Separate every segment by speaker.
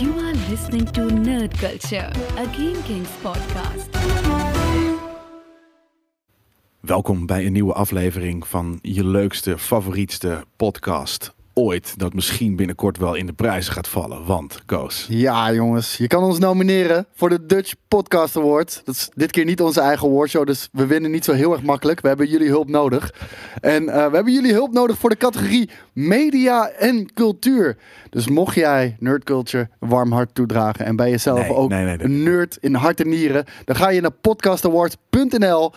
Speaker 1: You are listening to Nerd Culture, a Game Kings podcast.
Speaker 2: Welkom bij een nieuwe aflevering van je leukste, favorietste podcast ooit. Dat misschien binnenkort wel in de prijzen gaat vallen. Want, Koos,
Speaker 3: Ja, jongens. Je kan ons nomineren voor de Dutch Podcast Award. Dat is dit keer niet onze eigen awardshow, dus we winnen niet zo heel erg makkelijk. We hebben jullie hulp nodig. En eh, we hebben jullie hulp nodig voor de categorie media en cultuur. Dus mocht jij Nerd Culture een warm hart toedragen en bij jezelf
Speaker 2: Nee,
Speaker 3: ook
Speaker 2: nee, nee, nee.
Speaker 3: een nerd in hart en nieren, dan ga je naar podcastawards.nl,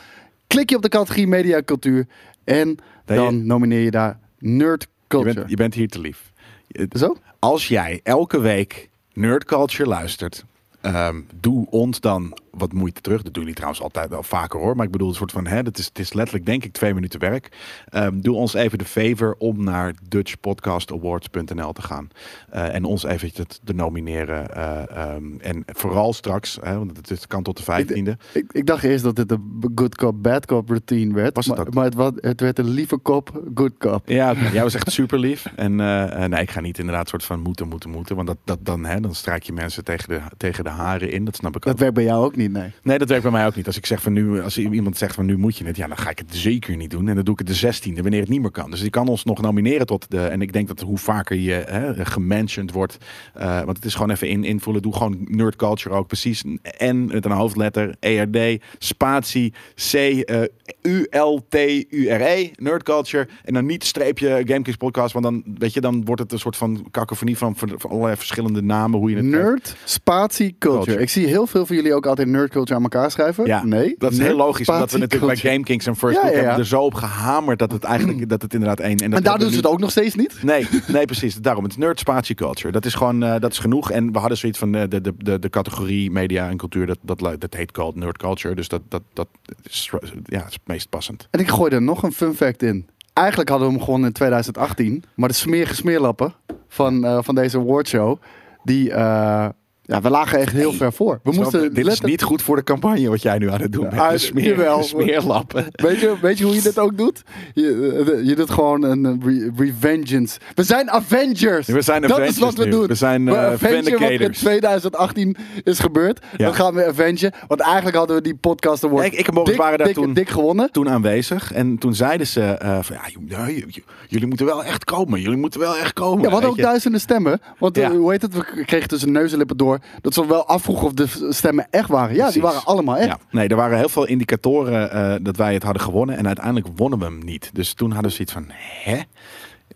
Speaker 3: klik je op de categorie media en cultuur en
Speaker 2: Nee,
Speaker 3: dan
Speaker 2: je-
Speaker 3: nomineer je daar Nerd
Speaker 2: je
Speaker 3: Culture.
Speaker 2: bent, je bent hier te lief. Je-
Speaker 3: Zo?
Speaker 2: Als jij elke week Nerd Culture luistert, ehm, doe ons dan wat moeite terug. Dat doen jullie trouwens altijd wel vaker hoor. Maar ik bedoel, een soort van, hè, dat is, het is letterlijk denk ik twee minuten werk. Ehm, doe ons even de favor om naar dutchpodcastawards.nl te gaan. eh, en ons even te, te nomineren. eh, ehm, en vooral straks, hè, want het is- kan tot de 15e.
Speaker 3: Ik, ik dacht eerst dat dit een b- good cop, bad cop routine werd.
Speaker 2: Was het
Speaker 3: maar
Speaker 2: ook?
Speaker 3: maar het, wa- het werd een lieve kop, good cop.
Speaker 2: Ja, oké. jij was echt super lief. En eh, eh, nee, ik ga niet inderdaad soort van moeten, moeten, moeten. Want dat, dat, dan, hè, dan strijk je mensen tegen de, tegen de haren in. Dat snap ik ook.
Speaker 3: Dat werkt bij jou ook niet, nee.
Speaker 2: Nee, dat werkt bij mij ook niet. Als ik zeg van nu, als iemand zegt van nu moet je het, ja, dan ga ik het zeker niet doen. En dan doe ik het de 16e, wanneer het niet meer kan. Dus die kan ons nog nomineren tot de. En ik denk dat hoe vaker je hè, gementiond wordt, eh, want het is gewoon even in, invullen. Doe gewoon nerd culture ook precies. N met een hoofdletter, ERD, spatie, C, eh, U, L, T, U, R, E, nerd culture. En dan niet streepje Gamekings podcast, want dan weet je, dan wordt het een soort van kakofonie van, van allerlei verschillende namen hoe je het.
Speaker 3: Nerd, spatie, culture.
Speaker 2: Culture.
Speaker 3: Ik zie heel veel van jullie ook altijd nerd culture aan elkaar schrijven.
Speaker 2: Ja,
Speaker 3: nee.
Speaker 2: dat is heel
Speaker 3: nerd,
Speaker 2: logisch. Omdat we
Speaker 3: spatie,
Speaker 2: natuurlijk
Speaker 3: culture.
Speaker 2: bij GameKings en First
Speaker 3: Ja,
Speaker 2: Look
Speaker 3: ja, ja.
Speaker 2: hebben we er zo op gehamerd dat het eigenlijk dat het inderdaad één. dat
Speaker 3: En daar
Speaker 2: hebben
Speaker 3: doen
Speaker 2: we
Speaker 3: ze het
Speaker 2: nu-
Speaker 3: ook nog steeds niet?
Speaker 2: Nee, nee, precies. Daarom. Het is nerd spatie culture. Dat is gewoon eh, dat is genoeg. En we hadden zoiets van eh, de, de, de, de categorie media en cultuur. Dat, dat, lu- dat heet called nerd culture. Dus dat, dat, dat is, ja, is het meest passend.
Speaker 3: En ik gooi er nog een fun fact in. Eigenlijk hadden we hem gewoon in 2018. Maar de smerige smeerlappen van, eh, van deze awardshow, die... eh, ja, we lagen echt heel ver voor.
Speaker 2: Snap
Speaker 3: We
Speaker 2: je?
Speaker 3: moesten
Speaker 2: Dus Dit is
Speaker 3: letter-
Speaker 2: niet goed voor de campagne wat jij nu aan het doen bent.
Speaker 3: Ah,
Speaker 2: De smeer-
Speaker 3: jawel.
Speaker 2: de smeerlappen.
Speaker 3: Weet je, weet je hoe je dit ook doet? Je, eh, je doet gewoon een eh, re- revengeance. We zijn Avengers!
Speaker 2: Ja, we zijn
Speaker 3: dat
Speaker 2: Avengers
Speaker 3: is wat we
Speaker 2: nu.
Speaker 3: doen.
Speaker 2: We zijn, eh,
Speaker 3: avengen wat er in
Speaker 2: Vindicators.
Speaker 3: 2018 is gebeurd.
Speaker 2: Ja.
Speaker 3: Dat gaan we avengen. Want eigenlijk hadden we die podcast award
Speaker 2: Kijk, ik en Boris
Speaker 3: dik,
Speaker 2: waren daar
Speaker 3: dik,
Speaker 2: toen-
Speaker 3: dik gewonnen.
Speaker 2: toen aanwezig. En toen zeiden ze eh, van, ja, j- ja, j- j- jullie moeten wel echt komen. Jullie moeten wel echt komen.
Speaker 3: Ja, we hadden
Speaker 2: Weet
Speaker 3: ook
Speaker 2: je?
Speaker 3: duizenden stemmen. Want eh,
Speaker 2: Ja.
Speaker 3: hoe heet het? We kregen tussen neus en lippen door dat ze wel afvroegen of de v- stemmen echt waren. Ja, die
Speaker 2: Precies.
Speaker 3: waren allemaal echt.
Speaker 2: Ja. Nee, er waren heel veel indicatoren eh, dat wij het hadden gewonnen. En uiteindelijk wonnen we hem niet. Dus toen hadden we zoiets van, hè?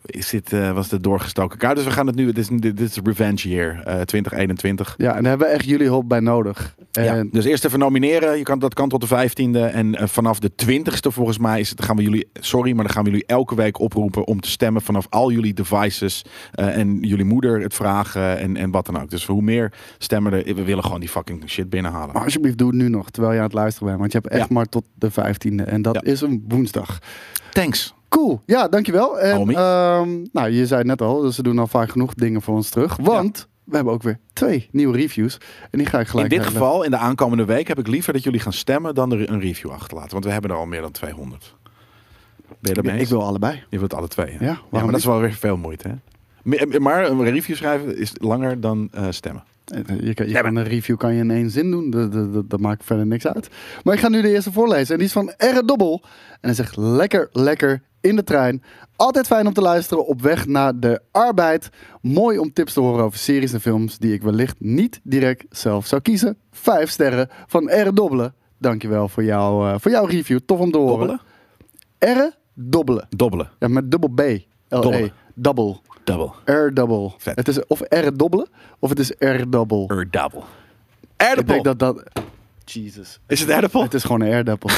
Speaker 2: Is dit, eh, was dit doorgestoken kaart? Dus we gaan het nu, dit is, dit is Revenge Year eh, 2021.
Speaker 3: Ja, en daar hebben we echt jullie hulp bij nodig.
Speaker 2: Ja,
Speaker 3: En-
Speaker 2: dus eerst even nomineren. Je kan, dat kan tot de 15e. En eh, vanaf de 20e, volgens mij, is het, gaan we jullie. Sorry, maar dan gaan we jullie elke week oproepen om te stemmen vanaf al jullie devices. eh, en jullie moeder het vragen en, en wat dan ook. Dus hoe meer stemmen er. We willen gewoon die fucking shit binnenhalen.
Speaker 3: Maar alsjeblieft, doe het nu nog, terwijl je aan het luisteren bent. Want je hebt echt
Speaker 2: Ja.
Speaker 3: maar tot de 15e. En dat
Speaker 2: Ja.
Speaker 3: is een woensdag.
Speaker 2: Thanks.
Speaker 3: Cool, ja, dankjewel. En,
Speaker 2: Homie.
Speaker 3: ehm, nou, je zei het net al, dus ze doen al vaak genoeg dingen voor ons terug. Want we hebben ook weer twee nieuwe reviews. En die ga ik
Speaker 2: In
Speaker 3: gelijk
Speaker 2: dit
Speaker 3: naar-
Speaker 2: geval, in de aankomende week, heb ik liever dat jullie gaan stemmen dan er een review achterlaten. Want we hebben er al meer dan 200. Ben je daarmee
Speaker 3: Ik,
Speaker 2: eens?
Speaker 3: wil allebei.
Speaker 2: Je wilt alle twee. hè?
Speaker 3: Ja,
Speaker 2: maar
Speaker 3: waarom
Speaker 2: dat is wel weer veel moeite. Hè? Me- Maar een review schrijven is langer dan eh, stemmen.
Speaker 3: Eh, Je, kan, je
Speaker 2: Ja,
Speaker 3: kan een review kan je in één zin doen. Dat, dat, dat, dat maakt verder niks uit. Maar ik ga nu de eerste voorlezen. En die is van R. Dobbel. En hij zegt lekker, lekker in de trein. Altijd fijn om te luisteren op weg naar de arbeid. Mooi om tips te horen over series en films die ik wellicht niet direct zelf zou kiezen. Vijf sterren van R. Dobbelen. Dankjewel voor, jou, eh voor jouw review. Tof om te horen.
Speaker 2: Dobbelen?
Speaker 3: R. Dobbelen.
Speaker 2: Dobbelen.
Speaker 3: Ja, met dubbel B. E. L-E.
Speaker 2: Dobbelen.
Speaker 3: Double.
Speaker 2: Double.
Speaker 3: R-double.
Speaker 2: Vet.
Speaker 3: Het is of R-dobbelen of het is R-double.
Speaker 2: Erdappel.
Speaker 3: Ik denk dat dat. Jesus.
Speaker 2: Is het erdappel?
Speaker 3: Het is gewoon een aardappel.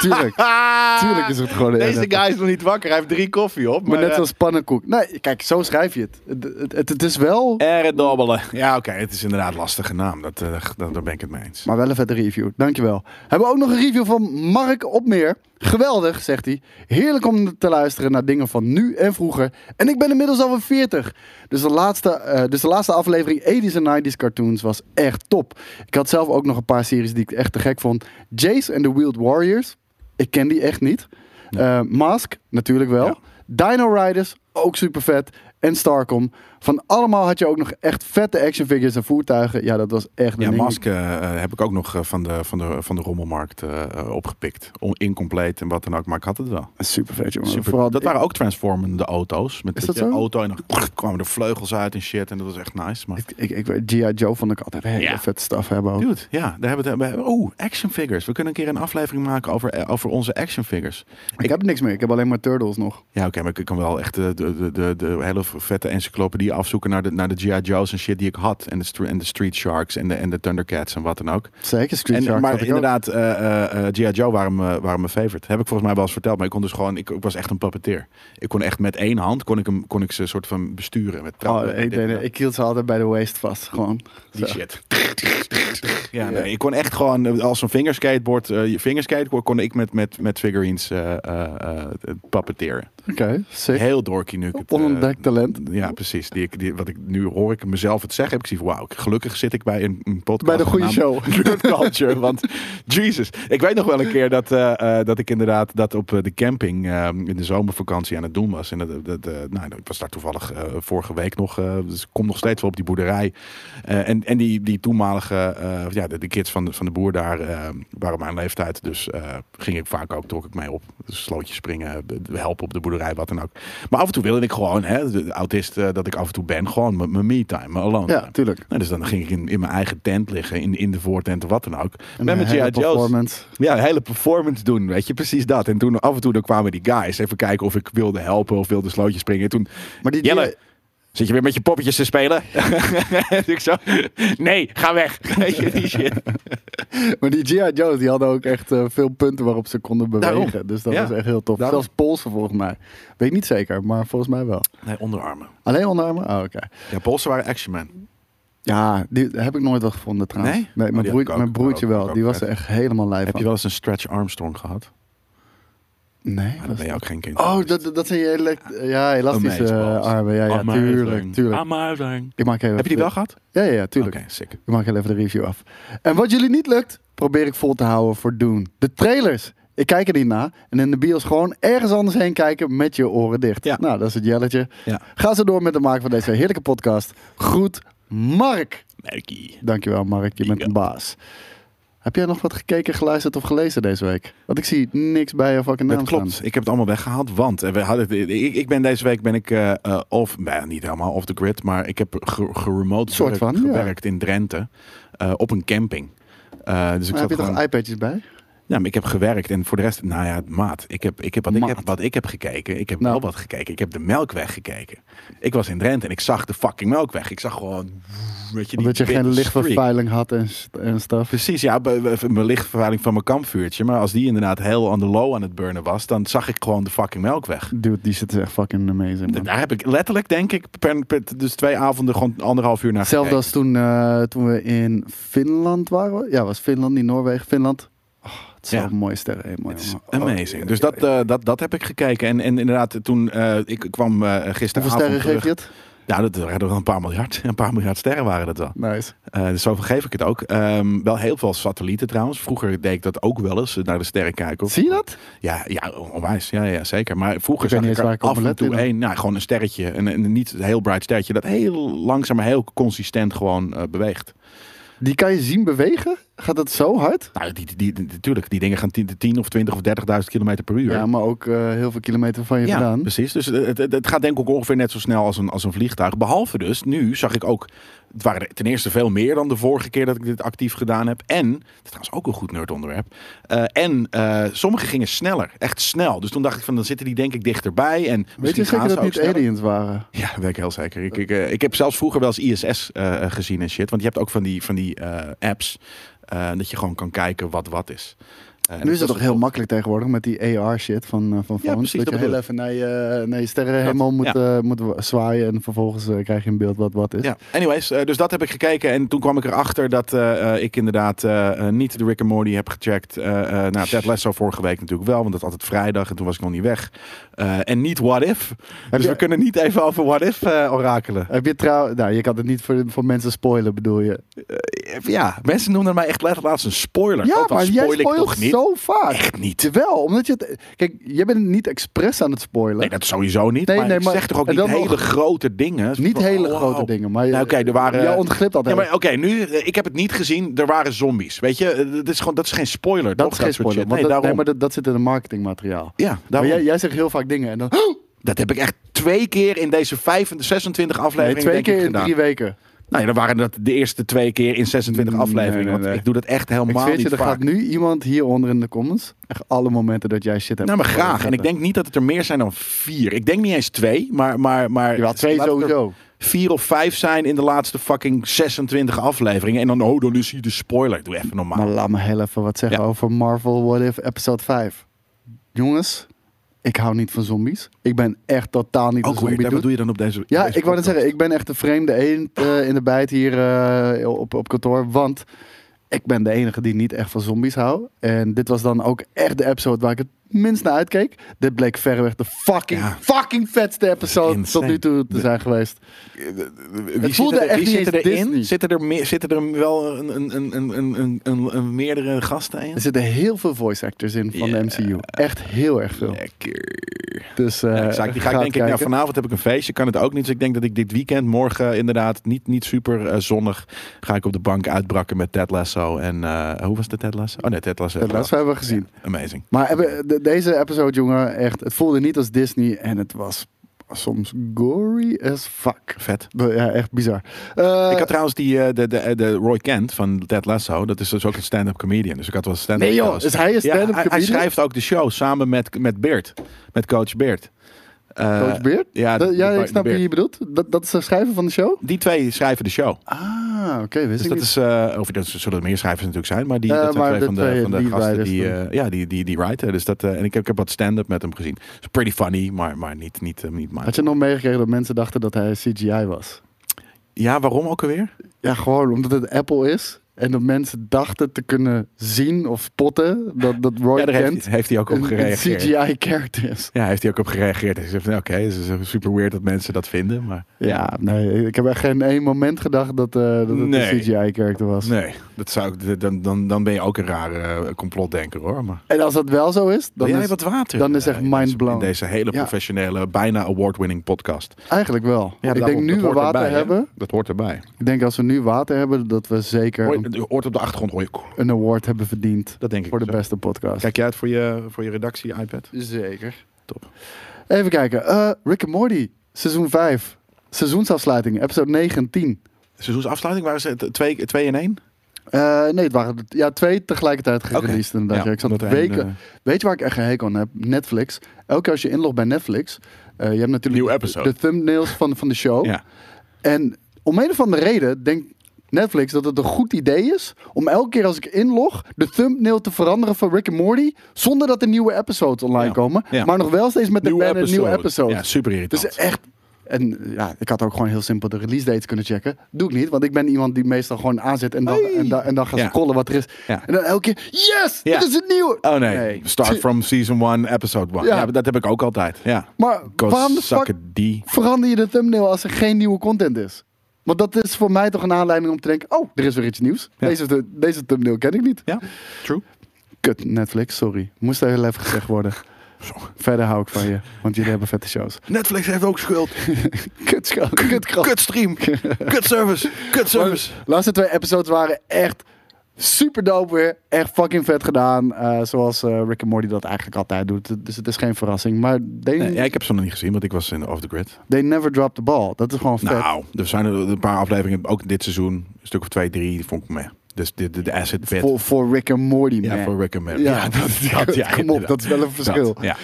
Speaker 3: Tuurlijk.
Speaker 2: Ah!
Speaker 3: Tuurlijk is het gewoon een
Speaker 2: Deze
Speaker 3: aardappel.
Speaker 2: guy is nog niet wakker. Hij heeft drie koffie op. Maar,
Speaker 3: Maar net
Speaker 2: eh,
Speaker 3: zoals pannenkoek. Nee, kijk, zo schrijf je het. Het, het, het- het is wel.
Speaker 2: erdappelen. Ja, oké. Het is inderdaad een lastige naam. Dat, eh, dat, daar ben ik het mee eens.
Speaker 3: Maar wel een vette review. Dankjewel. Hebben we ook nog een review van Mark Opmeer. Geweldig, zegt hij. Heerlijk om te luisteren naar dingen van nu en vroeger. En ik ben inmiddels alweer 40. Dus de laatste, eh, dus de laatste aflevering 80s en 90s cartoons was echt top. Ik had zelf ook nog een paar series die ik echt te gek vond. Jace and the Wild Warriors. Ik ken die echt niet. Eh, Mask, natuurlijk wel.
Speaker 2: Ja.
Speaker 3: Dino Riders, ook super vet. En Starcom. Van allemaal had je ook nog echt vette action figures en voertuigen. Ja, dat was echt een
Speaker 2: Ja,
Speaker 3: ding.
Speaker 2: Mask eh, eh, heb ik ook nog eh, van de, van de, van de rommelmarkt eh, eh, opgepikt. On- incompleet en wat dan ook, maar ik had het wel.
Speaker 3: Super vet, jongen.
Speaker 2: Super.
Speaker 3: Vooral
Speaker 2: dat waren ook transformende auto's. Met
Speaker 3: Is
Speaker 2: dat
Speaker 3: dat
Speaker 2: je
Speaker 3: zo?
Speaker 2: auto en dan kwamen er vleugels uit en shit. En dat was echt nice. Maar
Speaker 3: ik, ik, ik, weet- G.I. Joe vond ik altijd hele
Speaker 2: Ja.
Speaker 3: vette stuff hebben ook.
Speaker 2: Dude, ja, daar hebben we het. we hebben- Oeh, action figures. We kunnen een keer een aflevering maken over, eh, over onze action figures.
Speaker 3: Ik, heb niks meer. Ik heb alleen maar Turtles nog.
Speaker 2: Ja, oké, maar ik kan wel echt eh, de, de, de, de hele vette encyclopedie afzoeken naar de, naar de G.I. Joe's en shit die ik had. En de, stre- en de Street Sharks en de, en de Thundercats en wat dan ook.
Speaker 3: Zeker Street
Speaker 2: En,
Speaker 3: Sharks
Speaker 2: maar
Speaker 3: had ik ook. Oh,
Speaker 2: inderdaad, eh, eh, eh, G.I. Joe waren, me- waren mijn favorite. Heb ik volgens mij wel eens verteld. Maar ik kon dus gewoon, ik, ik was echt een puppeteer. Ik kon echt met één hand, kon ik, hem, kon ik ze soort van besturen. Met
Speaker 3: Oh,
Speaker 2: trappen en
Speaker 3: ik,
Speaker 2: dit en
Speaker 3: deed-
Speaker 2: dat.
Speaker 3: ik hield ze altijd bij de waist vast, gewoon.
Speaker 2: Die
Speaker 3: Zo.
Speaker 2: shit. Ja, nee, ik kon echt gewoon eh, als een vingerskateboard, eh, je vingerskateboard kon ik met, met, met figurines eh eh, eh, puppeteeren.
Speaker 3: Oké, sick.
Speaker 2: Heel dorky nu. ik het, eh,
Speaker 3: Onontdekt talent.
Speaker 2: ja, precies. Die, ik- die, wat ik, nu hoor ik mezelf het zeggen. Heb ik zie wauw, ik- gelukkig zit ik bij een, een podcast.
Speaker 3: Bij de goede
Speaker 2: genaamd
Speaker 3: show.
Speaker 2: Nerd Culture, want Jesus. Ik weet nog wel een keer dat, eh, eh, dat ik inderdaad dat op eh, de camping eh, in de zomervakantie aan het doen was. En dat, dat, eh, nou, ik was daar toevallig eh, vorige week nog, eh, dus ik kom nog steeds wel op die boerderij. Eh, en, en die, die toenmalige, eh, ja, de, de kids van, de- van de boer daar eh, waren mijn leeftijd. Dus eh, ging ik vaak ook, trok ik mee op. Dus slootjes springen, be- helpen op de boerderij, wat dan ook. Maar af en toe wilde ik gewoon, hè, de de autist eh, dat ik af en toe ben, gewoon mijn- mijn me-time, mijn alone
Speaker 3: Ja,
Speaker 2: time.
Speaker 3: tuurlijk.
Speaker 2: Nou, dus dan ging ik in, in mijn eigen tent liggen, in, in de voortent of wat dan ook.
Speaker 3: En
Speaker 2: Met mijn
Speaker 3: een hele
Speaker 2: G.I. Joe's.
Speaker 3: performance.
Speaker 2: Ja, een hele performance doen, weet je, precies dat. En toen af en toe dan kwamen die guys even kijken of ik wilde helpen of wilde slootjes springen. En toen,
Speaker 3: Maar die, die-
Speaker 2: Jelle, zit je weer met je poppetjes te spelen? En ik zo, nee, ga weg. Weet je, die shit.
Speaker 3: maar die G.I. Joe's die hadden ook echt eh, veel punten waarop ze konden bewegen.
Speaker 2: Daarom.
Speaker 3: Dus dat
Speaker 2: Ja.
Speaker 3: was echt heel tof.
Speaker 2: Daarom.
Speaker 3: Zelfs polsen volgens mij. Weet ik niet zeker, maar volgens mij wel.
Speaker 2: Nee, onderarmen.
Speaker 3: Alleen onderarmen? Oh, oké.
Speaker 2: Ja, polsen waren Action Man.
Speaker 3: Ja, die heb ik nooit wel gevonden trouwens.
Speaker 2: Nee?
Speaker 3: Nee,
Speaker 2: Oh, die
Speaker 3: mijn, broer-
Speaker 2: heb ik ook.
Speaker 3: mijn broertje
Speaker 2: Ook-
Speaker 3: wel.
Speaker 2: ook
Speaker 3: Die was er
Speaker 2: vet.
Speaker 3: echt helemaal lijf
Speaker 2: Heb
Speaker 3: van.
Speaker 2: je wel eens een Stretch Armstrong gehad?
Speaker 3: Nee?
Speaker 2: Ja,
Speaker 3: was-
Speaker 2: dan ben je ook geen kind.
Speaker 3: Oh, dat, dat zijn je elect-
Speaker 2: Ah.
Speaker 3: ja,
Speaker 2: Oh,
Speaker 3: elastische
Speaker 2: Amazeballs.
Speaker 3: eh, armen. Ja, ja,
Speaker 2: Amazing.
Speaker 3: tuurlijk, tuurlijk.
Speaker 2: Amazing.
Speaker 3: Ik maak even
Speaker 2: Ah, Heb je die wel gehad?
Speaker 3: Ja, ja, ja, tuurlijk.
Speaker 2: Oké, sick.
Speaker 3: Ik maak heel even de review af. En wat jullie niet lukt, probeer ik vol te houden voor doen. De trailers. Ik kijk er niet naar. En in de bios gewoon ergens anders heen kijken met je oren dicht.
Speaker 2: Ja.
Speaker 3: Nou, dat is het jelletje.
Speaker 2: Ja.
Speaker 3: Ga zo door met het maken van deze heerlijke podcast. Groet Mark.
Speaker 2: Merkie.
Speaker 3: Dankjewel Mark, je bent
Speaker 2: Ja.
Speaker 3: een baas. Heb jij nog wat gekeken, geluisterd of gelezen deze week? Want ik zie niks bij je fucking naam
Speaker 2: Dat klopt.
Speaker 3: staan.
Speaker 2: Ik heb het allemaal weggehaald, want eh, we hadden, ik, ik ben deze week ben ik eh, eh, of, nou, niet helemaal off the grid, maar ik heb ge- geremote
Speaker 3: Soort
Speaker 2: gewerkt-
Speaker 3: van, ja.
Speaker 2: gewerkt in Drenthe eh, op een camping. Eh, dus ik
Speaker 3: Maar
Speaker 2: zat
Speaker 3: heb je
Speaker 2: gewoon-
Speaker 3: toch iPadjes bij?
Speaker 2: Nou, maar ik heb gewerkt en voor de rest, nou ja, maat. Ik heb, ik heb, wat,
Speaker 3: Maat.
Speaker 2: Ik heb wat ik heb gekeken, ik heb
Speaker 3: Nou.
Speaker 2: wel wat gekeken. Ik heb de Melkweg gekeken. Ik was in Drenthe en ik zag de fucking Melkweg. Ik zag gewoon, weet je, die
Speaker 3: Omdat je geen
Speaker 2: witte streak.
Speaker 3: lichtvervuiling had en, st- en stuff.
Speaker 2: Precies, ja, bij- bij- mijn lichtvervuiling van mijn kampvuurtje. Maar als die inderdaad heel aan de low aan het burnen was, dan zag ik gewoon de fucking Melkweg.
Speaker 3: Dude, die zit echt fucking amazing, man.
Speaker 2: Daar heb ik letterlijk, denk ik, per, per- dus twee avonden gewoon anderhalf uur naar
Speaker 3: Hetzelfde
Speaker 2: gekeken.
Speaker 3: als toen, eh, toen we in Finland waren. Ja, was Finland, niet Noorwegen, Finland. Oh, het is
Speaker 2: Ja.
Speaker 3: wel een mooie sterrenhemel.
Speaker 2: Het is
Speaker 3: jongen. Oh,
Speaker 2: amazing.
Speaker 3: ja,
Speaker 2: dus
Speaker 3: ja,
Speaker 2: dat,
Speaker 3: ja.
Speaker 2: eh, dat, dat heb ik gekeken. En, en inderdaad, toen eh, ik kwam eh
Speaker 3: Hoeveel
Speaker 2: gisteravond
Speaker 3: sterren
Speaker 2: terug-
Speaker 3: geef je het?
Speaker 2: Nou, dat waren er wel een paar miljard. Een paar miljard sterren waren dat wel.
Speaker 3: Nice.
Speaker 2: Eh dus zo vergeef ik het ook. Ehm, wel heel veel satellieten trouwens. Vroeger deed ik dat ook wel eens, eh, naar de sterren kijken. Of,
Speaker 3: Zie je dat?
Speaker 2: Ja, ja, onwijs. Ja, ja, zeker. Maar vroeger
Speaker 3: Ik weet
Speaker 2: zag
Speaker 3: niet
Speaker 2: ik
Speaker 3: eens
Speaker 2: er
Speaker 3: waar ik op
Speaker 2: af en
Speaker 3: let
Speaker 2: toe
Speaker 3: in.
Speaker 2: één. Nou, gewoon een sterretje. Een, een niet heel bright sterretje. Dat heel langzaam, maar heel consistent gewoon eh, beweegt.
Speaker 3: Die kan je zien bewegen? Gaat dat zo hard?
Speaker 2: Nou, die, die, die, natuurlijk. Die dingen gaan 10, 10 of 20 of 30.000 kilometer per uur.
Speaker 3: Ja, maar ook eh, heel veel kilometer van je
Speaker 2: Ja,
Speaker 3: vandaan.
Speaker 2: precies. Dus het, het, het gaat denk ik ook ongeveer net zo snel als een, als een vliegtuig. Behalve dus, nu zag ik ook... Het waren er ten eerste veel meer dan de vorige keer dat ik dit actief gedaan heb. En, dat is trouwens ook een goed nerdonderwerp. eh en eh sommige gingen sneller. Echt snel. Dus toen dacht ik van, dan zitten die denk ik dichterbij. En
Speaker 3: Weet je
Speaker 2: misschien gaan ze
Speaker 3: zeker dat
Speaker 2: ook
Speaker 3: het niet
Speaker 2: sneller.
Speaker 3: aliens waren?
Speaker 2: Ja, dat weet ik heel zeker. Ik, ik, eh, ik heb zelfs vroeger wel eens ISS eh, eh, gezien en shit. Want je hebt ook van die, van die eh, apps... eh, dat je gewoon kan kijken wat wat is. Eh, en
Speaker 3: nu is
Speaker 2: dat was-
Speaker 3: het toch heel makkelijk tegenwoordig met die AR shit van, eh, van
Speaker 2: Ja,
Speaker 3: phones.
Speaker 2: precies,
Speaker 3: dat,
Speaker 2: dat
Speaker 3: je heel
Speaker 2: bedoel
Speaker 3: even naar je, eh, naar je sterrenhemel moet,
Speaker 2: ja.
Speaker 3: eh, moet wa- zwaaien en vervolgens eh, krijg je in beeld wat wat is.
Speaker 2: Ja, anyways, eh, dus dat heb ik gekeken. En toen kwam ik erachter dat eh, eh, ik inderdaad eh, eh, niet de Rick and Morty heb gecheckt. Eh eh nou, Ted Lasso vorige week natuurlijk wel, want dat is altijd vrijdag en toen was ik nog niet weg. Eh, en niet What If. Dus
Speaker 3: je-
Speaker 2: we kunnen niet even over What If eh, orakelen.
Speaker 3: Heb je trouw... Nou, je kan het niet voor, voor mensen spoilen, bedoel je?
Speaker 2: Eh, ja, mensen noemden mij echt letterlijk laatst een spoiler.
Speaker 3: Ja,
Speaker 2: Oh, dat
Speaker 3: maar jij
Speaker 2: spoil ik
Speaker 3: spoilt
Speaker 2: toch niet?
Speaker 3: zo vaak.
Speaker 2: Echt niet.
Speaker 3: Wel, omdat je het... Kijk, jij bent niet expres aan het spoilen.
Speaker 2: Nee, dat sowieso niet.
Speaker 3: Nee,
Speaker 2: maar
Speaker 3: nee,
Speaker 2: ik
Speaker 3: maar-
Speaker 2: zeg toch ook
Speaker 3: en
Speaker 2: niet
Speaker 3: dan
Speaker 2: hele
Speaker 3: nog-
Speaker 2: grote dingen.
Speaker 3: Niet
Speaker 2: Van,
Speaker 3: hele
Speaker 2: oh,
Speaker 3: grote
Speaker 2: wow.
Speaker 3: dingen, maar... je-
Speaker 2: Nou, oké, er waren...
Speaker 3: Jij ontglipt dat
Speaker 2: Ja, maar
Speaker 3: even.
Speaker 2: oké, nu, eh, ik heb het niet gezien. Er waren zombies. Weet je, eh, dat is, gewoon, dat is geen spoiler.
Speaker 3: Dat
Speaker 2: toch?
Speaker 3: is
Speaker 2: soort
Speaker 3: geen spoiler.
Speaker 2: shit.
Speaker 3: want
Speaker 2: Nee,
Speaker 3: dat,
Speaker 2: daarom.
Speaker 3: nee, maar dat, dat zit in het marketingmateriaal.
Speaker 2: Ja,
Speaker 3: Maar
Speaker 2: daarom.
Speaker 3: jij, jij zegt heel vaak dingen en dan...
Speaker 2: Dat heb ik echt twee keer in deze 25, 26
Speaker 3: Nee,
Speaker 2: afleveringen
Speaker 3: twee
Speaker 2: denk ik
Speaker 3: keer in
Speaker 2: gedaan.
Speaker 3: drie weken.
Speaker 2: Nou ja, dat waren dat de eerste twee keer in 26
Speaker 3: Nee,
Speaker 2: afleveringen.
Speaker 3: nee,
Speaker 2: want
Speaker 3: nee.
Speaker 2: ik doe dat echt
Speaker 3: Ik
Speaker 2: helemaal
Speaker 3: zweer het je,
Speaker 2: niet
Speaker 3: er
Speaker 2: vaak.
Speaker 3: gaat nu iemand hieronder in de comments... Echt alle momenten dat jij shit hebt.
Speaker 2: Nou, maar graag. En
Speaker 3: gezegd.
Speaker 2: ik denk niet dat het er meer zijn dan vier. Ik denk niet eens twee, maar... maar, maar
Speaker 3: Jawel, twee
Speaker 2: laat het er
Speaker 3: sowieso.
Speaker 2: Vier of vijf zijn in de laatste fucking 26 afleveringen. En dan, oh, dan is hier de spoiler. Doe even normaal.
Speaker 3: Maar eh, laat me heel even wat zeggen
Speaker 2: Ja.
Speaker 3: over Marvel What If Episode 5. Jongens, ik hou niet van zombies. Ik ben echt totaal niet
Speaker 2: Ook weer,
Speaker 3: een zombie
Speaker 2: Oh, daar- wat
Speaker 3: dude.
Speaker 2: doe je dan op deze
Speaker 3: Ja,
Speaker 2: deze
Speaker 3: ik wou net
Speaker 2: podcast?
Speaker 3: zeggen, ik ben echt een vreemde eend eh, in de bijt hier eh, op, op kantoor. Want ik ben de enige die niet echt van zombies houdt. En dit was dan ook echt de episode waar ik het minst naar uitkeek. Dit bleek verreweg de fucking,
Speaker 2: Ja.
Speaker 3: fucking vetste episode tot
Speaker 2: insane.
Speaker 3: nu toe te zijn geweest.
Speaker 2: Wie
Speaker 3: voelde
Speaker 2: zitten er,
Speaker 3: echt
Speaker 2: wie
Speaker 3: niet
Speaker 2: zitten
Speaker 3: eens Disney.
Speaker 2: erin? Zitten er, meer, zitten er wel een, een, een, een, een, een, een, een meerdere gasten in?
Speaker 3: Er zitten heel veel voice actors in van
Speaker 2: Ja.
Speaker 3: de MCU. Echt heel erg veel.
Speaker 2: Lekker.
Speaker 3: Dus, eh,
Speaker 2: Ja, exact. Die ga ik
Speaker 3: het
Speaker 2: denk ik, nou,
Speaker 3: kijken.
Speaker 2: vanavond heb ik een feestje, kan het ook niet. Dus ik denk dat ik dit weekend, morgen inderdaad, niet, niet super eh, zonnig, ga ik op de bank uitbrakken met Ted Lasso. En eh, hoe was de Ted Lasso? Oh nee, Ted Lasso.
Speaker 3: Dat laatste hebben we gezien.
Speaker 2: Amazing.
Speaker 3: Maar hebben- de- deze episode, jongen, echt, het voelde niet als Disney en het was soms gory as fuck.
Speaker 2: Vet.
Speaker 3: Ja, echt bizar. Eh,
Speaker 2: ik had trouwens die, eh, de, de, de Roy Kent van Ted Lasso. Dat is dus ook een stand-up comedian. Dus ik had wel een stand-up
Speaker 3: Nee joh,
Speaker 2: shows.
Speaker 3: is hij een
Speaker 2: Ja,
Speaker 3: stand-up
Speaker 2: hij, hij
Speaker 3: comedian?
Speaker 2: schrijft ook de show samen met, met Beert. Met coach Beert. Eh,
Speaker 3: Coach Beard?
Speaker 2: ja,
Speaker 3: Dat-
Speaker 2: de-
Speaker 3: ja
Speaker 2: de-
Speaker 3: ik snap
Speaker 2: de
Speaker 3: wie
Speaker 2: Beard.
Speaker 3: je bedoelt. Dat, dat is de schrijver van de show?
Speaker 2: Die twee schrijven de show.
Speaker 3: Ah, oké, wist
Speaker 2: Dus
Speaker 3: ik
Speaker 2: dat
Speaker 3: niet.
Speaker 2: is, eh, of dat zullen er meer schrijvers natuurlijk zijn, maar die
Speaker 3: Eh,
Speaker 2: dat zijn
Speaker 3: maar
Speaker 2: twee
Speaker 3: de
Speaker 2: van de,
Speaker 3: twee
Speaker 2: van de
Speaker 3: die
Speaker 2: gasten
Speaker 3: writers
Speaker 2: die,
Speaker 3: dan.
Speaker 2: eh, ja, die, die, die writen. Dus dat, eh, en ik heb, ik heb wat stand-up met hem gezien. Is pretty funny, maar, maar niet, niet, eh, niet
Speaker 3: Had
Speaker 2: maar.
Speaker 3: je nog meegekregen dat mensen dachten dat hij CGI was?
Speaker 2: Ja, waarom ook alweer?
Speaker 3: Ja, gewoon omdat het Apple is en dat mensen dachten te kunnen zien of spotten dat, dat Roy
Speaker 2: Ja, daar heeft,
Speaker 3: Kent
Speaker 2: hij- heeft hij ook op
Speaker 3: een, een
Speaker 2: gereageerd.
Speaker 3: CGI-character is.
Speaker 2: Ja, heeft hij ook op gereageerd. Hij zegt, van, oké, het is super weird dat mensen dat vinden, maar...
Speaker 3: Ja, nee, ik heb echt geen één moment gedacht dat, eh, dat het een
Speaker 2: Nee.
Speaker 3: CGI-character was.
Speaker 2: Nee, dat zou ik, dan, dan, dan ben je ook een rare eh, complotdenker hoor. Maar
Speaker 3: En als dat wel zo is, dan
Speaker 2: Wil jij
Speaker 3: is
Speaker 2: wat water.
Speaker 3: dan is echt
Speaker 2: eh, in
Speaker 3: mind
Speaker 2: deze-
Speaker 3: blown.
Speaker 2: In deze hele
Speaker 3: Ja.
Speaker 2: professionele, bijna award-winning podcast.
Speaker 3: eigenlijk wel. ik denk
Speaker 2: daarom,
Speaker 3: nu
Speaker 2: dat
Speaker 3: we
Speaker 2: hoort
Speaker 3: water
Speaker 2: erbij, hè?
Speaker 3: hebben,
Speaker 2: Dat hoort erbij.
Speaker 3: ik denk als we nu water hebben, dat we zeker
Speaker 2: Hoor,
Speaker 3: een,
Speaker 2: je- hoort op de achtergrond hoor je.
Speaker 3: een award hebben verdiend
Speaker 2: Dat denk ik.
Speaker 3: voor de
Speaker 2: zo.
Speaker 3: beste podcast.
Speaker 2: Kijk jij uit voor je, voor je redactie iPad?
Speaker 3: Zeker.
Speaker 2: Top.
Speaker 3: Even kijken. Eh, Rick and Morty, seizoen 5. Seizoensafsluiting, episode 9 en 10.
Speaker 2: Seizoensafsluiting waren ze t- twee, twee in één?
Speaker 3: Eh, nee, het waren er- ja, twee tegelijkertijd
Speaker 2: Oké.
Speaker 3: gereleased inderdaad. Ja, ik zat
Speaker 2: omdat er een,
Speaker 3: weken...
Speaker 2: eh,
Speaker 3: Weet je waar ik echt een hekel aan heb? Netflix. Elke keer als je inlogt bij Netflix, eh, je hebt natuurlijk
Speaker 2: Nieuw episode.
Speaker 3: de thumbnails van, van de show.
Speaker 2: ja.
Speaker 3: En om een of andere reden denkt Netflix dat het een goed idee is om elke keer als ik inlog de thumbnail te veranderen van Rick and Morty, zonder dat er nieuwe episodes online
Speaker 2: Ja.
Speaker 3: komen,
Speaker 2: Ja.
Speaker 3: maar nog wel steeds met de banner nieuwe episode.
Speaker 2: Ja, super
Speaker 3: dus
Speaker 2: irritant.
Speaker 3: echt. En ja, ik had ook gewoon heel simpel de release dates kunnen checken. Doe ik niet, want ik ben iemand die meestal gewoon aanzet en dan, en dan, en dan gaat
Speaker 2: Ja.
Speaker 3: scrollen wat er is.
Speaker 2: Ja.
Speaker 3: En dan elke keer, yes,
Speaker 2: Ja.
Speaker 3: dit is het nieuwe.
Speaker 2: Oh nee.
Speaker 3: Nee.
Speaker 2: start from season 1, episode 1.
Speaker 3: Ja.
Speaker 2: Ja. dat heb ik ook altijd. Ja.
Speaker 3: Maar
Speaker 2: Go
Speaker 3: waarom de fuck
Speaker 2: sukken die.
Speaker 3: verander je de thumbnail als er geen nieuwe content is? Want dat is voor mij toch een aanleiding om te denken: oh, er is weer iets nieuws.
Speaker 2: Ja.
Speaker 3: Deze, deze thumbnail ken ik niet.
Speaker 2: Ja, true.
Speaker 3: Kut, Netflix, sorry. Moest er heel even gezegd worden. Verder hou ik van je, want jullie hebben vette shows.
Speaker 2: Netflix heeft ook schuld.
Speaker 3: Kut, scho- kut, krap.
Speaker 2: Kut stream. Kut service. Kut service.
Speaker 3: De laatste twee episodes waren echt super dope weer. Echt fucking vet gedaan. eh, zoals eh, Rick and Morty dat eigenlijk altijd doet. Dus het is geen verrassing. Maar they,
Speaker 2: Nee, ja, ik heb ze nog niet gezien, want ik was in Off the Grid.
Speaker 3: they never drop the ball. Dat is gewoon vet.
Speaker 2: Nou, er zijn er een paar afleveringen, ook dit seizoen, een stuk of twee, drie, die vond ik me. Dus de, de, de asset bit.
Speaker 3: voor, voor Rick and Morty, man.
Speaker 2: ja, voor recommend.
Speaker 3: Ja, dat,
Speaker 2: ja,
Speaker 3: kom op,
Speaker 2: inderdaad.
Speaker 3: dat is wel een verschil.
Speaker 2: Dat, ja.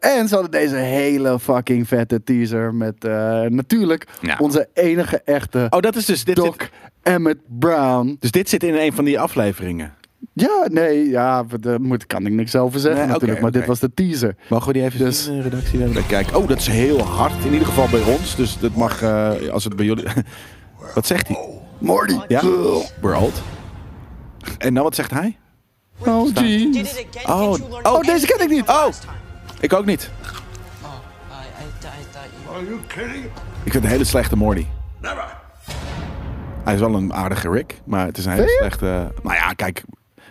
Speaker 3: Eh, en ze hadden deze hele fucking vette teaser met eh, natuurlijk
Speaker 2: Ja.
Speaker 3: onze enige echte
Speaker 2: Oh, dat is dus... Dit
Speaker 3: Doc
Speaker 2: zit,
Speaker 3: Emmett Brown.
Speaker 2: dus dit zit in een van die afleveringen.
Speaker 3: Ja, nee, ja, w- daar moet, kan ik niks over zeggen
Speaker 2: Nee, oké,
Speaker 3: natuurlijk, maar dit
Speaker 2: oké.
Speaker 3: was de teaser.
Speaker 2: Mogen we die even
Speaker 3: Dus-
Speaker 2: zien in de redactie? Dan? Dan Kijk, oh, dat is heel hard. In ieder geval bij ons. Dus dat mag, eh, als het bij jullie... wat zegt hij?
Speaker 3: Morty.
Speaker 2: Ja? We're old. En nou, wat zegt hij?
Speaker 3: Oh,
Speaker 4: Did
Speaker 3: jeez.
Speaker 4: it again.
Speaker 2: Oh,
Speaker 4: Did you learn
Speaker 2: oh, deze ken ik
Speaker 4: anything
Speaker 2: niet.
Speaker 4: from
Speaker 2: Oh.
Speaker 4: last time?
Speaker 2: Ik ook niet.
Speaker 4: Oh, I, I, th- I thought you
Speaker 5: Are you kidding?
Speaker 2: Ik vind een hele slechte Morty.
Speaker 5: Never.
Speaker 2: Hij is wel een aardige Rick, maar het is een hele
Speaker 3: Vind je?
Speaker 2: slechte. Nou ja, kijk.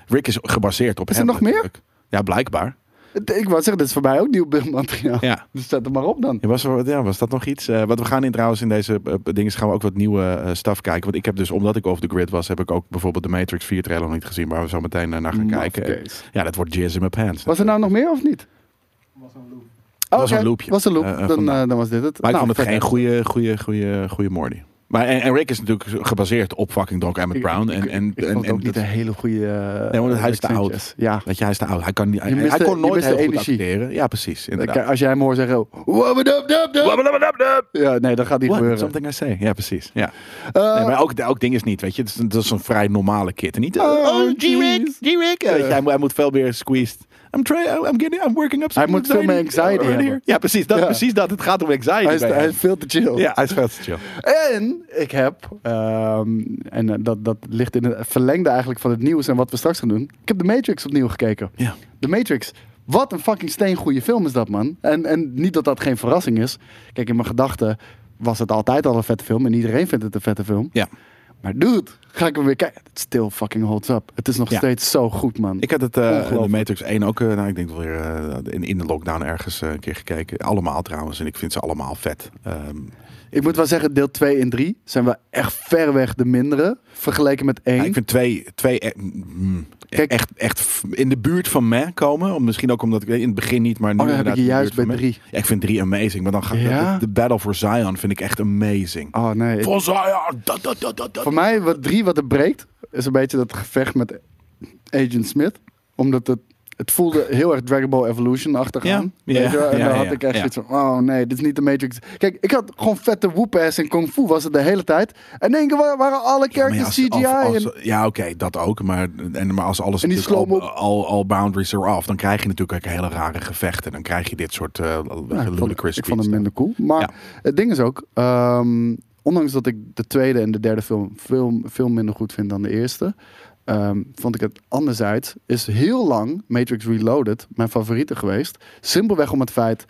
Speaker 2: Rick is gebaseerd op
Speaker 3: Is er
Speaker 2: hem
Speaker 3: nog meer?
Speaker 2: natuurlijk. Ja, blijkbaar.
Speaker 3: Het- Ik wou zeggen, dit is voor mij ook nieuw beeldmateriaal.
Speaker 2: Ja.
Speaker 3: Dus zet hem maar op dan.
Speaker 2: Ja, was, er- ja, was dat nog iets? Eh, wat we gaan in trouwens in deze eh, dingen gaan we ook wat nieuwe eh, staf kijken. Want ik heb dus, omdat ik off the grid was, heb ik ook bijvoorbeeld de Matrix 4 trailer nog niet gezien. Waar we zo meteen eh, naar
Speaker 3: Mm,
Speaker 2: gaan kijken.
Speaker 3: Mafkees.
Speaker 2: Ja, dat wordt jazz in my pants.
Speaker 3: Was er nou nog meer of niet? Was
Speaker 2: Was
Speaker 3: een loop.
Speaker 2: een loopje.
Speaker 3: Was een loop.
Speaker 2: Eh, eh,
Speaker 3: dan,
Speaker 2: vandaar.
Speaker 3: eh, dan was dit het.
Speaker 2: Maar ik
Speaker 3: Nou,
Speaker 2: vond het geen
Speaker 3: verder.
Speaker 2: goede, goede, goede, goede Morty. Maar en, en Rick is natuurlijk gebaseerd op fucking Doc Emmett
Speaker 3: Ik-
Speaker 2: Brown.
Speaker 3: ik-
Speaker 2: En, en,
Speaker 3: Ik
Speaker 2: en,
Speaker 3: vond het ook
Speaker 2: en
Speaker 3: niet
Speaker 2: dat-
Speaker 3: een hele goede... eh,
Speaker 2: Nee, want hij is te
Speaker 3: Rick
Speaker 2: oud.
Speaker 3: Sanchez. Ja.
Speaker 2: Weet je, hij is te oud. Hij kan, niet, hij,
Speaker 3: mist
Speaker 2: hij
Speaker 3: de-
Speaker 2: kon
Speaker 3: je
Speaker 2: nooit
Speaker 3: mist de
Speaker 2: heel goed
Speaker 3: energie.
Speaker 2: acteren. Ja, precies. Inderdaad.
Speaker 3: Kijk, als jij hem hoort zeggen... oh, wubba dub dub dub. Ja, nee, dat gaat eh, niet
Speaker 2: What?
Speaker 3: gebeuren.
Speaker 2: Something I say. Ja, precies. Ja.
Speaker 3: Eh,
Speaker 2: nee, maar ook, ook ding is niet, weet je. Dat is, een- dat is een vrij normale kid. En niet, eh,
Speaker 3: Oh,
Speaker 2: oh, G-Rick,
Speaker 3: jeez.
Speaker 2: G-Rick. Ja, weet je,
Speaker 3: Ja.
Speaker 2: hij, moet- hij moet veel meer squeezed. I'm, try, I'm, getting, I'm working up some
Speaker 3: Hij moet veel meer anxiety
Speaker 2: already
Speaker 3: hebben.
Speaker 2: here. Ja, precies dat,
Speaker 3: Ja.
Speaker 2: precies dat. Het gaat om anxiety
Speaker 3: Hij is,
Speaker 2: bij
Speaker 3: hij
Speaker 2: hem.
Speaker 3: is veel te chill.
Speaker 2: Ja, hij is veel te chill.
Speaker 3: En ik heb, ehm, en eh, dat, dat ligt in het verlengde eigenlijk van het nieuws en wat we straks gaan doen. Ik heb The Matrix opnieuw gekeken.
Speaker 2: Ja.
Speaker 3: The Matrix. Wat een fucking steengoede film is dat, man. En, en niet dat dat geen verrassing is. Kijk, in mijn gedachten was het altijd al een vette film. En iedereen vindt het een vette film.
Speaker 2: Ja.
Speaker 3: Maar dude, ga ik hem weer kijken. It still fucking holds up. Het is nog
Speaker 2: Ja.
Speaker 3: steeds zo goed, man.
Speaker 2: Ik had het eh, in de
Speaker 3: Ongelooflijk.
Speaker 2: Matrix 1 ook, eh, nou, ik denk wel weer eh, in, in de lockdown ergens eh, een keer gekeken. Allemaal trouwens, en ik vind ze allemaal vet. Ehm,
Speaker 3: Ik moet wel zeggen, deel 2 en 3 zijn wel echt ver weg de mindere. Vergeleken met 1.
Speaker 2: ja, nou, ik vind twee, twee eh, mm,
Speaker 3: Kijk-
Speaker 2: echt, echt f- in de buurt van me komen. Om, misschien ook omdat ik in het begin niet, maar nu
Speaker 3: Oh, dan heb
Speaker 2: inderdaad
Speaker 3: ik je
Speaker 2: in de
Speaker 3: juist bij
Speaker 2: buurt van meh.
Speaker 3: 3.
Speaker 2: Ja, ik vind drie amazing, maar dan ga
Speaker 3: Ja?
Speaker 2: de, de Battle for Zion vind ik echt amazing.
Speaker 3: Oh nee, ik-
Speaker 2: Voor Zion! Dat, dat, dat, dat, dat.
Speaker 3: Voor mij, wat drie wat het breekt, is een beetje dat gevecht met Agent Smith. Omdat het, het voelde heel erg Dragon Ball Evolution achtergaan.
Speaker 2: Ja,
Speaker 3: Weet je wel? En
Speaker 2: ja,
Speaker 3: dan
Speaker 2: ja,
Speaker 3: had
Speaker 2: ja,
Speaker 3: ik echt
Speaker 2: ja.
Speaker 3: zoiets van, oh nee, dit is niet de Matrix. Kijk, ik had gewoon vette whoop-ass en kung fu was het de hele tijd. En in één keer wa- waren alle
Speaker 2: Ja, maar ja,
Speaker 3: characters
Speaker 2: als-
Speaker 3: CGI.
Speaker 2: als- als-
Speaker 3: en,
Speaker 2: ja, oké, dat ook. Maar, en, maar als alles
Speaker 3: En die
Speaker 2: natuurlijk al,
Speaker 3: slow-mo-
Speaker 2: al, al boundaries are off, dan krijg je natuurlijk ook hele rare gevechten. Dan krijg je dit soort eh
Speaker 3: Nou, ik, vond,
Speaker 2: ludicrous
Speaker 3: ik vond
Speaker 2: tweets.
Speaker 3: hem minder cool. Maar
Speaker 2: Ja.
Speaker 3: het ding is ook, ehm, ondanks dat ik de tweede en de derde film veel, veel minder goed vind dan de eerste, ehm, vond ik het anderzijds, is heel lang Matrix Reloaded mijn favoriete geweest. Simpelweg om het feit,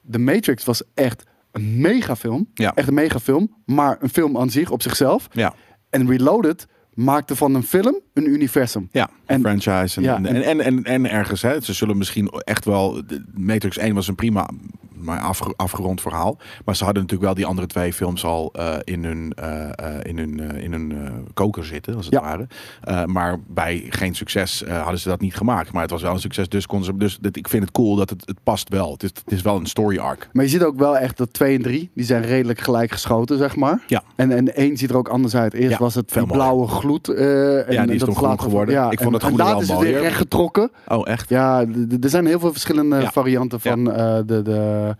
Speaker 3: de Matrix was echt een megafilm.
Speaker 2: Ja.
Speaker 3: Echt een megafilm, maar een film aan zich op zichzelf.
Speaker 2: Ja,
Speaker 3: En Reloaded maakte van een film een universum.
Speaker 2: ja.
Speaker 3: En-
Speaker 2: franchise en,
Speaker 3: ja,
Speaker 2: en,
Speaker 3: en-
Speaker 2: en, en, en ergens. Hè, ze zullen misschien echt wel... de- Matrix 1 was een prima, maar afge- afgerond verhaal. Maar ze hadden natuurlijk wel die andere twee films al eh, in hun, eh, eh, in hun, eh, in hun eh, koker zitten, als het
Speaker 3: Ja.
Speaker 2: ware. Eh, maar bij geen succes eh, hadden ze dat niet gemaakt. Maar het was wel een succes, dus kon ze... Dus dit, ik vind het cool dat het, het past wel. Het is, het is wel een story arc.
Speaker 3: Maar je ziet ook wel echt dat 2 en 3, die zijn redelijk gelijk geschoten, zeg maar.
Speaker 2: Ja.
Speaker 3: En, en één ziet er ook anders uit. Eerst
Speaker 2: Ja,
Speaker 3: was het
Speaker 2: veel
Speaker 3: die blauwe gloed. eh, en,
Speaker 2: die is
Speaker 3: en dat
Speaker 2: toen groen
Speaker 3: later-
Speaker 2: geworden. Ik vond
Speaker 3: en-
Speaker 2: dat groen
Speaker 3: En later
Speaker 2: wel
Speaker 3: is het
Speaker 2: mooier.
Speaker 3: weer recht getrokken.
Speaker 2: Oh, echt?
Speaker 3: Ja, d- d- er zijn heel veel verschillende
Speaker 2: Ja.
Speaker 3: varianten
Speaker 2: Ja.
Speaker 3: van eh, de, de,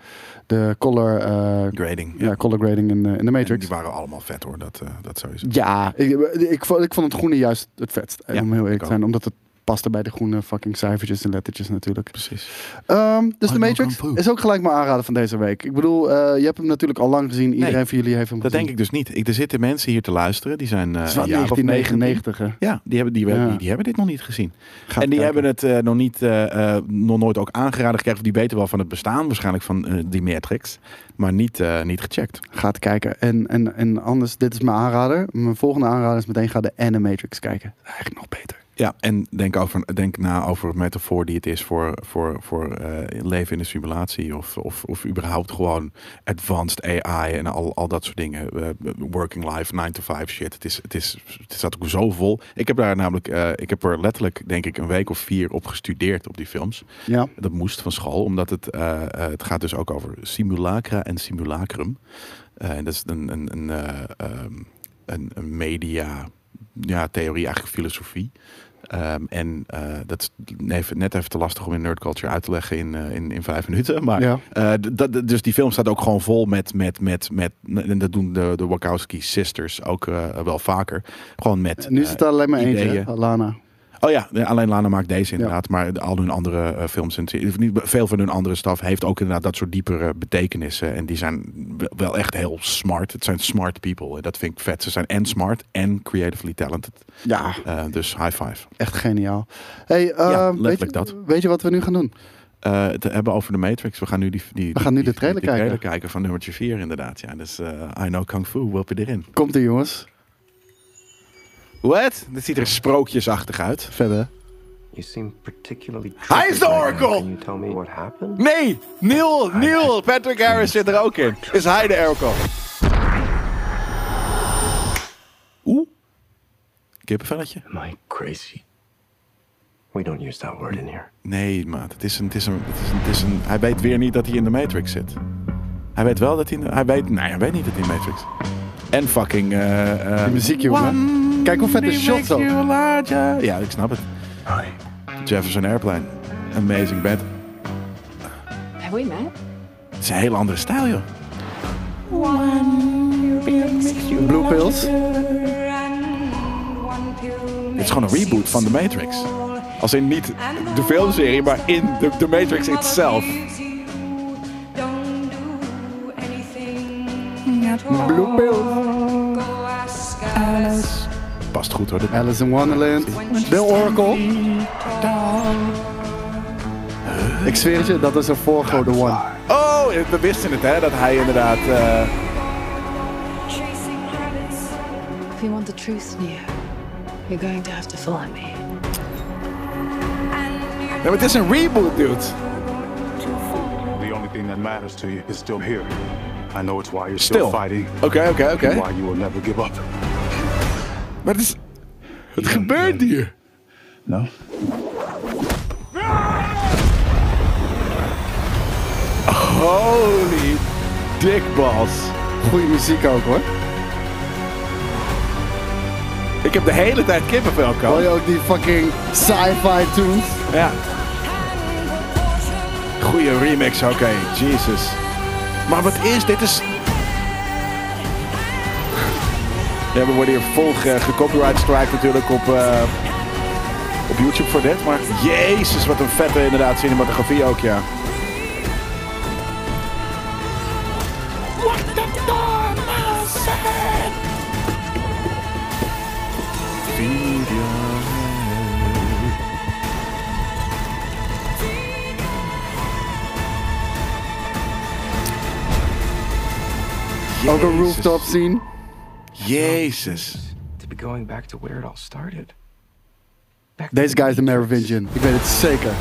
Speaker 3: de color, eh,
Speaker 2: Grading.
Speaker 3: ja. color grading in, eh, in de
Speaker 2: En
Speaker 3: Matrix.
Speaker 2: die waren allemaal vet hoor, dat, eh dat sowieso.
Speaker 3: Ja, ik, ik, vond, ik vond het groene juist het vetst. eh,
Speaker 2: Ja,
Speaker 3: om heel
Speaker 2: ik
Speaker 3: eerlijk te
Speaker 2: ook.
Speaker 3: zijn. Omdat het paste bij de groene fucking cijfertjes en lettertjes natuurlijk.
Speaker 2: Precies.
Speaker 3: Ehm, dus
Speaker 2: I
Speaker 3: de
Speaker 2: know
Speaker 3: Matrix
Speaker 2: Kung Fu.
Speaker 3: is ook gelijk mijn aanrader van deze week. Ik bedoel, eh, je hebt hem natuurlijk al lang gezien. Iedereen van jullie heeft hem
Speaker 2: Dat
Speaker 3: gezien.
Speaker 2: denk ik dus niet. Ik, er zitten mensen hier te luisteren, die zijn eh
Speaker 3: Het is
Speaker 2: een
Speaker 3: wel
Speaker 2: jaar of 19.
Speaker 3: 1999, hè?
Speaker 2: Ja, die hebben, die,
Speaker 3: Ja.
Speaker 2: Die, die hebben dit nog niet gezien.
Speaker 3: Ga
Speaker 2: en die
Speaker 3: kijken.
Speaker 2: hebben het eh, nog niet, eh, eh, nog nooit ook aangeraden gekregen. Of die weten wel van het bestaan waarschijnlijk van eh, die Matrix. Maar niet, eh, niet gecheckt.
Speaker 3: Gaat kijken. En, en, en anders, dit is mijn aanrader. Mijn volgende aanrader is meteen ga de Animatrix kijken. Eigenlijk nog beter.
Speaker 2: Ja, en denk, over, denk na over het metafoor die het is voor, voor, voor eh, leven in een simulatie. Of, of, of überhaupt gewoon advanced AI en al, al dat soort dingen. Eh, working life, 9 to 5 shit. Het, is, het, is, het staat ook zo vol. Ik heb daar namelijk, eh, ik heb er letterlijk denk ik een week of vier op gestudeerd op die films.
Speaker 3: Ja.
Speaker 2: Dat moest van school, omdat het, eh, eh, het gaat dus ook over simulacra en simulacrum. Eh, en dat is een, een, een, eh, ehm, een, een media ja, theorie, eigenlijk filosofie. Ehm, en eh, dat is even- net even te lastig om in nerd culture uit te leggen in, eh, in, in vijf minuten. Maar
Speaker 3: Ja.
Speaker 2: eh, d- dat, d- dus die film staat ook gewoon vol met, met, met, met en dat doen de, de Wachowski sisters ook eh, wel vaker. Gewoon met.
Speaker 3: En nu
Speaker 2: eh,
Speaker 3: is het alleen maar eentje,
Speaker 2: ideeën.
Speaker 3: hè? Lana.
Speaker 2: Oh ja, nee, alleen Lana maakt deze inderdaad. Maar de- al hun andere eh, films en series- of niet, veel van hun andere staf heeft ook inderdaad dat soort diepere betekenissen. En die zijn wel- wel echt heel smart. Het zijn smart people. En dat vind ik vet. Ze zijn en smart en creatively talented.
Speaker 3: Ja,
Speaker 2: Eh, dus high five.
Speaker 3: echt geniaal. Hey, eh,
Speaker 2: Ja,
Speaker 3: weet
Speaker 2: letterlijk dat.
Speaker 3: je- Weet je wat we nu gaan doen?
Speaker 2: Eh het hebben over de Matrix. We gaan nu, die, die,
Speaker 3: We gaan nu
Speaker 2: die-
Speaker 3: de trailer
Speaker 2: die- die
Speaker 3: kijken.
Speaker 2: van nummertje 4 inderdaad. Ja, dus eh, I Know Kung Fu, welp je erin.
Speaker 3: Komt ie, jongens.
Speaker 2: What? Dat ziet er sprookjesachtig uit.
Speaker 3: Verder.
Speaker 5: You seem particularly.
Speaker 2: Hij is de
Speaker 5: triggered right now.
Speaker 2: Oracle!
Speaker 5: Can you tell me what happened?
Speaker 2: Nee, Neil, Neil, Patrick Harris zit er ook in. Is hij de Oracle? Oeh. Kippenvelletje?
Speaker 5: Am I crazy? We don't use that word in here.
Speaker 2: Nee, maat. Het is een, het is een, het is een, het is een, hij weet weer niet dat hij in de Matrix zit. Hij weet wel dat hij... in de- Hij weet, nee, hij weet niet dat hij in de Matrix En fucking... eh, eh,
Speaker 3: Die muziek, jongen.
Speaker 2: One
Speaker 3: Kijk hoe vet de
Speaker 2: makes
Speaker 3: shot zo.
Speaker 2: you larger. Ja, ik snap het.
Speaker 5: Hi.
Speaker 2: Jefferson Airplane. Amazing band.
Speaker 6: Have we met?
Speaker 2: Het is een hele andere stijl, joh.
Speaker 3: Blue Pills.
Speaker 2: Het is gewoon een reboot van The Matrix. Als in niet de filmserie, maar in de, de Matrix itself.
Speaker 3: Blue Pills.
Speaker 2: Past goed hoor. De-
Speaker 3: Alice in Wonderland. The Oracle. Ik zweer het je, dat is een voorgode one.
Speaker 2: Oh, we wisten het hè, dat hij inderdaad... eh,
Speaker 6: If you want the truth, Neo, you're going to have to follow me.
Speaker 2: Nee, maar het is een reboot, dude.
Speaker 7: The only thing that matters to you is still here. I know it's why you're still,
Speaker 2: Stil.
Speaker 7: fighting.
Speaker 2: Oké, oké,
Speaker 7: and
Speaker 2: oké.
Speaker 7: Why you will never give up.
Speaker 2: Maar het is... Het gebeurt hier.
Speaker 7: No?
Speaker 2: Holy dikbals.
Speaker 3: Goeie muziek ook hoor.
Speaker 2: Ik heb de hele tijd kippenvel,
Speaker 7: Oh,
Speaker 3: Hoor je
Speaker 2: Ko.
Speaker 3: ook die fucking sci-fi tunes?
Speaker 2: Ja. Goeie remix, oké. Jesus. Maar wat is dit? Is... Ja, we worden hier vol ge- gecopyright strike natuurlijk op, eh, op YouTube voor dit. Maar jezus, wat een vette inderdaad cinematografie ook, ja.
Speaker 3: Ook een
Speaker 2: Jezus.
Speaker 3: rooftop scene.
Speaker 2: Jezus.
Speaker 5: To be going back to where it all started. Back to
Speaker 3: Deze
Speaker 5: the
Speaker 3: guy is de
Speaker 5: Matrix.
Speaker 3: Merovingian. Ik weet het zeker.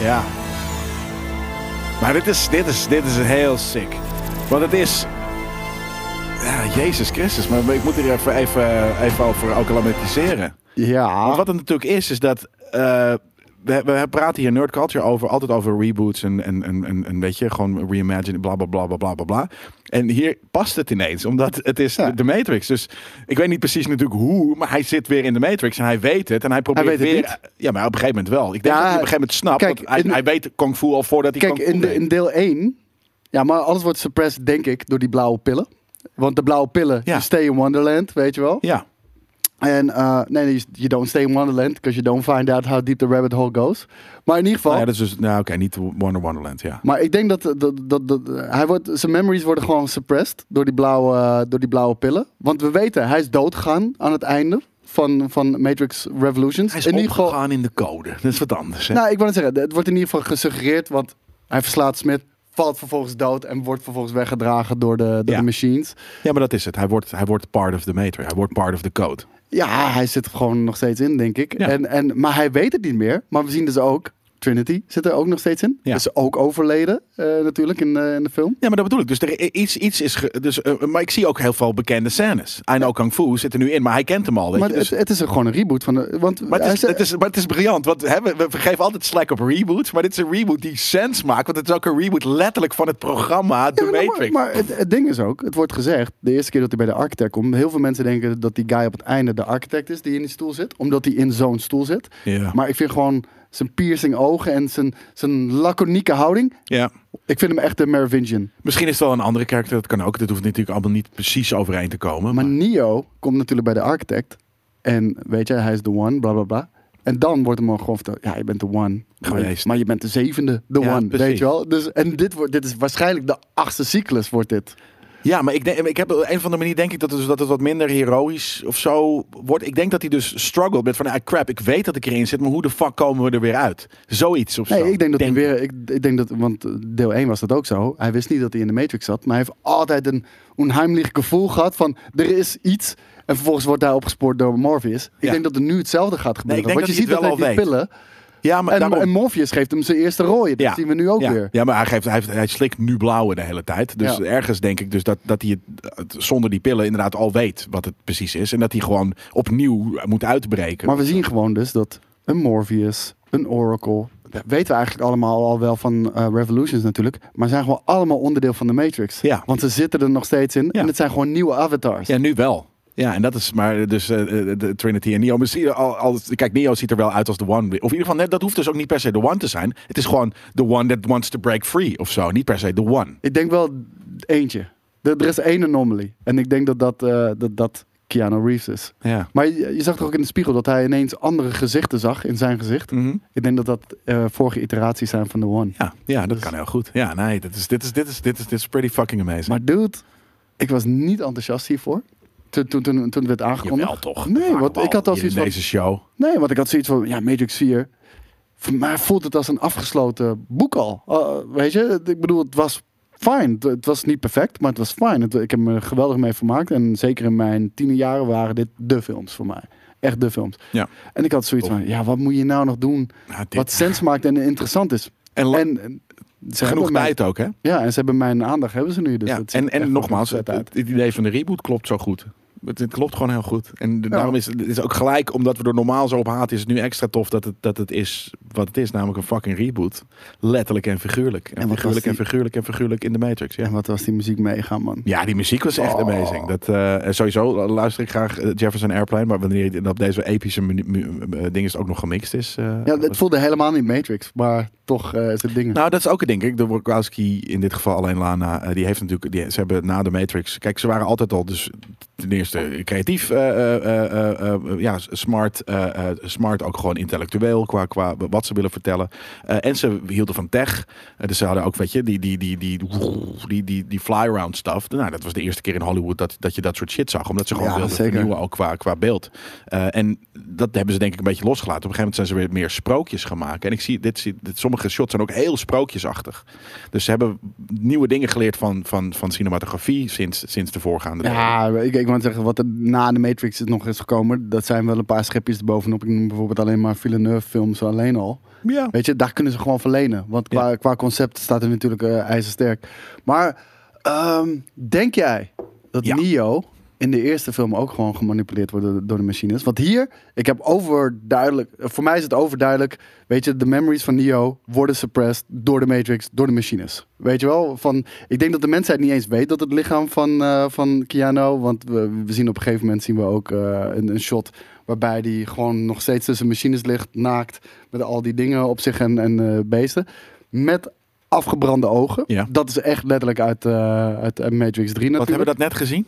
Speaker 2: Ja. Maar dit is, dit is, dit is heel sick. Want het is... Ja, Jezus Christus, maar ik moet er even, even, even over acclimatiseren.
Speaker 3: Ja.
Speaker 2: Want wat het natuurlijk is, is dat... eh, we, we praten hier nerd culture over, altijd over reboots en, en, en, en, en weet je, gewoon reimagine, bla bla bla bla bla bla bla. En hier past het ineens, omdat het is
Speaker 3: Ja.
Speaker 2: de Matrix. Dus ik weet niet precies natuurlijk hoe, maar hij zit weer in de Matrix en hij weet het. En hij probeert
Speaker 3: weet het
Speaker 2: weer...
Speaker 3: niet.
Speaker 2: Ja, maar op een gegeven moment wel. Ik denk
Speaker 3: Ja,
Speaker 2: dat hij op een gegeven moment snapt,
Speaker 3: kijk,
Speaker 2: want hij,
Speaker 3: in-
Speaker 2: hij weet Kung Fu al voordat hij
Speaker 3: Kijk,
Speaker 2: Kung Fu
Speaker 3: in, de,
Speaker 2: deed.
Speaker 3: in deel 1. Ja, maar alles wordt suppressed, denk ik, door die blauwe pillen. Want de blauwe pillen,
Speaker 2: Ja.
Speaker 3: you stay in Wonderland, weet je wel.
Speaker 2: Ja,
Speaker 3: En eh, nee, you- you don't stay in Wonderland, because you don't find out how deep the rabbit hole goes. Maar in ieder geval,
Speaker 2: nou ja, dat is dus, nou oké, niet Wonder Wonderland, ja.
Speaker 3: maar ik denk dat, dat, dat, dat hij wordt, zijn memories worden gewoon suppressed door die, blauwe, eh, door die blauwe pillen. Want we weten, hij is doodgegaan aan het einde van, van Matrix Revolutions.
Speaker 2: Hij is
Speaker 3: in ieder geval,
Speaker 2: opgegaan in de code, dat is wat anders. Hè?
Speaker 3: Nou, ik wil het zeggen, het wordt in ieder geval gesuggereerd, want hij verslaat Smith, valt vervolgens dood en wordt vervolgens weggedragen door de, door
Speaker 2: Ja.
Speaker 3: de machines.
Speaker 2: ja, maar dat is het. Hij wordt, hij wordt part of the matrix, hij wordt part of the code.
Speaker 3: Ja, hij zit er gewoon nog steeds in, denk ik.
Speaker 2: Ja.
Speaker 3: En, en, maar hij weet het niet meer. Maar we zien dus ook, Trinity zit er ook nog steeds in.
Speaker 2: Ja.
Speaker 3: Is ook overleden, eh, natuurlijk, in, eh, in de film.
Speaker 2: Ja, maar dat bedoel ik. Dus er i- iets, iets is. ge- dus, eh, maar ik zie ook heel veel bekende scènes. I know Kung Fu zit er nu in, maar hij kent hem al. Weet
Speaker 3: Maar
Speaker 2: je? Dus,
Speaker 3: het, het is een- gewoon een reboot van de... Want
Speaker 2: maar, het
Speaker 3: hij
Speaker 2: is,
Speaker 3: zegt-
Speaker 2: het is, maar het is briljant. Want hè, we, we geven altijd slack op reboots. Maar dit is een reboot die sens maakt. Want het is ook een reboot letterlijk van het programma The
Speaker 3: Ja, nou,
Speaker 2: Matrix.
Speaker 3: Maar, maar het, het ding is ook, het wordt gezegd, de eerste keer dat hij bij de architect komt, heel veel mensen denken dat die guy op het einde de architect is die in die stoel zit, omdat hij in zo'n stoel zit.
Speaker 2: Ja.
Speaker 3: Maar ik vind gewoon zijn piercing ogen en zijn, zijn laconieke houding,
Speaker 2: ja.
Speaker 3: ik vind hem echt de Merovingian.
Speaker 2: Misschien is het wel een andere karakter. Dat kan ook. Dat hoeft natuurlijk allemaal niet precies overeen te komen.
Speaker 3: Maar
Speaker 2: Maar,
Speaker 3: Neo komt natuurlijk bij de architect en weet je, hij is de one, bla bla bla. En dan wordt hem al gewoon verteld, ja, je bent de one.
Speaker 2: Geweest.
Speaker 3: Maar je bent de zevende, de
Speaker 2: Ja,
Speaker 3: one,
Speaker 2: precies.
Speaker 3: weet je wel. Dus, en dit, wordt, dit is waarschijnlijk de achtste cyclus, wordt dit.
Speaker 2: ja, maar ik, denk, ik heb op een of andere manier denk ik dat het, dus- dat het wat minder heroïs of zo wordt. Ik denk dat hij dus struggled met van ah, crap. Ik weet dat ik erin zit, maar hoe de fuck komen we er weer uit? Zoiets of zo.
Speaker 3: Nee, ik denk dat
Speaker 2: Denk
Speaker 3: hij weer. Ik, ik denk dat, want eh, deel 1 was dat ook zo. Hij wist niet dat hij in de Matrix zat, maar hij heeft altijd een onheimlich gevoel gehad van er is iets. En vervolgens wordt hij opgespoord door Morpheus. Ik
Speaker 2: Ja.
Speaker 3: denk dat er nu hetzelfde gaat
Speaker 2: Nee,
Speaker 3: gebeuren.
Speaker 2: ik denk
Speaker 3: Want je
Speaker 2: dat hij
Speaker 3: ziet
Speaker 2: het
Speaker 3: dat hij
Speaker 2: wel
Speaker 3: die
Speaker 2: al weet.
Speaker 3: pillen...
Speaker 2: Ja, maar
Speaker 3: En,
Speaker 2: daarom-
Speaker 3: en Morpheus geeft hem zijn eerste rooie. Dat
Speaker 2: ja.
Speaker 3: zien we nu ook
Speaker 2: ja.
Speaker 3: weer.
Speaker 2: Ja, maar hij, geeft, hij, heeft- hij slikt nu blauwe de hele tijd. Dus
Speaker 3: Ja.
Speaker 2: ergens denk ik dus dat, dat hij het, het zonder die pillen inderdaad al weet wat het precies is. En dat hij gewoon opnieuw moet uitbreken.
Speaker 3: Maar we zien gewoon dus dat een Morpheus, een Oracle... Dat weten we eigenlijk allemaal al wel van eh, Revolutions natuurlijk. Maar zijn gewoon allemaal onderdeel van de Matrix.
Speaker 2: Ja.
Speaker 3: Want ze zitten er nog steeds in.
Speaker 2: Ja.
Speaker 3: En het zijn gewoon nieuwe avatars.
Speaker 2: Ja, nu wel. Ja, en dat is maar dus eh, eh, de Trinity en Neo. Maar zie je al, al- kijk, Neo ziet er wel uit als de One. Of in ieder geval, net, dat hoeft dus ook niet per se de One te zijn. Het is gewoon the One that wants to break free of zo. Niet per se de One.
Speaker 3: Ik denk wel eentje. Er, er is één anomaly. En ik denk dat dat, eh, dat, dat Keanu Reeves is.
Speaker 2: Ja.
Speaker 3: Maar je, je zag toch ook in de spiegel dat hij ineens andere gezichten zag in zijn gezicht. Ik denk dat dat eh, vorige iteraties zijn van de One.
Speaker 2: Mhm. Ja, ja dat kan heel goed. Ja, nee, dit is, dit, is, dit, is, dit, is, dit is pretty fucking amazing.
Speaker 3: Maar dude, ik was niet enthousiast hiervoor. Toen, toen, toen, toen het werd aangekondigd.
Speaker 2: Jawel, toch?
Speaker 3: Nee,
Speaker 2: Vaak
Speaker 3: want
Speaker 2: wel
Speaker 3: ik had al
Speaker 2: hier in
Speaker 3: zoiets van...
Speaker 2: deze show.
Speaker 3: Nee, want ik had zoiets van, ja, Matrix 4. Voor mij voelt het als een afgesloten boek al. Eh, weet je, ik bedoel, het was fijn. Het, het was niet perfect, maar het was fijn. Het- Ik heb me er geweldig mee vermaakt. En zeker in mijn tienerjaren waren dit de films voor mij. Echt de films.
Speaker 2: Ja.
Speaker 3: En ik had zoiets van, ja, wat moet je nou nog doen
Speaker 2: Ja, dit-
Speaker 3: wat sens maakt en interessant is.
Speaker 2: En la-
Speaker 3: en, en ze
Speaker 2: Genoeg
Speaker 3: hebben mijn-
Speaker 2: tijd ook, hè?
Speaker 3: Ja, en ze hebben mijn aandacht, hebben ze nu. Dus
Speaker 2: ja.
Speaker 3: dat ziet
Speaker 2: En,
Speaker 3: echt
Speaker 2: en nogmaals,
Speaker 3: vet
Speaker 2: het,
Speaker 3: uit.
Speaker 2: het idee van de reboot klopt zo goed. Het, het klopt gewoon heel goed. En de- daarom is het het is ook gelijk, omdat we er normaal zo op haten, is het nu extra tof dat het, dat het is wat het is, namelijk een fucking reboot. Letterlijk en figuurlijk. En,
Speaker 3: En wat
Speaker 2: figuurlijk
Speaker 3: was
Speaker 2: en
Speaker 3: die-
Speaker 2: figuurlijk en figuurlijk in de Matrix. Ja.
Speaker 3: En wat Oh. was die muziek meegaan, man.
Speaker 2: Ja, die muziek was echt amazing. Dat, eh, sowieso luister ik graag eh, Jefferson Airplane, maar wanneer je op deze epische mu- mu- eh, ding is het ook nog gemixt is. eh,
Speaker 3: Ja,
Speaker 2: was-
Speaker 3: het voelde helemaal niet Matrix, maar toch eh, is het dingen.
Speaker 2: Nou, dat is ook het, denk ik. De Wachowski, in dit geval alleen Lana, eh, die heeft natuurlijk, die, ze hebben na de Matrix, kijk, ze waren altijd al, dus ten eerste creatief, eh, eh, eh, eh, eh, ja, smart, eh, eh, smart ook gewoon intellectueel qua, qua wat ze willen vertellen. Eh, en ze hielden van tech, Eh, dus ze hadden ook, weet je, die, die, die, die, die, die, die fly-around stuff. Nou, dat was de eerste keer in Hollywood dat, dat je dat soort shit zag, omdat ze gewoon
Speaker 3: Ja,
Speaker 2: wilden
Speaker 3: zeker.
Speaker 2: vernieuwen ook qua, qua beeld. Eh, en dat hebben ze denk ik een beetje losgelaten. Op een gegeven moment zijn ze weer meer sprookjes gaan maken. En ik zie, dit, zie- dit- sommige shots zijn ook heel sprookjesachtig. Dus ze hebben nieuwe dingen geleerd van, van, van cinematografie sinds, sinds de voorgaande. delen.
Speaker 3: Ja, ik, ik wou zeggen, wat er na de Matrix is nog is gekomen, dat zijn wel een paar schepjes erbovenop. Ik noem bijvoorbeeld alleen maar Villeneuve films alleen al.
Speaker 2: ja.
Speaker 3: Weet je, daar kunnen ze gewoon verlenen. Want qua, qua concept staat er natuurlijk eh, ijzersterk. Maar ehm, denk jij dat
Speaker 2: Ja.
Speaker 3: Neo in de eerste film ook gewoon gemanipuleerd wordt door, door de machines? Want hier, ik heb overduidelijk, eh, voor mij is het overduidelijk, weet je, de memories van Neo worden suppressed door de Matrix, door de machines. Weet je wel, van, ik denk dat de mensheid niet eens weet dat het lichaam van, eh, van Keanu, want we, we zien op een gegeven moment zien we ook eh, een, een shot waarbij die gewoon nog steeds tussen machines ligt, naakt, met al die dingen op zich en, en eh, beesten, met afgebrande ogen.
Speaker 2: Ja.
Speaker 3: Dat is echt letterlijk uit, eh, uit eh, Matrix 3
Speaker 2: Wat hebben we
Speaker 3: natuurlijk.
Speaker 2: dat net gezien?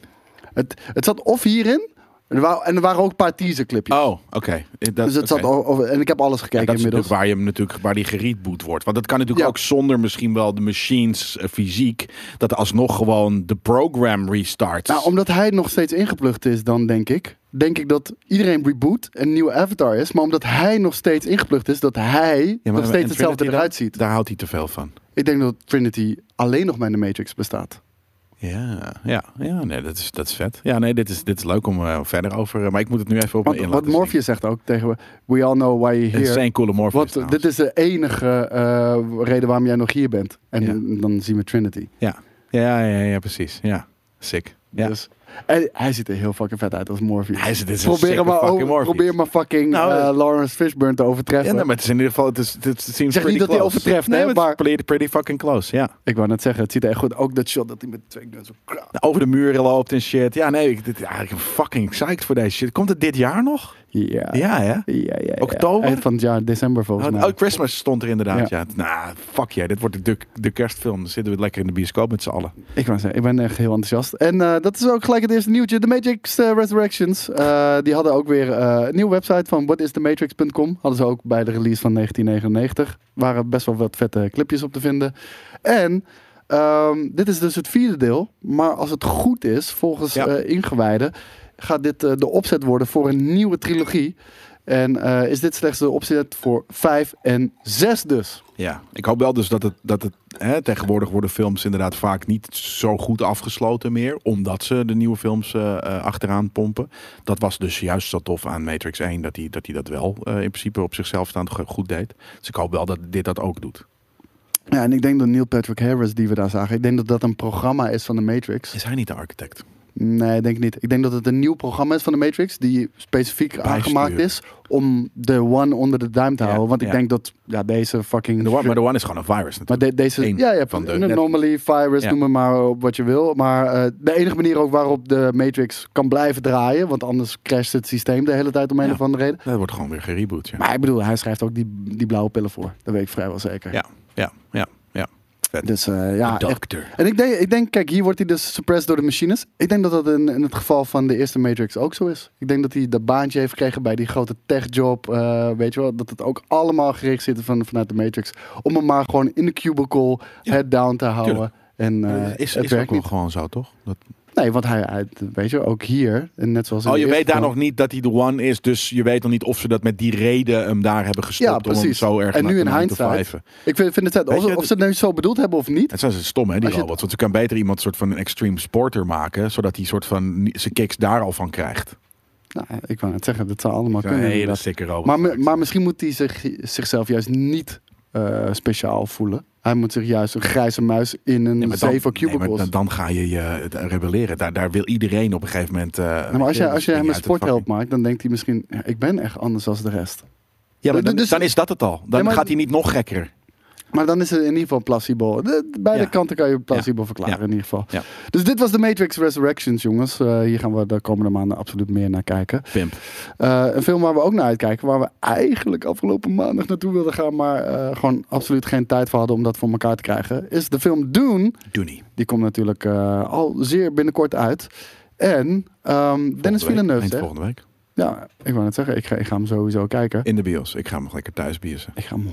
Speaker 3: Het, het zat of hierin, en er wa- en er waren ook een paar teaserclipjes.
Speaker 2: Oh, oké. Dat-
Speaker 3: dus het
Speaker 2: oké.
Speaker 3: zat o- over, en ik heb alles
Speaker 2: Ja,
Speaker 3: gekeken
Speaker 2: dat is natuurlijk
Speaker 3: inmiddels.
Speaker 2: waar je hem natuurlijk waar die geriedboet wordt. Want dat kan natuurlijk
Speaker 3: Ja.
Speaker 2: ook zonder misschien wel de machines eh, fysiek. Dat alsnog gewoon de program restarts.
Speaker 3: Nou, omdat hij nog steeds ingeplucht is dan, denk ik. Denk ik dat iedereen reboot een nieuwe avatar is. Maar omdat hij nog steeds ingeplucht is, dat hij
Speaker 2: Ja, maar-
Speaker 3: nog steeds
Speaker 2: en
Speaker 3: hetzelfde
Speaker 2: Trinity
Speaker 3: eruit
Speaker 2: dan?
Speaker 3: ziet.
Speaker 2: Daar houdt hij te veel van.
Speaker 3: Ik denk dat Trinity alleen nog maar in de Matrix bestaat.
Speaker 2: Ja, ja, ja nee, dat, is, dat is vet. Ja, nee, dit is, dit is leuk om eh, verder over. eh, maar ik moet het nu even op me
Speaker 3: Want
Speaker 2: in
Speaker 3: wat
Speaker 2: laten
Speaker 3: Morpheus zegt ook tegen we, we all know why you're
Speaker 2: zien. Het
Speaker 3: here.
Speaker 2: is een coole Morpheus.
Speaker 3: Wat,
Speaker 2: trouwens.
Speaker 3: dit is de enige eh, reden waarom jij nog hier bent. En
Speaker 2: Ja.
Speaker 3: dan zien we Trinity.
Speaker 2: ja. Ja, ja, ja, ja, precies. Ja, sick. Ja.
Speaker 3: Dus, en hij ziet er heel fucking vet uit als Morpheus.
Speaker 2: Hij is- dit is een
Speaker 3: probeer,
Speaker 2: sicke
Speaker 3: maar
Speaker 2: fucking
Speaker 3: over-
Speaker 2: Morpheus.
Speaker 3: probeer maar fucking
Speaker 2: Nou,
Speaker 3: eh,
Speaker 2: eh,
Speaker 3: Lawrence Fishburne te overtreffen.
Speaker 2: ja, nee, maar het is in ieder geval... Het is, het, het seems
Speaker 3: zeg niet
Speaker 2: pretty
Speaker 3: dat hij
Speaker 2: close.
Speaker 3: overtreft,
Speaker 2: nee,
Speaker 3: hè,
Speaker 2: maar...
Speaker 3: maar-
Speaker 2: het is pretty, pretty fucking close, ja.
Speaker 3: Ik wou net zeggen, het ziet er echt goed. Ook dat shot dat hij met twee guns zo krap.
Speaker 2: Over de muren loopt en shit. Ja, nee, ik, dit, ja, ik ben fucking psyched voor deze shit. Komt het dit jaar nog?
Speaker 3: Ja.
Speaker 2: Ja, hè?
Speaker 3: Ja, ja, ja.
Speaker 2: Oktober?
Speaker 3: Eind van het jaar, december volgens
Speaker 2: Oh,
Speaker 3: mij.
Speaker 2: oh, Christmas stond er inderdaad, ja. Nou, fuck jij. Dit wordt de, de kerstfilm. Dan zitten we lekker in de bioscoop met z'n allen.
Speaker 3: Ik, wou zeggen, ik ben echt heel enthousiast. En eh, dat is ook gelijk het eerste nieuwtje. The Matrix eh, Resurrections. eh, die hadden ook weer eh, een nieuwe website van whatisthematrix.com. Hadden ze ook bij de release van 1999. Waren best wel wat vette clipjes op te vinden. En ehm, dit is dus het vierde deel. Maar als het goed is, volgens
Speaker 2: Ja.
Speaker 3: eh, ingewijden, gaat dit eh, de opzet worden voor een nieuwe trilogie. En eh, is dit slechts de opzet voor 5 en 6 dus.
Speaker 2: Ja, ik hoop wel dus dat het, dat het hè, tegenwoordig worden films inderdaad vaak niet zo goed afgesloten meer, omdat ze de nieuwe films eh, eh, achteraan pompen. Dat was dus juist zo tof aan Matrix 1, dat hij dat, hij dat wel eh, in principe op zichzelf staand go- goed deed. Dus ik hoop wel dat dit dat ook doet.
Speaker 3: Ja, en ik denk dat Neil Patrick Harris die we daar zagen, ik denk dat dat een programma is van de Matrix.
Speaker 2: Is hij niet de architect?
Speaker 3: Nee, ik denk niet. Ik denk dat het een nieuw programma is van de Matrix, die specifiek aangemaakt is om de one onder de duim te
Speaker 2: Ja,
Speaker 3: houden. Want ik
Speaker 2: ja.
Speaker 3: denk dat ja, deze fucking...
Speaker 2: De one, maar de One is gewoon een virus
Speaker 3: Maar
Speaker 2: natuurlijk.
Speaker 3: de- deze,
Speaker 2: Eén
Speaker 3: ja, ja,
Speaker 2: van
Speaker 3: van
Speaker 2: de
Speaker 3: de
Speaker 2: net-
Speaker 3: anomaly, virus,
Speaker 2: Ja.
Speaker 3: noem het maar op wat je wil. Maar eh, de enige manier ook waarop de Matrix kan blijven draaien, want anders crasht het systeem de hele tijd om een
Speaker 2: Ja.
Speaker 3: of andere reden.
Speaker 2: Dat wordt gewoon weer gereboot. Ja.
Speaker 3: Maar ik bedoel, hij schrijft ook die, die blauwe pillen voor. Dat weet ik vrijwel zeker.
Speaker 2: ja, ja, ja, ja. Vet.
Speaker 3: Dus eh, ja,
Speaker 2: De
Speaker 3: echt.
Speaker 2: dokter.
Speaker 3: En ik denk, ik denk, kijk, hier wordt hij dus suppressed door de machines. Ik denk dat dat in, in het geval van de eerste Matrix ook zo is. Ik denk dat hij dat baantje heeft gekregen bij die grote techjob. eh weet je wel, dat het ook allemaal gericht zit van, vanuit de Matrix. Om hem maar gewoon in de cubicle, head down te houden.
Speaker 2: tuurlijk.
Speaker 3: En eh,
Speaker 2: Eh, is
Speaker 3: het
Speaker 2: is ook
Speaker 3: werkt
Speaker 2: wel
Speaker 3: niet.
Speaker 2: gewoon zo, toch? Dat...
Speaker 3: Nee, want hij, hij- weet je, ook hier, en net zoals in
Speaker 2: Oh,
Speaker 3: de
Speaker 2: je
Speaker 3: eerste
Speaker 2: weet daar
Speaker 3: film-
Speaker 2: nog niet dat hij de One is. Dus je weet nog niet of ze dat met die reden hem daar hebben gestopt.
Speaker 3: Ja,
Speaker 2: Om hem
Speaker 3: precies.
Speaker 2: zo erg
Speaker 3: en
Speaker 2: naar
Speaker 3: nu
Speaker 2: te
Speaker 3: in
Speaker 2: laten
Speaker 3: hindsight.
Speaker 2: wrijven.
Speaker 3: Ik vind, vind het vet.
Speaker 2: Weet
Speaker 3: Of,
Speaker 2: je,
Speaker 3: ze- of ze het nu zo bedoeld hebben of niet.
Speaker 2: Het zijn ze stom, hè, die
Speaker 3: Als je het-
Speaker 2: robots. Want ze kan beter iemand soort van een extreme sporter maken. Zodat hij soort van ni- zijn kicks daar al van krijgt.
Speaker 3: Nou, ik wou net zeggen, dat zou allemaal
Speaker 2: Zo'n
Speaker 3: kunnen.
Speaker 2: hele
Speaker 3: inderdaad.
Speaker 2: stikke robot.
Speaker 3: Maar, mi- maar misschien moet hij zich, zichzelf juist niet eh, speciaal voelen. Hij moet zich juist een grijze muis in een
Speaker 2: Nee, maar dan-
Speaker 3: zeven
Speaker 2: nee, maar
Speaker 3: cubicles.
Speaker 2: dan, dan ga je je eh, rebelleren. Daar, daar wil iedereen op een gegeven moment... eh,
Speaker 3: Nou, maar als
Speaker 2: weet
Speaker 3: je, als je
Speaker 2: spring
Speaker 3: hem een
Speaker 2: uit het vak.
Speaker 3: sportheld maakt, dan denkt hij misschien, "Ja, ik ben echt anders dan de rest.
Speaker 2: Ja, maar dan,
Speaker 3: Dus-
Speaker 2: dan is dat het al. Dan
Speaker 3: maar-
Speaker 2: gaat hij niet nog gekker.
Speaker 3: Maar dan is het in ieder geval placebo. De- de- beide
Speaker 2: Ja.
Speaker 3: kanten kan je placebo verklaren
Speaker 2: Ja.
Speaker 3: in ieder geval.
Speaker 2: Ja.
Speaker 3: Dus dit was de Matrix Resurrections, jongens. Eh, hier gaan we de komende maanden absoluut meer naar kijken.
Speaker 2: Pimp.
Speaker 3: Eh, een film waar we ook naar uitkijken, waar we eigenlijk afgelopen maandag naartoe wilden gaan, maar eh, gewoon absoluut geen tijd voor hadden om dat voor elkaar te krijgen, is de film Dune.
Speaker 2: Doenie.
Speaker 3: Die komt natuurlijk eh, al zeer binnenkort uit. En ehm, Dennis
Speaker 2: Volgende week.
Speaker 3: Villeneuve,
Speaker 2: Eind
Speaker 3: zeg.
Speaker 2: volgende week.
Speaker 3: Ja, ik wou net zeggen, ik ga, ik ga hem sowieso kijken.
Speaker 2: In de bios. Ik ga hem nog lekker thuis biersen.
Speaker 3: Ik ga hem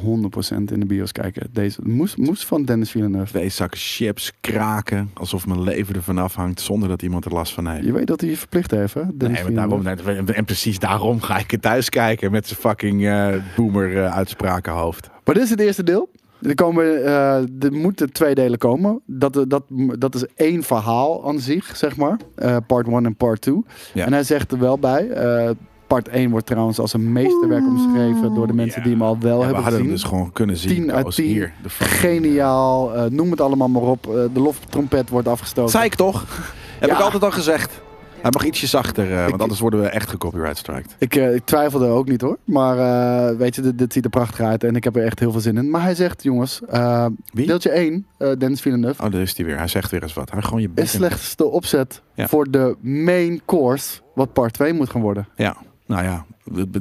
Speaker 3: 100% in de bios kijken. Deze moest, moest van Dennis Villeneuve.
Speaker 2: Twee zakken chips, kraken. Alsof mijn leven ervan afhangt zonder dat iemand er last van heeft.
Speaker 3: Je weet dat hij je verplicht heeft, hè? Dennis
Speaker 2: Nee, maar
Speaker 3: Villeneuve.
Speaker 2: daarom, en precies daarom ga ik het thuis kijken met zijn fucking eh, boomer eh, uitsprakenhoofd.
Speaker 3: Maar dit is het eerste deel. Er, komen, eh, er moeten twee delen komen. Dat, eh, dat, dat is één verhaal aan zich, zeg maar. Eh, part 1 en part 2.
Speaker 2: Ja.
Speaker 3: En hij zegt er wel bij. eh, part 1 wordt trouwens als een meesterwerk omschreven door de mensen die hem al wel
Speaker 2: Ja, we
Speaker 3: hebben
Speaker 2: hadden hem
Speaker 3: gezien.
Speaker 2: dus gewoon kunnen zien.
Speaker 3: 10 uit
Speaker 2: Koos.
Speaker 3: 10.
Speaker 2: Hier, de fucking-
Speaker 3: Geniaal. eh, noem het allemaal maar op. Eh, de loftrompet wordt afgestoken.
Speaker 2: Zei ik toch? Heb ik altijd al gezegd. Hij mag ietsje zachter, eh, want anders worden we echt gecopyright striked.
Speaker 3: Ik, eh, ik twijfelde ook niet hoor. Maar eh, weet je, dit, dit ziet er prachtig uit. En ik heb er echt heel veel zin in. Maar hij zegt, jongens, eh,
Speaker 2: Wie?
Speaker 3: deeltje 1, eh Dennis Villeneuve.
Speaker 2: Oh, daar is hij weer. Hij zegt weer eens wat. Hij gewoon je bek
Speaker 3: is
Speaker 2: in-
Speaker 3: slechts de opzet
Speaker 2: Ja.
Speaker 3: voor de main course, wat part 2 moet gaan worden.
Speaker 2: Ja, nou ja.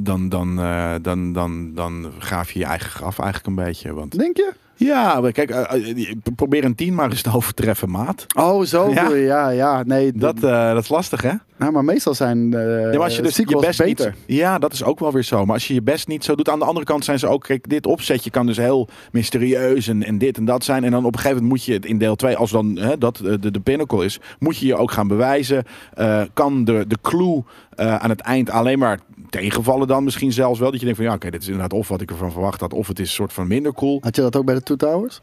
Speaker 2: Dan, dan, eh, dan, dan, dan graaf je je eigen graf eigenlijk een beetje. Want...
Speaker 3: Denk je?
Speaker 2: Ja, maar kijk, eh, eh, probeer een 10 maar eens te overtreffen, maat.
Speaker 3: Oh, zo
Speaker 2: Ja.
Speaker 3: bedoel je. Ja, ja. Nee,
Speaker 2: Dat,
Speaker 3: dat,
Speaker 2: eh, dat is lastig, hè?
Speaker 3: nou, maar meestal zijn eh
Speaker 2: Ja, maar als je dus je
Speaker 3: sequels
Speaker 2: best
Speaker 3: beter.
Speaker 2: Niet, ja, dat is ook wel weer zo. Maar als je je best niet zo doet, aan de andere kant zijn ze ook. Kijk, dit opzetje kan dus heel mysterieus en, en dit en dat zijn. En dan op een gegeven moment moet je het in deel 2, als dan hè, dat eh, de, de pinnacle is, moet je je ook gaan bewijzen. Eh, kan de, de clue eh, aan het eind alleen maar tegenvallen dan misschien zelfs wel? Dat je denkt van ja, oké, dit is inderdaad of wat ik ervan verwacht had, of het is een soort van minder cool.
Speaker 3: Had je dat ook bij de Two Towers?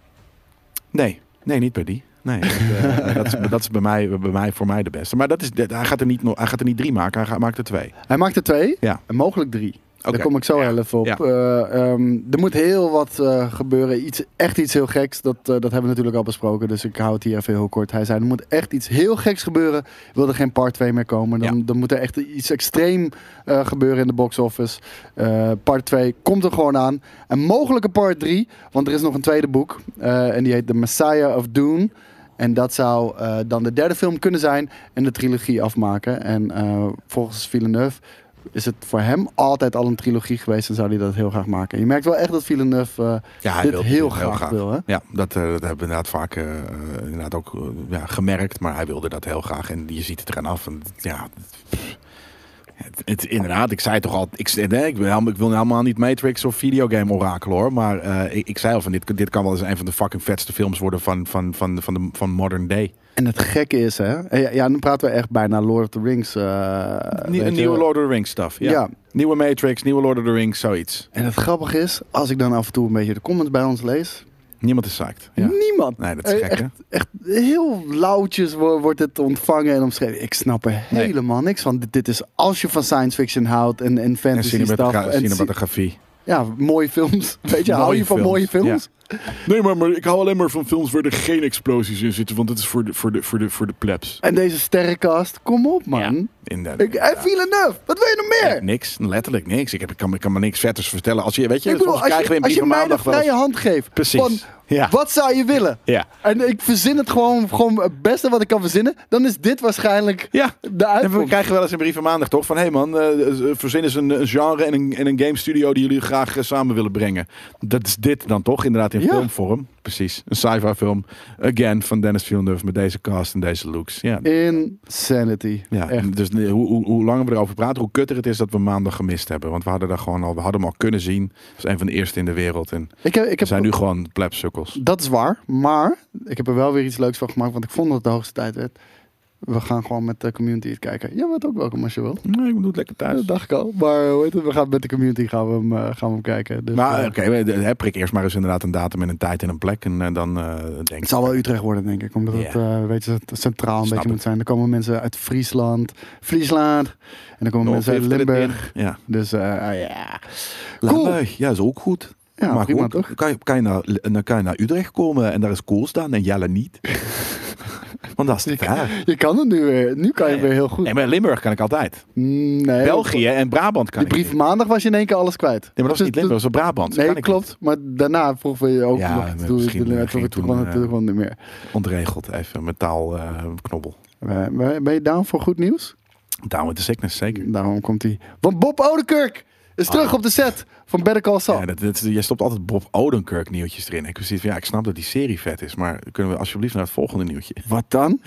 Speaker 2: Nee, nee, niet bij die. Nee, dat, eh, dat is, dat is bij mij, bij mij, voor mij de beste. Maar dat is, dat- hij, gaat er niet, no- hij gaat er niet drie maken, hij gaat, maakt er twee.
Speaker 3: Hij maakte twee
Speaker 2: Ja.
Speaker 3: en mogelijk drie.
Speaker 2: Oké.
Speaker 3: Daar kom ik zo heel even op.
Speaker 2: Ja.
Speaker 3: Eh, ehm, er moet heel wat eh, gebeuren. Iets, echt iets heel geks. Dat, eh, dat hebben we natuurlijk al besproken. Dus ik hou het hier even heel kort. Hij zei, er moet echt iets heel geks gebeuren. Wil er geen part 2 meer komen. Dan,
Speaker 2: Ja.
Speaker 3: dan moet er echt iets extreem eh, gebeuren in de box office. Eh, part 2 komt er gewoon aan. En mogelijk een part 3. Want er is nog een tweede boek. eh, en die heet The Messiah of Dune. En dat zou eh, dan de derde film kunnen zijn en de trilogie afmaken. En eh, volgens Villeneuve is het voor hem altijd al een trilogie geweest en zou hij dat heel graag maken. Je merkt wel echt dat Villeneuve eh,
Speaker 2: Ja, hij
Speaker 3: dit
Speaker 2: wil
Speaker 3: heel,
Speaker 2: dit
Speaker 3: graag, wil. Hè?
Speaker 2: Ja, dat, eh, dat hebben we inderdaad vaak eh, eh, inderdaad ook eh, ja, gemerkt. Maar hij wilde dat heel graag. En je ziet het eraan af. En, ja, pff, Het, het- inderdaad, ik zei toch al, ik, zei- nee, ik, wil, helemaal- ik wil helemaal niet Matrix of videogame orakel hoor. Maar eh, ik, ik zei al van dit, dit kan wel eens een van de fucking vetste films worden van, van, van, van, de, van modern day.
Speaker 3: En het gekke is, hè? en Ja, ja, nu praten we echt bijna Lord of the Rings. eh,
Speaker 2: Nie-
Speaker 3: weet
Speaker 2: een
Speaker 3: je.
Speaker 2: nieuwe Lord of the Rings stuff. Ja.
Speaker 3: Ja.
Speaker 2: Nieuwe Matrix, nieuwe Lord of the Rings, zoiets.
Speaker 3: En het grappige is, als ik dan af en toe een beetje de comments bij ons lees.
Speaker 2: Niemand is psyched. Ja.
Speaker 3: Niemand.
Speaker 2: Nee, dat is
Speaker 3: Eh,
Speaker 2: gek,
Speaker 3: echt,
Speaker 2: hè?
Speaker 3: echt heel lauwtjes wo- wordt het ontvangen en omschreven. Ik snap er
Speaker 2: Nee.
Speaker 3: helemaal niks van. Dit, dit is als je van science fiction houdt en, en
Speaker 2: En
Speaker 3: fantasy stuff.
Speaker 2: cinematogra-
Speaker 3: en ci-
Speaker 2: cinematografie.
Speaker 3: ja, mooie films. Weet je, hou
Speaker 2: Mooie
Speaker 3: je van
Speaker 2: films,
Speaker 3: mooie films?
Speaker 2: Nee, maar, maar ik hou alleen maar van films waar er geen explosies in zitten, want dat is voor de, voor de, voor de, voor de plebs. eh.
Speaker 3: En deze sterrencast, kom op man.
Speaker 2: In de,
Speaker 3: Ik, en Villeneuve, wat wil je nog meer?
Speaker 2: Ja, niks, letterlijk niks. Ik, heb, ik, kan, ik kan me niks vetters vertellen. Als je, weet je,
Speaker 3: Ik bedoel,
Speaker 2: soms
Speaker 3: als
Speaker 2: krijgen we
Speaker 3: je,
Speaker 2: een
Speaker 3: als
Speaker 2: brief
Speaker 3: je
Speaker 2: van
Speaker 3: mij de
Speaker 2: maandag wel eens-
Speaker 3: vrije hand geeft.
Speaker 2: Precies,
Speaker 3: Van,
Speaker 2: ja.
Speaker 3: Wat zou je willen?
Speaker 2: Ja.
Speaker 3: En ik verzin het gewoon, gewoon het beste wat ik kan verzinnen. Dan is dit waarschijnlijk
Speaker 2: Ja,
Speaker 3: de
Speaker 2: en we
Speaker 3: uitkomst.
Speaker 2: krijgen wel eens een brief van maandag, toch? Van, hé hey man, eh, eh, verzin eens een, een genre en een, en een game studio die jullie graag eh, samen willen brengen. Dat is dit dan toch, inderdaad, in
Speaker 3: Ja.
Speaker 2: filmvorm. Precies, een sci-fi film. Again, van Dennis Villeneuve met deze cast en deze looks. Ja,
Speaker 3: Insanity.
Speaker 2: Ja,
Speaker 3: echt.
Speaker 2: dus eh, hoe, hoe, hoe langer we erover praten, hoe kutter het is dat we maandag gemist hebben. Want we hadden, daar gewoon al, we hadden hem al kunnen zien. Dat is een van de eerste in de wereld. En
Speaker 3: Ik heb, ik
Speaker 2: we
Speaker 3: heb,
Speaker 2: zijn nu gewoon plebsukkels.
Speaker 3: Dat is waar, maar ik heb er wel weer iets leuks van gemaakt, want ik vond dat het de hoogste tijd werd. We gaan gewoon met de community het kijken. Jij bent ook welkom als je wil.
Speaker 2: Nee, ik bedoel het lekker thuis.
Speaker 3: Dat dacht ik al. Maar eh, hoe heet het? We gaan met de community gaan we hem, eh, gaan we hem kijken. Dus,
Speaker 2: Maar
Speaker 3: eh,
Speaker 2: eh, oké, we- de- hè, prik eerst maar eens inderdaad een datum en een tijd en een plek. En eh, dan eh, denk
Speaker 3: Het
Speaker 2: ik...
Speaker 3: zal wel Utrecht worden, denk ik. Omdat het,
Speaker 2: Ja.
Speaker 3: eh, weet je, het centraal een
Speaker 2: Snap
Speaker 3: beetje moet
Speaker 2: het.
Speaker 3: zijn. Er komen mensen uit Friesland, Friesland. En dan komen mensen uit Limburg.
Speaker 2: Ja.
Speaker 3: Dus eh, ah, ja.
Speaker 2: Cool.
Speaker 3: Cool.
Speaker 2: Ja, is ook goed.
Speaker 3: Ja,
Speaker 2: maar
Speaker 3: prima
Speaker 2: ook,
Speaker 3: toch?
Speaker 2: Kan je, kan je naar, dan kan je naar Utrecht komen en daar is Kool staan en Jelle niet. Want dat is te ver.
Speaker 3: Je kan het nu weer. Nu kan je weer heel goed.
Speaker 2: Nee, maar Limburg kan ik altijd.
Speaker 3: Mm, Nee,
Speaker 2: België en Brabant kan
Speaker 3: Die
Speaker 2: ik
Speaker 3: brief
Speaker 2: niet.
Speaker 3: maandag was je in één keer alles kwijt. Dus
Speaker 2: Nee, maar dat is niet Limburg, dat is Brabant.
Speaker 3: Nee,
Speaker 2: Kan ik
Speaker 3: klopt.
Speaker 2: niet.
Speaker 3: Maar daarna vroegen we je ook
Speaker 2: Ja,
Speaker 3: nog iets.
Speaker 2: maar
Speaker 3: Toen
Speaker 2: misschien,
Speaker 3: toen-
Speaker 2: eh,
Speaker 3: toen-
Speaker 2: ging
Speaker 3: toen-
Speaker 2: toen,
Speaker 3: toen-
Speaker 2: eh,
Speaker 3: toen kwam het niet meer.
Speaker 2: Ontregeld, even metaal eh knobbel.
Speaker 3: Eh, maar Ben je down voor goed nieuws?
Speaker 2: Down with the sickness, zeker.
Speaker 3: Daarom komt hij. Want Bob Odenkirk is terug op de set van Better Call Saul.
Speaker 2: Ah. Ja, dat, dat, jij stopt altijd Bob Odenkirk nieuwtjes erin. Ik, precies, van, ja, ik snap dat die serie vet is, maar kunnen we alsjeblieft naar het volgende nieuwtje?
Speaker 3: Wat dan?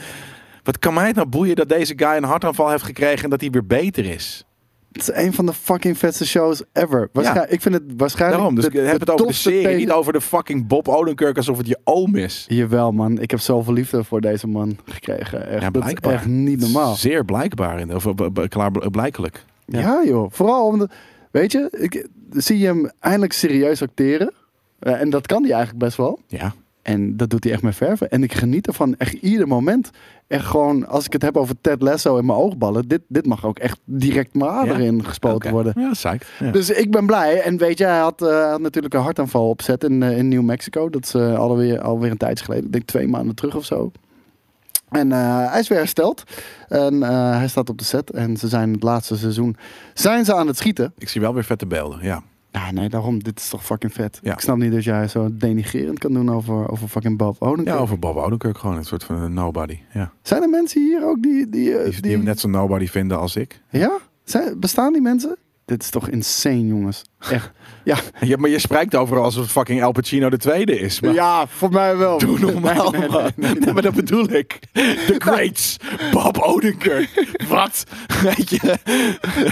Speaker 2: Wat kan mij het nou boeien dat deze guy een hartaanval heeft gekregen en dat hij weer beter is?
Speaker 3: Het is een van de fucking vetste shows ever. Waarschijn- Ik vind het waarschijnlijk
Speaker 2: Daarom, dus
Speaker 3: de-
Speaker 2: ik heb het over de
Speaker 3: tofste
Speaker 2: serie,
Speaker 3: tegen-
Speaker 2: niet over de fucking Bob Odenkirk alsof het je oom is.
Speaker 3: Jawel man, ik heb zoveel liefde voor deze man gekregen. Echt,
Speaker 2: Ja,
Speaker 3: Dat
Speaker 2: blijkbaar.
Speaker 3: is echt niet normaal.
Speaker 2: Zeer blijkbaar, in- of eh, b- b- klaar, blijkelijk.
Speaker 3: Ja, joh. Vooral omdat, weet je, ik, zie je hem eindelijk serieus acteren. Eh, en dat kan hij eigenlijk best wel.
Speaker 2: Ja.
Speaker 3: En dat doet hij echt met verven. En ik geniet ervan echt ieder moment. En gewoon, als ik het heb over Ted Lasso en mijn oogballen, dit, dit mag ook echt direct mijn ader
Speaker 2: Ja.
Speaker 3: in gespoten
Speaker 2: Oké.
Speaker 3: worden.
Speaker 2: Ja, psyched. Ja.
Speaker 3: Dus ik ben blij. En weet je, hij had, eh, had natuurlijk een hartaanval opzet in, eh, in New Mexico. Dat is eh, alweer, alweer een tijdje geleden. Ik denk twee maanden terug of zo. En eh, hij is weer hersteld. En eh, hij staat op de set. En ze zijn het laatste seizoen. Zijn ze aan het schieten?
Speaker 2: Ik zie wel weer vette beelden, ja.
Speaker 3: Nou, nee, daarom. Dit is toch fucking vet.
Speaker 2: Ja.
Speaker 3: Ik snap niet dat jij zo denigerend kan doen over, over fucking Bob Odenkirk.
Speaker 2: Ja, over Bob Odenkirk gewoon, een soort van een nobody. Ja.
Speaker 3: Zijn er mensen hier ook die... die, eh,
Speaker 2: Die, die hem net zo nobody vinden als ik.
Speaker 3: Ja? Zijn, bestaan die mensen? Dit is toch insane, jongens. Echt. Ja,
Speaker 2: Ja, maar je spreekt overal alsof het fucking Al Pacino de tweede is. Maar
Speaker 3: ja voor mij wel.
Speaker 2: doe normaal,
Speaker 3: Nee, nee, nee,
Speaker 2: man. Nee, maar dat bedoel ik. The Greats. Bob Odenkirk. Wat? Weet je?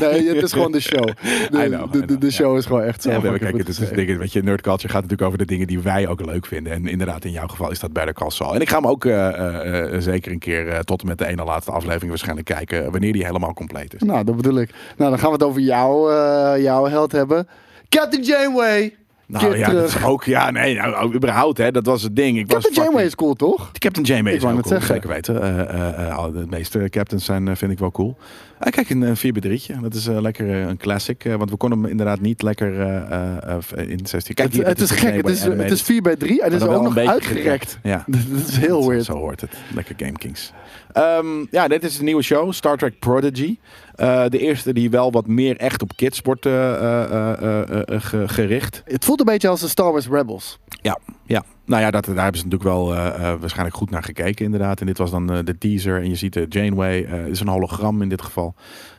Speaker 3: Nee, het is gewoon de show. De,
Speaker 2: I know,
Speaker 3: de,
Speaker 2: I
Speaker 3: de,
Speaker 2: know,
Speaker 3: de
Speaker 2: ja.
Speaker 3: show is gewoon echt zo.
Speaker 2: Ja, we
Speaker 3: fucking
Speaker 2: kijken, dus
Speaker 3: goed
Speaker 2: het is
Speaker 3: geschreven.
Speaker 2: dingen, weet je, nerd culture gaat natuurlijk over de dingen die wij ook leuk vinden. En inderdaad, in jouw geval is dat Better Call Saul. En ik ga hem ook eh, eh, eh, zeker een keer eh, tot en met de ene laatste aflevering waarschijnlijk kijken. eh, Wanneer die helemaal compleet is.
Speaker 3: Nou, dat bedoel ik. Nou, dan gaan we het over jou, eh, jouw held hebben. Captain Janeway.
Speaker 2: Nou
Speaker 3: Keer
Speaker 2: ja, dat
Speaker 3: terug.
Speaker 2: is ook, ja, nee, nou, überhaupt, hè, dat was het ding. Ik was
Speaker 3: Captain
Speaker 2: fucking-
Speaker 3: Janeway is cool, toch?
Speaker 2: Captain Janeway
Speaker 3: Ik
Speaker 2: is
Speaker 3: wou
Speaker 2: wel
Speaker 3: net
Speaker 2: cool,
Speaker 3: zeggen.
Speaker 2: zeker weten. Eh, eh, eh, al de meeste captains zijn, eh, vind ik wel cool. Ah, kijk, een eh, 4x3'tje. Dat is eh, lekker eh, een classic. eh, want we konden hem inderdaad niet lekker eh, eh, eh, in 16... Kijk,
Speaker 3: Het,
Speaker 2: hier,
Speaker 3: het
Speaker 2: dit
Speaker 3: is gek. Het
Speaker 2: Janeway
Speaker 3: is, het
Speaker 2: animated.
Speaker 3: is 4 bij 3 en
Speaker 2: Maar
Speaker 3: het is
Speaker 2: dan wel
Speaker 3: ook
Speaker 2: een
Speaker 3: nog
Speaker 2: beetje
Speaker 3: uitgerekt.
Speaker 2: gerekt. Ja.
Speaker 3: Dat is heel
Speaker 2: Zo-
Speaker 3: weird.
Speaker 2: Zo hoort het. Lekker Game Kings. Ehm, ja, dit is de nieuwe show, Star Trek Prodigy. Eh, de eerste die wel wat meer echt op kids wordt eh, eh, eh, eh, eh, ge- gericht.
Speaker 3: Het voelt een beetje als de Star Wars Rebels.
Speaker 2: Ja, ja. Nou ja, dat, daar hebben ze natuurlijk wel eh, eh, waarschijnlijk goed naar gekeken inderdaad. En dit was dan eh, de teaser. En je ziet de Janeway. eh, Het is een hologram in dit geval.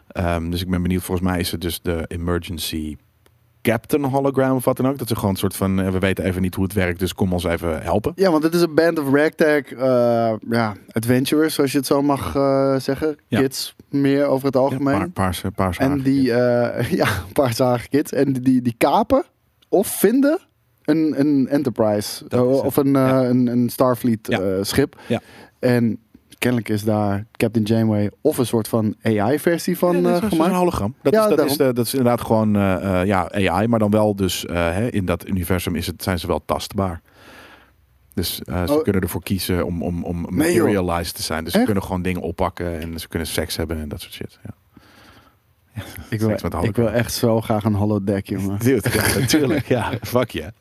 Speaker 2: Ehm, dus ik ben benieuwd. Volgens mij is het dus de emergency Captain Hologram of wat dan ook. Dat ze gewoon een soort van, eh, we weten even niet hoe het werkt, dus kom ons even helpen.
Speaker 3: Ja, want het is een band of ragtag eh, ja, adventurers, zoals je het zo mag eh, zeggen.
Speaker 2: Ja.
Speaker 3: Kids meer over het algemeen.
Speaker 2: paar, paarse, paarse
Speaker 3: en
Speaker 2: hagen.
Speaker 3: die, eh, ja, een paar zagen kids. En die, die kapen of vinden een, een Enterprise
Speaker 2: Dat is het.
Speaker 3: of een, eh,
Speaker 2: Ja.
Speaker 3: een, een Starfleet
Speaker 2: Ja.
Speaker 3: eh, schip.
Speaker 2: Ja.
Speaker 3: En kennelijk is daar Captain Janeway of een soort van AI-versie van
Speaker 2: Ja, dat is
Speaker 3: eh,
Speaker 2: een-
Speaker 3: gemaakt.
Speaker 2: een hologram. Dat,
Speaker 3: Ja,
Speaker 2: is, dat, is,
Speaker 3: daarom.
Speaker 2: de- dat is inderdaad gewoon eh, eh, ja, AI, maar dan wel dus eh, hè, in dat universum is het, zijn ze wel tastbaar. Dus eh, ze
Speaker 3: Oh.
Speaker 2: kunnen ervoor kiezen om, om, om
Speaker 3: Nee, joh.
Speaker 2: materialized te zijn. Dus ze
Speaker 3: Echt?
Speaker 2: kunnen gewoon dingen oppakken en ze kunnen seks hebben en dat soort shit. Ja.
Speaker 3: Ik wil,
Speaker 2: Seks met
Speaker 3: ik
Speaker 2: hologram.
Speaker 3: wil echt zo graag een holodeck, jongen.
Speaker 2: Dude, ja, natuurlijk. Ja, fuck je.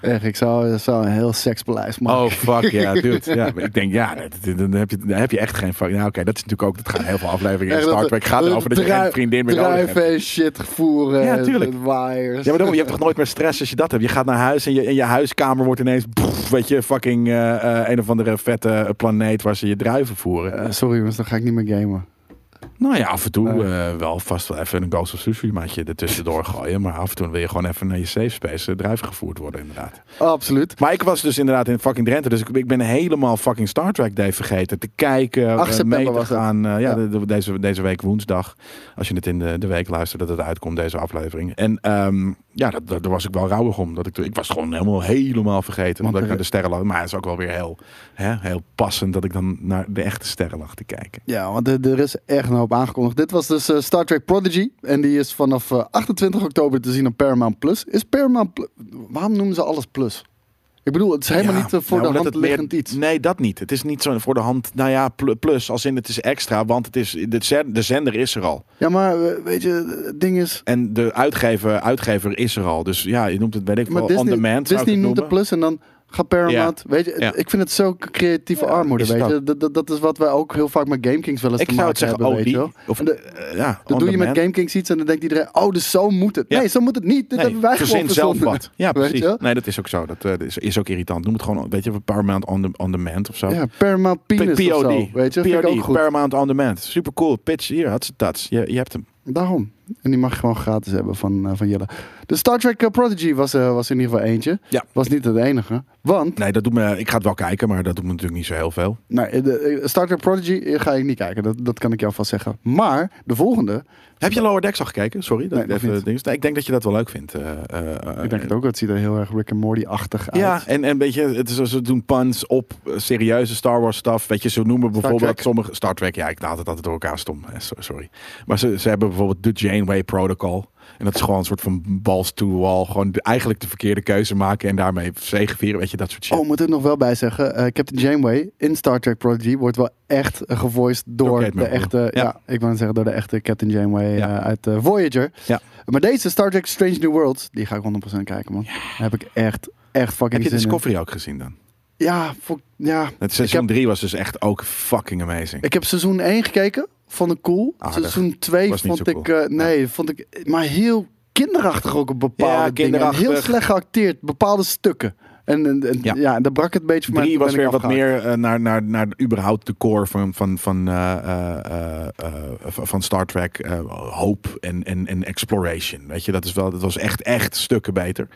Speaker 3: Echt, ik zou, zou een heel seksbeleid maken.
Speaker 2: Oh, fuck ja, dude. Ja, maar ik denk, ja, dat- dat- dan heb je, dan heb je echt geen fuck. Nou, oké, dat is natuurlijk ook, dat gaan heel veel afleveringen in
Speaker 3: Echt dat-
Speaker 2: Star Trek gaat erover dat je
Speaker 3: drui-
Speaker 2: geen vriendin meer nodig hebt.
Speaker 3: druiven en shit voeren.
Speaker 2: Ja,
Speaker 3: en
Speaker 2: tuurlijk.
Speaker 3: Waaiers.
Speaker 2: Ja, maar daarom, je hebt toch nooit meer stress als je dat hebt. Je gaat naar huis en je, en je huiskamer wordt ineens, pff, weet je, fucking eh, eh, een of andere vette planeet waar ze je druiven voeren.
Speaker 3: Eh, sorry jongens, dan ga ik niet meer gamen.
Speaker 2: nou ja, af en toe
Speaker 3: Nee.
Speaker 2: eh, wel vast wel even een Ghost of Sushi maatje er tussendoor gooien. Maar af en toe wil je gewoon even naar je safe space eh, druiven gevoerd worden, inderdaad.
Speaker 3: Oh, absoluut.
Speaker 2: Maar ik was dus inderdaad in fucking Drenthe. Dus ik, ik ben helemaal fucking Star Trek Day vergeten. Te kijken, eh,
Speaker 3: september
Speaker 2: mee te
Speaker 3: was het.
Speaker 2: gaan. eh, ja,
Speaker 3: Ja.
Speaker 2: de- de- deze, deze week woensdag. Als je het in de, de week luistert, dat het uitkomt, deze aflevering. En ehm, ja, dat, dat, daar was ik wel rouwig om. Dat ik, toen- ik was gewoon helemaal, helemaal vergeten. omdat
Speaker 3: er-
Speaker 2: ik naar de sterren lag. Maar het is ook wel weer heel, hè, heel passend dat ik dan naar de echte sterren lag te kijken.
Speaker 3: Ja, want er, er is echt een hoop aangekondigd. Dit was dus eh, Star Trek Prodigy. En die is vanaf eh, 28 oktober te zien op Paramount Plus. Is Paramount Plus... Waarom noemen ze alles Plus? Ik bedoel, het is helemaal
Speaker 2: Ja,
Speaker 3: niet eh,
Speaker 2: nou,
Speaker 3: voor de
Speaker 2: omdat
Speaker 3: hand
Speaker 2: het meer-
Speaker 3: liggend iets.
Speaker 2: Nee, dat niet. Het is niet zo voor de hand. Nou ja, pl- plus. Als in het is extra. Want het is, de, zen- de zender is er al.
Speaker 3: Ja, maar eh, weet je, het ding is...
Speaker 2: En de uitgever, uitgever is er al. Dus ja, je noemt het, weet ik
Speaker 3: Maar
Speaker 2: wel, on
Speaker 3: Disney,
Speaker 2: demand. zou ik
Speaker 3: Disney
Speaker 2: het
Speaker 3: noemt de
Speaker 2: noemen.
Speaker 3: Plus en dan gaat Paramount...
Speaker 2: Ja.
Speaker 3: Weet je,
Speaker 2: Ja.
Speaker 3: ik vind het zo creatieve armoede,
Speaker 2: is het
Speaker 3: weet je.
Speaker 2: ook.
Speaker 3: Dat, dat, dat is wat wij ook heel vaak met GameKings wel eens
Speaker 2: Ik
Speaker 3: te
Speaker 2: zou het
Speaker 3: maken
Speaker 2: zeggen,
Speaker 3: hebben,
Speaker 2: oh
Speaker 3: weet je
Speaker 2: die.
Speaker 3: wel.
Speaker 2: Of,
Speaker 3: En de-
Speaker 2: eh, ja,
Speaker 3: Dat
Speaker 2: on
Speaker 3: doe je met
Speaker 2: demand.
Speaker 3: GameKings iets en dan denkt iedereen, oh, dus zo moet het.
Speaker 2: Ja.
Speaker 3: Nee, zo moet het niet. Dit
Speaker 2: Nee,
Speaker 3: hebben wij
Speaker 2: verzin
Speaker 3: gewoon
Speaker 2: zelf
Speaker 3: verzonnen.
Speaker 2: wat. Ja,
Speaker 3: Weet je
Speaker 2: precies.
Speaker 3: wel?
Speaker 2: Nee, dat is ook zo. Dat eh, is, is ook irritant. Noem het gewoon, weet je, Paramount on, de- on demand of zo.
Speaker 3: Ja, Paramount Penis of zo,
Speaker 2: POD.
Speaker 3: Weet je, vind ik
Speaker 2: POD,
Speaker 3: ook goed.
Speaker 2: Paramount on demand. Super cool. Pitch hier, had ze tats. Je, je hebt hem.
Speaker 3: Daarom. En die mag je gewoon gratis hebben van, eh, van Jelle. De Star Trek eh, Prodigy was, eh, was in ieder geval eentje.
Speaker 2: Ja.
Speaker 3: Was niet het enige. Want,
Speaker 2: Nee, dat doet me, ik ga het wel kijken, maar dat doet me natuurlijk niet zo heel veel.
Speaker 3: nou, de, eh, Star Trek Prodigy eh, ga ik niet kijken. Dat, dat kan ik jou vast zeggen. Maar, de volgende.
Speaker 2: Heb je Lower Decks al gekeken? Sorry. Dat
Speaker 3: Nee,
Speaker 2: ik
Speaker 3: nog
Speaker 2: even
Speaker 3: niet.
Speaker 2: het ding is. Nee, ik denk dat je dat wel leuk vindt. eh, eh,
Speaker 3: ik denk het ook. Het ziet er heel erg Rick and Morty-achtig uit.
Speaker 2: Ja, en, en weet je, het is, ze doen puns op eh, serieuze Star Wars stuff. Weet je, ze noemen bijvoorbeeld
Speaker 3: Trek.
Speaker 2: sommige... Star Trek, ja, ik laat het altijd door elkaar stom. Eh, so- Sorry. Maar ze, ze hebben bijvoorbeeld de Janeway Protocol. En dat is gewoon een soort van balls to wall. Gewoon de- eigenlijk de verkeerde keuze maken en daarmee zegevieren. Weet je, dat soort shit.
Speaker 3: Oh, moet ik nog wel bij zeggen. eh, Captain Janeway in Star Trek Prodigy wordt wel echt eh, gevoiced door,
Speaker 2: Door Kate
Speaker 3: de
Speaker 2: Mulgrew.
Speaker 3: echte... Ja.
Speaker 2: Ja.
Speaker 3: ik wou net zeggen door de echte Captain Janeway eh,
Speaker 2: Ja.
Speaker 3: uit eh, Voyager.
Speaker 2: Ja.
Speaker 3: Maar deze Star Trek Strange New Worlds, die ga ik 100% kijken, man. Daar heb ik echt, echt fucking
Speaker 2: Heb je
Speaker 3: zin in.
Speaker 2: Discovery ook gezien dan?
Speaker 3: Ja, voor, ja.
Speaker 2: Het
Speaker 3: eh, Ik heb,
Speaker 2: seizoen 3 was dus echt ook fucking amazing.
Speaker 3: ik heb seizoen 1 gekeken, vond ik cool.
Speaker 2: Aardig.
Speaker 3: Seizoen 2
Speaker 2: Ah, Was niet
Speaker 3: vond
Speaker 2: zo
Speaker 3: ik...
Speaker 2: cool.
Speaker 3: eh, nee, vond ik... Maar heel kinderachtig ook op bepaalde
Speaker 2: Ja,
Speaker 3: dingen. En Heel
Speaker 2: kinderachtig.
Speaker 3: slecht geacteerd, bepaalde stukken. En, en, en- ja.
Speaker 2: Ja.
Speaker 3: daar brak het een beetje voor mij.
Speaker 2: Drie
Speaker 3: Toen
Speaker 2: was
Speaker 3: ben
Speaker 2: weer
Speaker 3: ik
Speaker 2: wat
Speaker 3: afgehaakt.
Speaker 2: meer eh, naar, naar, naar überhaupt de core van, van, van, eh, eh, eh, eh, van van Star Trek. eh, hoop en, en, en exploration. Weet je, dat, is wel, dat was echt, echt stukken beter.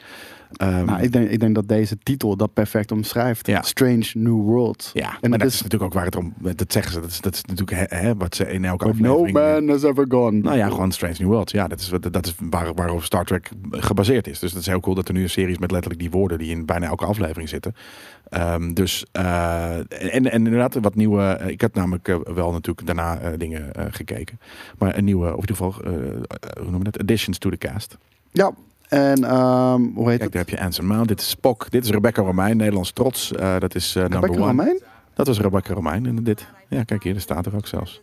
Speaker 2: Ehm,
Speaker 3: Nou, ik, denk, ik denk dat deze titel dat perfect omschrijft.
Speaker 2: Ja.
Speaker 3: Strange New World.
Speaker 2: ja,
Speaker 3: en
Speaker 2: maar
Speaker 3: dat
Speaker 2: dat is,
Speaker 3: is
Speaker 2: natuurlijk ook waar het om... Dat zeggen ze, dat is, dat is natuurlijk hè, hè, wat ze in elke
Speaker 3: But no
Speaker 2: aflevering... eh,
Speaker 3: man has ever gone.
Speaker 2: Nou ja, gewoon Strange New World. Ja, dat is, wat- dat is waar, waarop Star Trek gebaseerd is. Dus dat is heel cool dat er nu een serie is met letterlijk die woorden die in bijna elke aflevering zitten. Ehm, dus, eh, en, en inderdaad, wat nieuwe. eh, Ik had namelijk eh, wel natuurlijk daarna eh, dingen eh, gekeken. Maar een nieuwe, of in ieder geval, eh, eh, hoe noemen we dat? Additions to the cast.
Speaker 3: Ja, en ehm, hoe heet
Speaker 2: Kijk, daar
Speaker 3: het?
Speaker 2: heb je Anson Mount. Dit is Spock. Dit is Rebecca Romijn, Nederlands trots. Eh, dat is eh, number
Speaker 3: Rebecca
Speaker 2: one.
Speaker 3: Romijn?
Speaker 2: Dat was Rebecca Romijn en dit. Ja, kijk hier, dat staat er ook zelfs.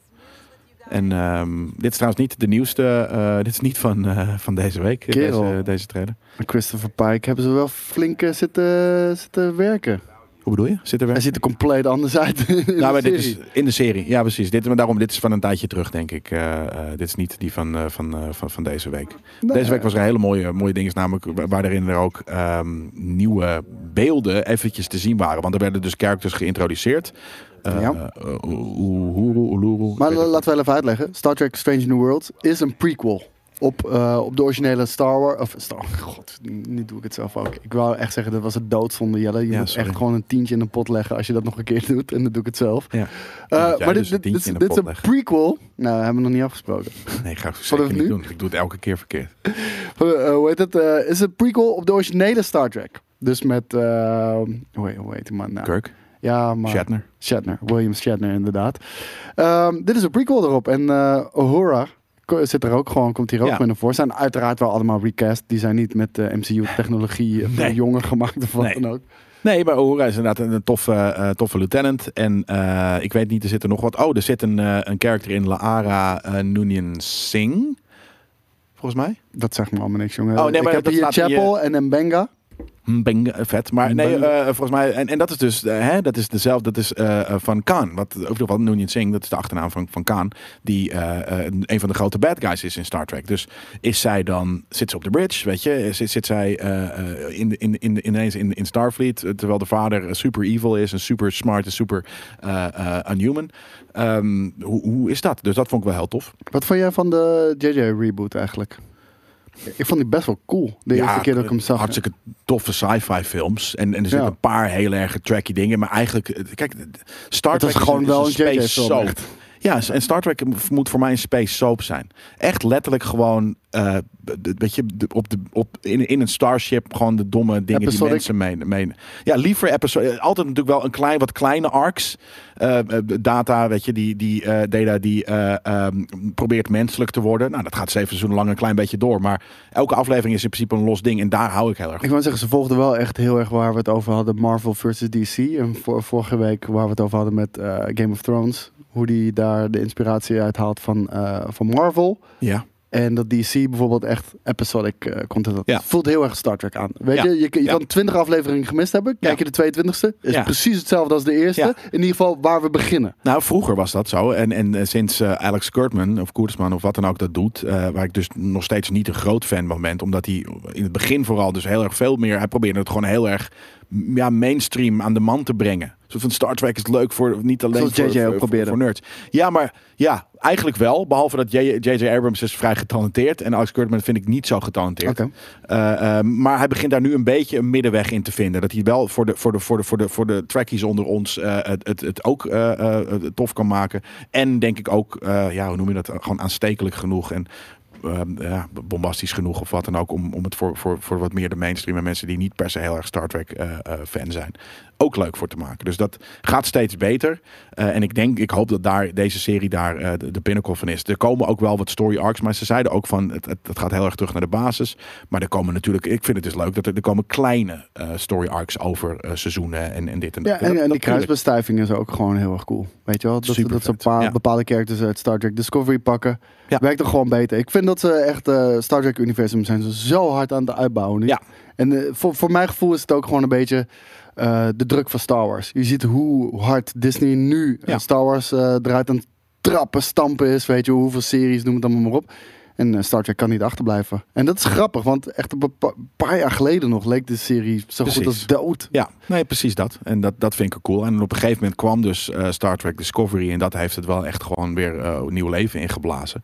Speaker 2: En ehm, dit is trouwens niet de nieuwste. eh, dit is niet van, eh, van deze week,
Speaker 3: Kerel.
Speaker 2: deze, deze trailer.
Speaker 3: En Christopher Pike hebben ze wel flink eh, zitten, zitten werken.
Speaker 2: Hoe bedoel je? Zit er
Speaker 3: Hij
Speaker 2: weer?
Speaker 3: ziet er compleet anders uit. in de
Speaker 2: Nou, maar dit is
Speaker 3: serie.
Speaker 2: in de serie. Ja, precies. Dit, maar daarom, dit is van een tijdje terug, denk ik. Eh, eh, dit is niet die van, eh, van, eh, van, van deze week.
Speaker 3: Nou
Speaker 2: Deze week was er een hele mooie, mooie ding, is namelijk wa- waarin er ook ehm, nieuwe beelden eventjes te zien waren. Want er werden dus characters geïntroduceerd. Eh
Speaker 3: Ja.
Speaker 2: eh, Uhuru, Uluru. ik
Speaker 3: Maar
Speaker 2: weet het
Speaker 3: laten we wel even uitleggen. Star Trek Strange New Worlds is een prequel. op, eh, op de originele Star Wars. Of Star God, nu doe ik het zelf ook. Ik wou echt zeggen, dat was het doodzonde, Jelle. Je
Speaker 2: Ja,
Speaker 3: moet
Speaker 2: sorry.
Speaker 3: echt gewoon een tientje in een pot leggen als je dat nog een keer doet. En dan doe ik het zelf.
Speaker 2: Ja.
Speaker 3: Eh,
Speaker 2: Ja,
Speaker 3: maar
Speaker 2: dus
Speaker 3: dit,
Speaker 2: een
Speaker 3: dit, dit, is-
Speaker 2: tientje in de
Speaker 3: dit is
Speaker 2: pot
Speaker 3: een
Speaker 2: leggen.
Speaker 3: prequel. Nou, hebben we nog niet afgesproken.
Speaker 2: Nee, ga ik zeker
Speaker 3: Zullen we
Speaker 2: niet
Speaker 3: nu?
Speaker 2: doen. dus Ik doe het elke keer verkeerd.
Speaker 3: Eh, eh, hoe heet het? Eh, is een prequel op de originele Star Trek. Dus met, eh, hoe, heet, hoe heet die man nou?
Speaker 2: Kirk,
Speaker 3: Ja, maar...
Speaker 2: Shatner.
Speaker 3: Shatner, William Shatner inderdaad. Ehm, dit is een prequel erop en eh Uhura ko- zit er ook gewoon, komt hier ook
Speaker 2: Ja.
Speaker 3: met een voor. Zijn uiteraard wel allemaal recast, die zijn niet met de MCU-technologie
Speaker 2: Nee.
Speaker 3: eh, jonger gemaakt of wat
Speaker 2: Nee.
Speaker 3: dan ook.
Speaker 2: Nee, maar Uhura is inderdaad een, een toffe, eh, toffe lieutenant. En eh, ik weet niet, er zit er nog wat. Oh, er zit een, eh een character in Laara eh Noonien Singh. Volgens mij.
Speaker 3: Dat zegt me allemaal niks, jongen.
Speaker 2: Oh, nee, maar
Speaker 3: ik heb
Speaker 2: dat
Speaker 3: hier
Speaker 2: staat hier-
Speaker 3: Chapel en Mbenga.
Speaker 2: Bing, vet. Maar nee,
Speaker 3: Mbeng.
Speaker 2: eh, volgens mij. En, en dat is dus. eh, hè, dat is dezelfde. Dat is eh, eh, van Khan. Wat over de wat Noonien Singh. Dat is de achternaam van, van Khan. Die eh, eh, een van de grote bad guys is in Star Trek. Dus is zij dan. Zit ze op de bridge? Weet je? Zit, zit zij eh, eh, in, de- in, in, ineens in, in Starfleet? eh, Terwijl de vader eh, super evil is. En super smart. En super eh, eh, unhuman. Ehm, hoe, hoe is dat? Dus dat vond ik wel heel tof.
Speaker 3: Wat vond jij van de JJ-reboot eigenlijk? Ik vond die best wel cool, de eerste keer dat ik hem zag.
Speaker 2: eh, Hartstikke toffe sci-fi films. En, en er zitten
Speaker 3: Ja.
Speaker 2: een paar heel erg tracky dingen. Maar eigenlijk, eh, kijk, Star
Speaker 3: Het was
Speaker 2: Trek is
Speaker 3: gewoon
Speaker 2: een-
Speaker 3: wel
Speaker 2: is
Speaker 3: een JJ
Speaker 2: space
Speaker 3: film,
Speaker 2: soap.
Speaker 3: echt.
Speaker 2: Ja, en Star Trek moet voor mij een space soap zijn. Echt letterlijk gewoon, eh, de- weet je, de- op de, op, in, in een starship gewoon de domme dingen
Speaker 3: Episodic.
Speaker 2: die mensen menen. menen. Ja, liever episode. eh, Altijd natuurlijk wel een klein, wat kleine arcs. Eh, eh, data, weet je, die, die eh, Data die eh, ehm, probeert menselijk te worden. Nou, dat gaat zeven seizoenen lang een klein beetje door. Maar elke aflevering is in principe een los ding. En daar hou ik heel erg
Speaker 3: Ik wou zeggen, ze volgden wel echt heel erg waar we het over hadden. Marvel versus DC. En vor- vorige week waar we het over hadden met eh, Game of Thrones. Hoe die daar de inspiratie uit haalt van, eh, van Marvel.
Speaker 2: Ja.
Speaker 3: En dat DC bijvoorbeeld echt episodic eh, content had.
Speaker 2: Ja.
Speaker 3: Voelt heel erg Star Trek aan. Weet
Speaker 2: Ja.
Speaker 3: je, je, je
Speaker 2: Ja.
Speaker 3: kan 20 afleveringen gemist hebben. Kijk
Speaker 2: Ja.
Speaker 3: je de 22e. Is
Speaker 2: Ja.
Speaker 3: precies hetzelfde als de eerste.
Speaker 2: Ja.
Speaker 3: In ieder geval waar we beginnen.
Speaker 2: Nou, vroeger was dat zo. En, en eh, sinds eh, Alex Kurtzman of Koertsman of wat dan ook dat doet, eh, waar ik dus nog steeds niet een groot fan van ben, omdat hij in het begin vooral dus heel erg veel meer, hij probeerde het gewoon heel erg m- ja, mainstream aan de man te brengen. Zo van Star Trek is leuk voor niet alleen
Speaker 3: Zoals
Speaker 2: voor,
Speaker 3: JJ ook
Speaker 2: voor, voor-
Speaker 3: probeerde.
Speaker 2: voor nerds. Ja, maar ja, eigenlijk wel. Behalve dat J.J. J.J. Abrams is vrij getalenteerd en Alex Kurtzman vind ik niet zo getalenteerd.
Speaker 3: Oké.
Speaker 2: Eh, eh, maar hij begint daar nu een beetje een middenweg in te vinden. Dat hij wel voor de, voor de, voor de, voor de, voor de trackies onder ons eh, het, het, het ook eh, eh, het tof kan maken. En denk ik ook, eh, ja, hoe noem je dat? Gewoon aanstekelijk genoeg. En ehm, ja, bombastisch genoeg of wat dan ook. Om, om het voor, voor, voor wat meer de mainstream en mensen die niet per se heel erg Star Trek eh, eh, fan zijn. Ook leuk voor te maken. Dus dat gaat steeds beter. Eh, en ik denk, ik hoop dat daar, deze serie daar eh, de, de pinnacle van is. Er komen ook wel wat story arcs. Maar ze zeiden ook van, het, het, het gaat heel erg terug naar de basis. Maar er komen natuurlijk, ik vind het dus leuk dat er, er komen kleine eh, story arcs over eh, seizoenen en, en dit en dat.
Speaker 3: Ja, en,
Speaker 2: dat,
Speaker 3: en die
Speaker 2: dat voel ik.
Speaker 3: kruisbestuiving is ook gewoon heel erg cool. Weet je wel? Dat,
Speaker 2: Super
Speaker 3: dat ze een
Speaker 2: vet,
Speaker 3: paar
Speaker 2: ja.
Speaker 3: bepaalde characters uit Star Trek Discovery pakken.
Speaker 2: Ja.
Speaker 3: Werkt er gewoon beter. Ik vind dat ze echt eh, Star Trek universum zijn ze zo hard aan het uitbouwen nu.
Speaker 2: Ja.
Speaker 3: En eh, voor, voor mijn gevoel is het ook gewoon een beetje eh, de druk van Star Wars. Je ziet hoe hard Disney nu eh,
Speaker 2: Ja.
Speaker 3: Star Wars eh, eruit aan het trappen, stampen is. Weet je hoeveel series, noem het allemaal maar op. En eh, Star Trek kan niet achterblijven. En dat is grappig, want echt een bepa- paar jaar geleden nog leek de serie zo goed als
Speaker 2: Precies.
Speaker 3: dood.
Speaker 2: Ja, nee, precies dat. En dat, dat vind ik cool. En op een gegeven moment kwam dus eh, Star Trek Discovery. En dat heeft het wel echt gewoon weer eh, nieuw leven ingeblazen.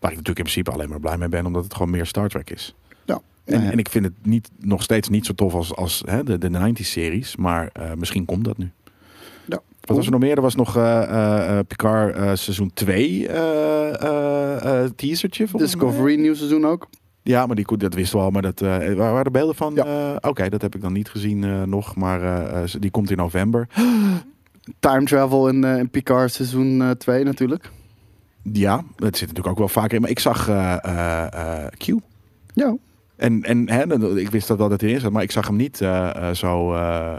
Speaker 2: Waar ik natuurlijk in principe alleen maar blij mee ben, omdat het gewoon meer Star Trek is.
Speaker 3: Ja.
Speaker 2: En,
Speaker 3: Nou ja.
Speaker 2: en ik vind het niet, nog steeds niet zo tof als, als hè, de, de 90-series. Maar eh, misschien komt dat nu.
Speaker 3: Ja,
Speaker 2: Wat was er nog meer? Er was nog eh, eh, eh, Picard eh, seizoen 2 eh eh, eh, teasertje. volgens mij.
Speaker 3: Discovery nieuw seizoen ook.
Speaker 2: Ja, maar die, ko- dat wisten we al. Maar dat, eh, waar waren er beelden van?
Speaker 3: Ja.
Speaker 2: Eh, Oké, dat heb ik dan niet gezien eh, nog. Maar eh, eh, ze- die komt in november.
Speaker 3: Time travel in, eh, in Picard seizoen 2 natuurlijk.
Speaker 2: Ja, dat zit natuurlijk ook wel vaker in. Maar ik zag eh, eh, eh, Q.
Speaker 3: Ja.
Speaker 2: En, en hè, dat- ik wist dat wel dat hij erin zat, maar ik zag hem niet eh, eh, zo. eh, eh,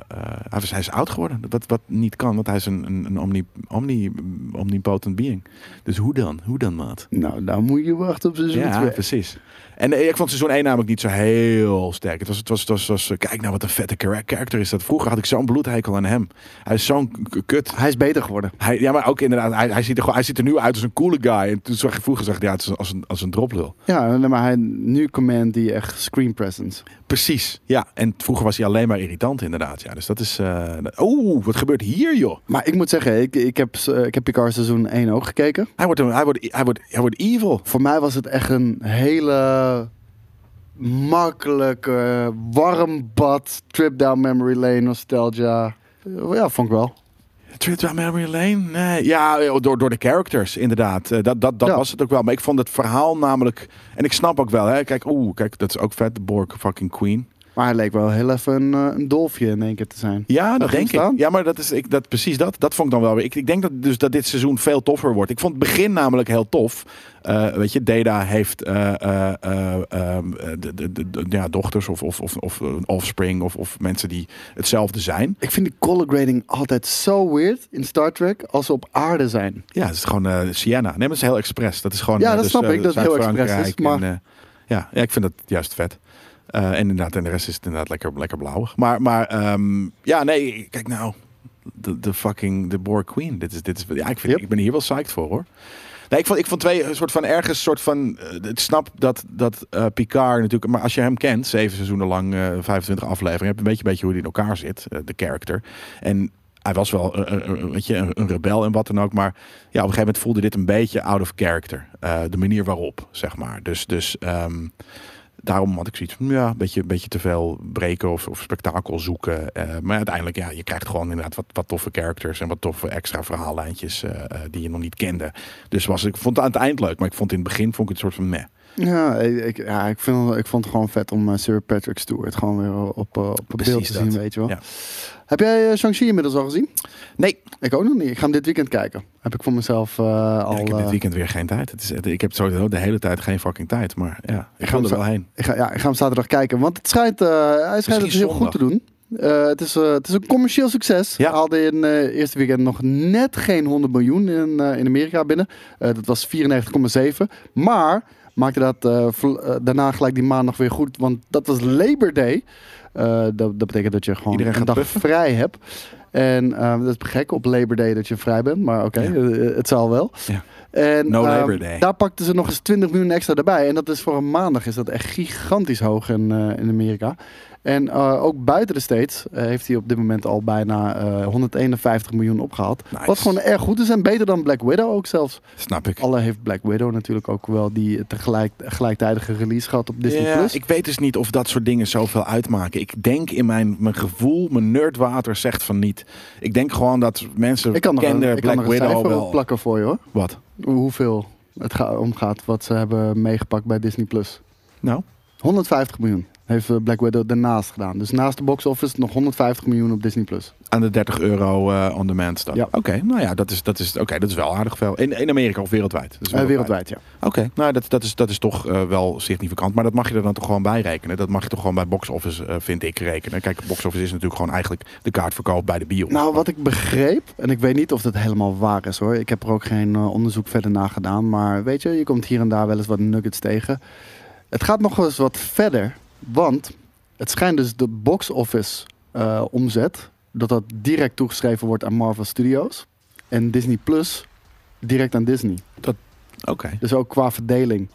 Speaker 2: hij, was, hij is oud geworden. Wat, wat niet kan, want hij is een, een, een omni, omni, omnipotent being. Dus hoe dan? Hoe dan, maat?
Speaker 3: Nou, dan moet je wachten op seizoen 2.
Speaker 2: Ja, precies. En eh, ik vond seizoen 1 namelijk niet zo heel sterk. Het was, het was, het was, het was, eh, kijk nou wat een vette chara- character is dat. Vroeger had ik zo'n bloedhekel aan hem. Hij is zo'n k- k- kut.
Speaker 3: Hij is beter geworden.
Speaker 2: Hij, ja, maar ook inderdaad, hij, hij, ziet er, gewoon- hij ziet er nu uit als een coole guy. En toen zag ik vroeger, zag ik, ja, het is als een, als een droplul.
Speaker 3: Ja, nee, maar hij, nu command die echt weinig screen presence.
Speaker 2: Precies, ja. En vroeger was hij alleen maar irritant inderdaad. Ja, dus dat is... eh, Oeh, wat gebeurt hier joh?
Speaker 3: Maar ik moet zeggen, ik, ik, heb, eh, ik heb Picard seizoen 1 ook gekeken.
Speaker 2: Hij wordt, een- hij wordt, hij wordt, hij wordt evil.
Speaker 3: Voor mij was het echt een hele makkelijke, warm bad, trip down memory lane, nostalgia. Eh, Ja, vond ik wel.
Speaker 2: Trip down memory lane? Nee. Ja, eh, door, door de characters, inderdaad. Eh, dat dat, dat
Speaker 3: Ja.
Speaker 2: was het ook wel. Maar ik vond het verhaal namelijk... En ik snap ook wel, hè. Kijk, oeh, kijk, dat is ook vet. De Borg fucking queen.
Speaker 3: Maar hij leek wel heel even een, eh, een dolfje in één keer te zijn.
Speaker 2: Ja, dat
Speaker 3: ging
Speaker 2: denk ik.
Speaker 3: staan.
Speaker 2: Ja, maar dat is ik, dat, precies dat. Dat vond ik dan wel weer. Ik, ik denk dat, dus dat dit seizoen veel toffer wordt. Ik vond het begin namelijk heel tof. Eh, weet je, Data heeft eh, eh, eh, ehm, eh, de, de, de, de- ja, dochters of, of, of, of eh, offspring of, of mensen die hetzelfde zijn.
Speaker 3: Ik vind die color grading altijd zo weird in Star Trek als ze op aarde zijn.
Speaker 2: Ja, het is gewoon eh Sienna. Nee, maar het is heel expres. Dat is gewoon.
Speaker 3: Ja,
Speaker 2: eh,
Speaker 3: dat
Speaker 2: dus,
Speaker 3: snap
Speaker 2: eh,
Speaker 3: ik, dat het heel expres is,
Speaker 2: Zuid-Frankrijk
Speaker 3: maar-
Speaker 2: en, eh, ja, ja, ik vind dat juist vet. Eh, en inderdaad, en de rest is het inderdaad lekker, lekker blauwig. Maar, maar ehm, ja, nee, kijk nou. De, de fucking, de Boar Queen. Dit is, dit is, ja, ik, vind,
Speaker 3: Yep.
Speaker 2: ik ben hier wel psyched voor hoor. Nee, ik vond, ik vond twee een soort van ergens soort van. eh, ik snap dat, dat eh, Picard natuurlijk. Maar als je hem kent, zeven seizoenen lang, eh 25 afleveringen, heb je een beetje, beetje hoe hij in elkaar zit, eh, de character. En hij was wel eh, eh, eh, weet je, een, een rebel en wat dan ook. Maar ja, op een gegeven moment voelde dit een beetje out of character. Eh, de manier waarop, zeg maar. Dus, dus ehm, daarom had ik zoiets van, ja, een beetje, beetje te veel breken of, of spektakel zoeken. Eh, maar uiteindelijk, ja, je krijgt gewoon inderdaad wat, wat toffe characters en wat toffe extra verhaallijntjes eh, eh, die je nog niet kende. Dus was, ik vond het aan het eind leuk, maar ik vond in het begin vond ik het een soort van meh.
Speaker 3: Ja, ik, ik- ja, ik, vind, ik vond het gewoon vet om eh, Sir Patrick Stewart gewoon weer op, eh, op het
Speaker 2: Precies
Speaker 3: beeld te
Speaker 2: dat.
Speaker 3: zien, weet je wel.
Speaker 2: Ja.
Speaker 3: Heb jij eh, Shang-Chi inmiddels al gezien?
Speaker 2: Nee,
Speaker 3: Ik ook nog niet. Ik ga hem dit weekend kijken. Heb ik voor mezelf eh, al...
Speaker 2: ja, ik heb
Speaker 3: eh,
Speaker 2: dit weekend weer geen tijd. Het is, het- ik heb sowieso de hele tijd geen fucking tijd, maar ja, ik
Speaker 3: ga
Speaker 2: ga er
Speaker 3: hem
Speaker 2: wel heen.
Speaker 3: Ik ga, ja, ik ga hem zaterdag kijken. Want het schijnt, eh, hij schijnt het heel
Speaker 2: zondag.
Speaker 3: goed te doen. Eh, het, is, eh, het is een commercieel succes.
Speaker 2: Ja.
Speaker 3: Hij haalde in het eerste weekend nog net geen 100 miljoen in, eh, in Amerika binnen. Eh, dat was 94,7. Maar maakte dat eh, vl- eh, daarna gelijk die maandag weer goed. Want dat was Labor Day. Eh, dat, dat betekent dat je gewoon
Speaker 2: Iedereen
Speaker 3: een
Speaker 2: gaat
Speaker 3: dag
Speaker 2: puffen.
Speaker 3: vrij hebt. En eh, dat is gek op Labor Day dat je vrij bent. Maar oké,
Speaker 2: Ja.
Speaker 3: eh, het zal wel.
Speaker 2: Ja.
Speaker 3: En,
Speaker 2: No
Speaker 3: ehm,
Speaker 2: Labor Day.
Speaker 3: Daar pakten ze nog eens 20 miljoen extra erbij. En dat is voor een maandag is dat echt gigantisch hoog in, eh, in Amerika. En eh, ook buiten de States eh, heeft hij op dit moment al bijna eh, 151 miljoen opgehaald.
Speaker 2: Nice.
Speaker 3: Wat gewoon erg goed is en beter dan Black Widow ook zelfs.
Speaker 2: Snap ik.
Speaker 3: Alle heeft Black Widow natuurlijk ook wel die tegelijk, gelijktijdige release gehad op Disney+.
Speaker 2: Ja,
Speaker 3: Plus.
Speaker 2: ik weet dus niet of dat soort dingen zoveel uitmaken. Ik denk in mijn, mijn gevoel, mijn nerdwater zegt van niet. Ik denk gewoon dat mensen
Speaker 3: Ik kan nog een,
Speaker 2: kenden
Speaker 3: ik kan
Speaker 2: Black
Speaker 3: nog een
Speaker 2: Widow
Speaker 3: cijfer
Speaker 2: wel.
Speaker 3: op plakken voor je hoor.
Speaker 2: Wat?
Speaker 3: Hoe- Hoeveel het ga- omgaat wat ze hebben meegepakt bij Disney+. Plus.
Speaker 2: Nou,
Speaker 3: 150 miljoen heeft eh, Black Widow daarnaast gedaan. Dus naast de box office nog 150 miljoen op Disney+. Plus.
Speaker 2: aan de 30 euro eh, on demand staat.
Speaker 3: Ja.
Speaker 2: Oké, nou ja, dat is, dat, is, oké, dat is wel aardig veel. In, in Amerika of wereldwijd? Dat is
Speaker 3: Eh, wereldwijd, ja.
Speaker 2: Oké, nou dat, dat, is, dat is toch eh, wel significant. Maar dat mag je er dan toch gewoon bij rekenen. Dat mag je toch gewoon bij box office, eh, vind ik, rekenen. Kijk, box office is natuurlijk gewoon eigenlijk de kaartverkoop bij de bio.
Speaker 3: Nou, wat ik begreep, en ik weet niet of dat helemaal waar is hoor. Ik heb er ook geen eh, onderzoek verder naar gedaan. Maar weet je, je komt hier en daar wel eens wat nuggets tegen. Het gaat nog wel eens wat verder. Want het schijnt dus de box office eh, omzet... dat dat direct toegeschreven wordt aan Marvel Studios. En Disney Plus direct aan Disney.
Speaker 2: Oké,
Speaker 3: Dus ook qua verdeling.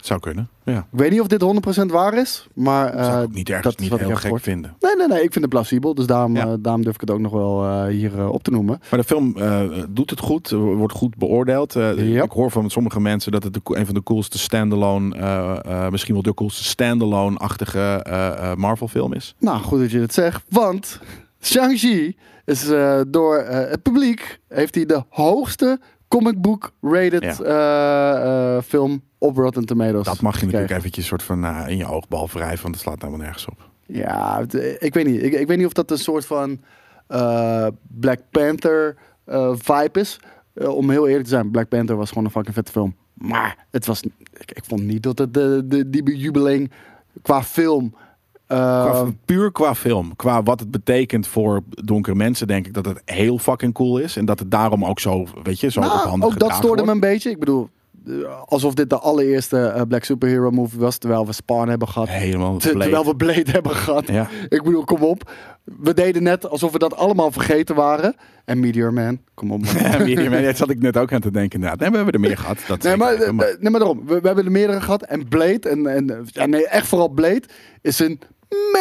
Speaker 2: zou kunnen. Ja.
Speaker 3: Ik weet niet of dit 100% waar is, maar... eh,
Speaker 2: zou ik ook niet ergens
Speaker 3: dat is
Speaker 2: niet
Speaker 3: wat ik
Speaker 2: heel
Speaker 3: heb
Speaker 2: gek
Speaker 3: gehoord.
Speaker 2: vinden.
Speaker 3: Nee, nee, nee, ik vind het plausibel. Dus daarom,
Speaker 2: Ja.
Speaker 3: eh, daarom durf ik het ook nog wel eh, hier eh, op te noemen.
Speaker 2: Maar de film eh, doet het goed, eh, wordt goed beoordeeld. Eh,
Speaker 3: Ja.
Speaker 2: Ik hoor van sommige mensen dat het de, een van de coolste standalone, eh, eh, misschien wel de coolste standalone-achtige eh, eh, Marvel-film is.
Speaker 3: Nou, goed dat je het zegt, want Shang-Chi is eh, door eh, het publiek... heeft hij de hoogste comic book rated
Speaker 2: Ja.
Speaker 3: eh, eh, film op Rotten Tomatoes.
Speaker 2: Dat mag je natuurlijk
Speaker 3: gekregen.
Speaker 2: eventjes soort van eh, in je oogbal wrijven, want dat slaat helemaal nergens op.
Speaker 3: Ja, het- ik weet niet. Ik, ik weet niet of dat een soort van eh, Black Panther eh, vibe is. Eh, om heel eerlijk te zijn, Black Panther was gewoon een fucking vette film. Maar het was, ik, ik vond niet dat het de, de, die bejubeling qua film... eh,
Speaker 2: Qua- puur qua film, qua wat het betekent voor donkere mensen, denk ik dat het heel fucking cool is. En dat het daarom ook zo, weet je, zo
Speaker 3: nou,
Speaker 2: op handen
Speaker 3: ook dat
Speaker 2: gedragen
Speaker 3: stoorde me
Speaker 2: wordt.
Speaker 3: een beetje. Ik bedoel, eh, alsof dit de allereerste eh, Black Superhero movie was. Terwijl we Spawn hebben gehad.
Speaker 2: Helemaal
Speaker 3: Te-
Speaker 2: Blade.
Speaker 3: terwijl we Blade hebben gehad.
Speaker 2: Ja.
Speaker 3: Ik bedoel, kom op. We deden net alsof we dat allemaal vergeten waren. En Meteor Man, kom op. man.
Speaker 2: Ja, Meteor Man, dat zat ik net ook aan te denken inderdaad. Nee, we hebben er meer gehad. Dat
Speaker 3: Nee
Speaker 2: zeker,
Speaker 3: maar,
Speaker 2: maar-
Speaker 3: eh, nee, maar daarom. We, we hebben er meerdere gehad. En Blade, en, en, eh, ja, nee, echt vooral Blade, is een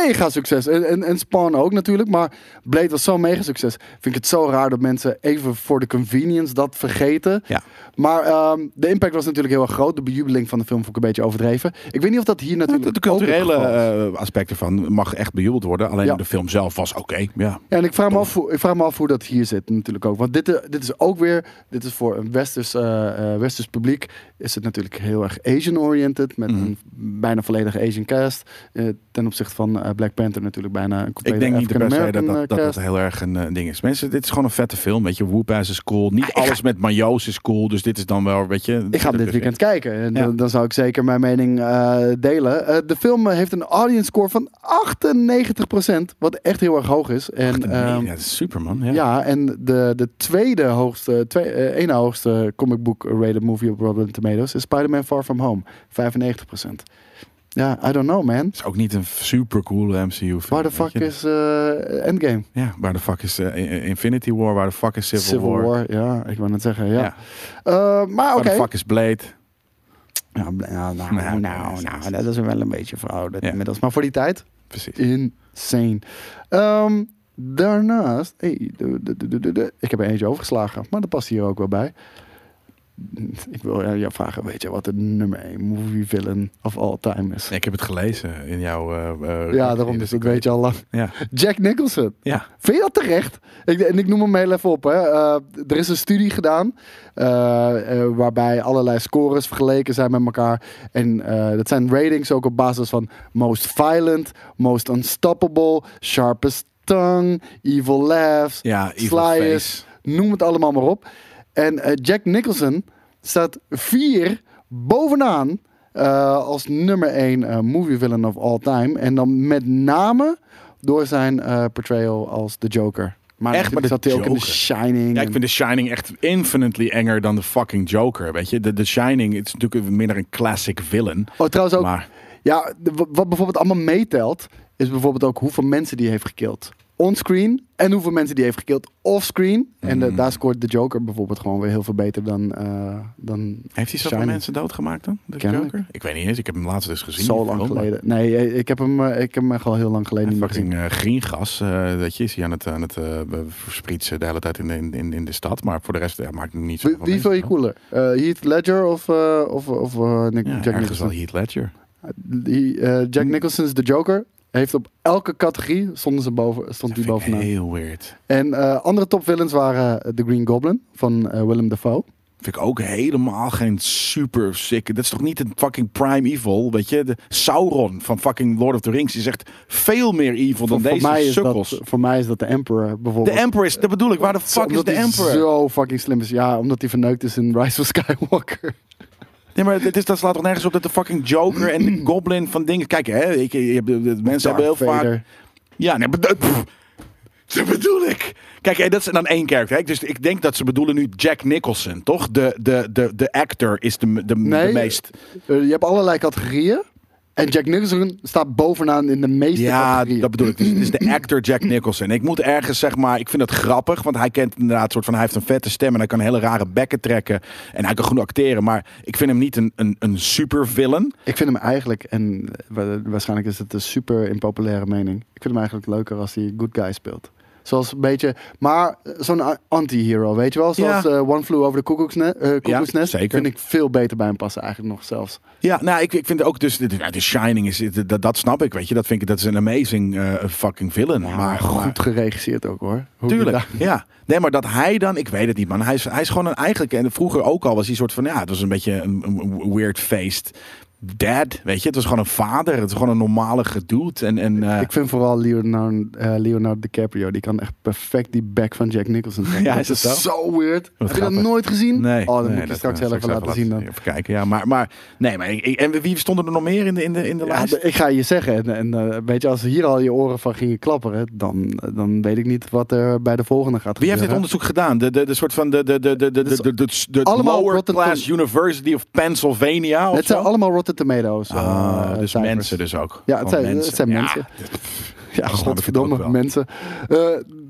Speaker 3: mega succes. En, en, en Spawn ook natuurlijk. Maar Blade was zo'n mega succes. Vind ik het zo raar dat mensen even voor de convenience dat vergeten.
Speaker 2: Ja.
Speaker 3: Maar ehm, de impact was natuurlijk heel erg groot. De bejubeling van de film vond ik een beetje overdreven. Ik weet niet of dat hier
Speaker 2: Ja,
Speaker 3: natuurlijk
Speaker 2: Nou, De, de
Speaker 3: ook het
Speaker 2: culturele
Speaker 3: geval is.
Speaker 2: eh, aspect ervan mag echt bejubeld worden. Alleen
Speaker 3: Ja.
Speaker 2: de film zelf was oké. Ja.
Speaker 3: Ja, en ik vraag, me af, hoe- ik vraag me af hoe dat hier zit natuurlijk ook. Want dit, eh, dit is ook weer, dit is voor een westers, eh, eh, westers publiek, is het natuurlijk heel erg Asian-oriented.
Speaker 2: Mhm.
Speaker 3: Met een bijna volledige Asian cast. Eh, ten opzichte van eh, Black Panther natuurlijk bijna een complete
Speaker 2: Ik denk niet per se dat
Speaker 3: African-American,
Speaker 2: dat, dat,
Speaker 3: eh,
Speaker 2: dat
Speaker 3: cast.
Speaker 2: heel erg een eh, ding is. Mensen, dit is gewoon een vette film. Weet je, Whoop-ass is cool. Niet alles met majo's is cool. Dus dit is dan wel, weet je...
Speaker 3: Ah, Ik ga hem dit weekend kijken. En
Speaker 2: Ja.
Speaker 3: dan, dan zou ik zeker mijn mening eh, delen. Eh, de film heeft een audience score van 98%. Wat echt heel erg hoog is.
Speaker 2: eh,
Speaker 3: En, ehm,
Speaker 2: ja, dat is super, man. Ja.
Speaker 3: Ja, en de, de tweede hoogste, twee, eh, ene hoogste comic book rated movie op Rotten Tomatoes is Spider-Man Far From Home. 95%. Ja, I don't know man.
Speaker 2: is ook niet een super cool MCU film.
Speaker 3: Waar de
Speaker 2: weet
Speaker 3: fuck
Speaker 2: je.
Speaker 3: is eh, Endgame?
Speaker 2: Ja, waar de fuck is eh, Infinity War? Waar de fuck is Civil, War?
Speaker 3: Ja, ik wou net zeggen, ja.
Speaker 2: Ja.
Speaker 3: Eh, maar
Speaker 2: Waar
Speaker 3: oké.
Speaker 2: de fuck is Blade?
Speaker 3: Nou, nou, nou,
Speaker 2: Nou,
Speaker 3: nou, nou,
Speaker 2: nou,
Speaker 3: dat is wel een beetje verouderd
Speaker 2: Ja.
Speaker 3: inmiddels. Maar voor die tijd,
Speaker 2: Precies.
Speaker 3: insane. Ehm, daarnaast, hey, de- de- de- de- de- de- ik heb er eentje overgeslagen, maar dat past hier ook wel bij. Ik wil aan jou vragen, weet je wat de nummer 1 movie villain of all time is?
Speaker 2: Ik heb het gelezen in jouw... eh, eh,
Speaker 3: Ja, daarom dus
Speaker 2: dus
Speaker 3: dat
Speaker 2: ik
Speaker 3: weet je al lang.
Speaker 2: Ja.
Speaker 3: Jack Nicholson.
Speaker 2: Ja.
Speaker 3: Vind je dat terecht? Ik, en ik noem hem heel even op. Hè. Eh, er is een studie gedaan eh, eh, waarbij allerlei scores vergeleken zijn met elkaar. En eh, dat zijn ratings ook op basis van most violent, most unstoppable, sharpest tongue, evil laughs,
Speaker 2: Ja, evil
Speaker 3: slyest, noem het allemaal maar op. En eh, Jack Nicholson staat vier bovenaan eh, als nummer één eh, movie villain of all time. En dan met name door zijn eh, portrayal als de Joker. Maar
Speaker 2: Echt? Maar
Speaker 3: natuurlijk
Speaker 2: de
Speaker 3: zat hij ook in The
Speaker 2: Joker?
Speaker 3: Shining.
Speaker 2: Ja,
Speaker 3: en-
Speaker 2: ik vind The Shining echt infinitely enger dan de fucking Joker, weet je. De, The Shining het is natuurlijk minder een classic villain.
Speaker 3: Oh, trouwens ook.
Speaker 2: Maar-
Speaker 3: Ja, de- wa- wat bijvoorbeeld allemaal meetelt, is bijvoorbeeld ook hoeveel mensen die heeft gekild. Onscreen en hoeveel mensen die heeft gekild offscreen. En
Speaker 2: Mm.
Speaker 3: eh, daar scoort de Joker bijvoorbeeld gewoon weer heel veel beter dan. eh, dan
Speaker 2: Heeft hij zoveel
Speaker 3: Shining.
Speaker 2: mensen doodgemaakt dan, de
Speaker 3: Kennelijk.
Speaker 2: Joker? Ik weet niet eens, ik heb hem laatst dus gezien.
Speaker 3: Zo
Speaker 2: die
Speaker 3: lang
Speaker 2: film, maar-
Speaker 3: geleden. Nee, eh, ik heb hem, eh, ik heb hem echt al heel lang geleden
Speaker 2: En
Speaker 3: niet meer gezien.
Speaker 2: fucking eh, griengas, eh, weet je, is hij aan het, aan het eh, versprietsen de hele tijd in, in, in, in de stad. Maar voor de rest ja, maakt het niet zo
Speaker 3: Wie, wie vind je cooler? Eh, Heath Ledger of, eh, of, of eh, Nick-
Speaker 2: Ja, ergens
Speaker 3: Jack
Speaker 2: wel Hm.
Speaker 3: Nicholson?
Speaker 2: Heath Ledger.
Speaker 3: Die, eh, Jack Nicholson's The Joker. Heeft op elke categorie stonden ze boven, stond
Speaker 2: Dat vind
Speaker 3: hij
Speaker 2: ik
Speaker 3: bovenaan.
Speaker 2: heel weird.
Speaker 3: En eh, andere topvillains waren eh, The Green Goblin van eh, Willem Dafoe.
Speaker 2: Vind ik ook helemaal geen super sick. Dat is toch niet een fucking prime evil, weet je? De Sauron van fucking Lord of the Rings is echt veel meer evil dan
Speaker 3: Voor-
Speaker 2: deze
Speaker 3: voor, mij is
Speaker 2: sukkels.
Speaker 3: dat, voor mij is dat de Emperor
Speaker 2: De
Speaker 3: bijvoorbeeld.
Speaker 2: Emperor is, dat bedoel ik, waar de fuck is
Speaker 3: Omdat
Speaker 2: de
Speaker 3: hij
Speaker 2: Emperor?
Speaker 3: Zo fucking slim is. Ja, omdat hij verneukt is in Rise of Skywalker.
Speaker 2: Nee, maar dit is, dat slaat toch nergens op dat de fucking Joker en de Goblin van dingen... Kijk, hè, ik, ik- ik- mensen hebben heel
Speaker 3: Darth Vader.
Speaker 2: vaak... Ja, nee, maar dat, pff, dat bedoel ik. Kijk, hè, dat is dan één character. Hè? Dus ik denk dat ze bedoelen nu Jack Nicholson, toch? De, de, de, de actor is de, de, de
Speaker 3: Nee.
Speaker 2: meest...
Speaker 3: Eh, je hebt allerlei categorieën. En Jack Nicholson staat bovenaan in de meeste
Speaker 2: Ja,
Speaker 3: categorieën.
Speaker 2: dat bedoel ik. Dus het is de actor Jack Nicholson. Ik moet ergens zeg maar, ik vind dat grappig, want hij kent inderdaad soort van, hij heeft een vette stem en hij kan hele rare bekken trekken en hij kan goed acteren, maar ik vind hem niet een, een, een super villain.
Speaker 3: Ik vind hem eigenlijk, en eh, wa- waarschijnlijk is het een super impopulaire mening. Ik vind hem eigenlijk leuker als hij good guy speelt. Zoals een beetje, maar eh, zo'n a- anti-hero, weet je wel? Zoals
Speaker 2: Ja.
Speaker 3: eh, One Flew Over the Cuckoo's Nest.
Speaker 2: zeker.
Speaker 3: Vind ik veel beter bij hem passen eigenlijk nog zelfs.
Speaker 2: Ja, nou, ik, ik vind ook dus, de, de Shining is, dat, dat snap ik, weet je, dat vind ik, dat is een amazing eh, fucking villain. maar
Speaker 3: Maar goed geregisseerd ook hoor. Hoe die
Speaker 2: Tuurlijk,
Speaker 3: daar-
Speaker 2: ja. Nee, maar dat hij dan, ik weet het niet, man. Hij is, hij is gewoon een eigenlijk, en vroeger ook al was hij soort van, ja, het was een beetje een, een weird feest. dad, weet je. Het was gewoon een vader. Het was gewoon een normale gedoet. En, en, eh,
Speaker 3: Ik vind vooral Leonardo, eh, Leonardo DiCaprio. Die kan echt perfect die back van Jack Nicholson trekken.
Speaker 2: Ja, is
Speaker 3: Dat
Speaker 2: het zo?
Speaker 3: weird. Heb je
Speaker 2: grappig.
Speaker 3: dat nooit gezien?
Speaker 2: Nee.
Speaker 3: Oh, dan
Speaker 2: nee,
Speaker 3: moet ik je straks
Speaker 2: gaan
Speaker 3: heel
Speaker 2: we
Speaker 3: even laten zien. Dan.
Speaker 2: Even kijken, ja. Maar, maar nee, maar ik- ik- en wie stonden er nog meer in de, in de, in de
Speaker 3: Ja,
Speaker 2: lijst?
Speaker 3: d- ik ga je zeggen, en, en eh, weet je, als hier al je oren van gingen klapperen, dan, eh, dan weet ik niet wat er bij de volgende gaat
Speaker 2: Wie heeft dit
Speaker 3: gebeuren.
Speaker 2: onderzoek gedaan? De, de, de soort van de, de, de, de, de, de,
Speaker 3: is
Speaker 2: de, de, de
Speaker 3: allemaal
Speaker 2: Lower
Speaker 3: Rotten
Speaker 2: Class
Speaker 3: Tom-
Speaker 2: University of Pennsylvania of
Speaker 3: Het zijn
Speaker 2: zo?
Speaker 3: allemaal Rotten Tomatoes. eh,
Speaker 2: Ah, dus
Speaker 3: cijfers.
Speaker 2: mensen dus ook.
Speaker 3: Ja,
Speaker 2: Gewoon
Speaker 3: het zijn mensen. Het zijn
Speaker 2: Ja.
Speaker 3: mensen. Ja,
Speaker 2: ik het ook
Speaker 3: godverdomme,
Speaker 2: wel.
Speaker 3: mensen. Eh,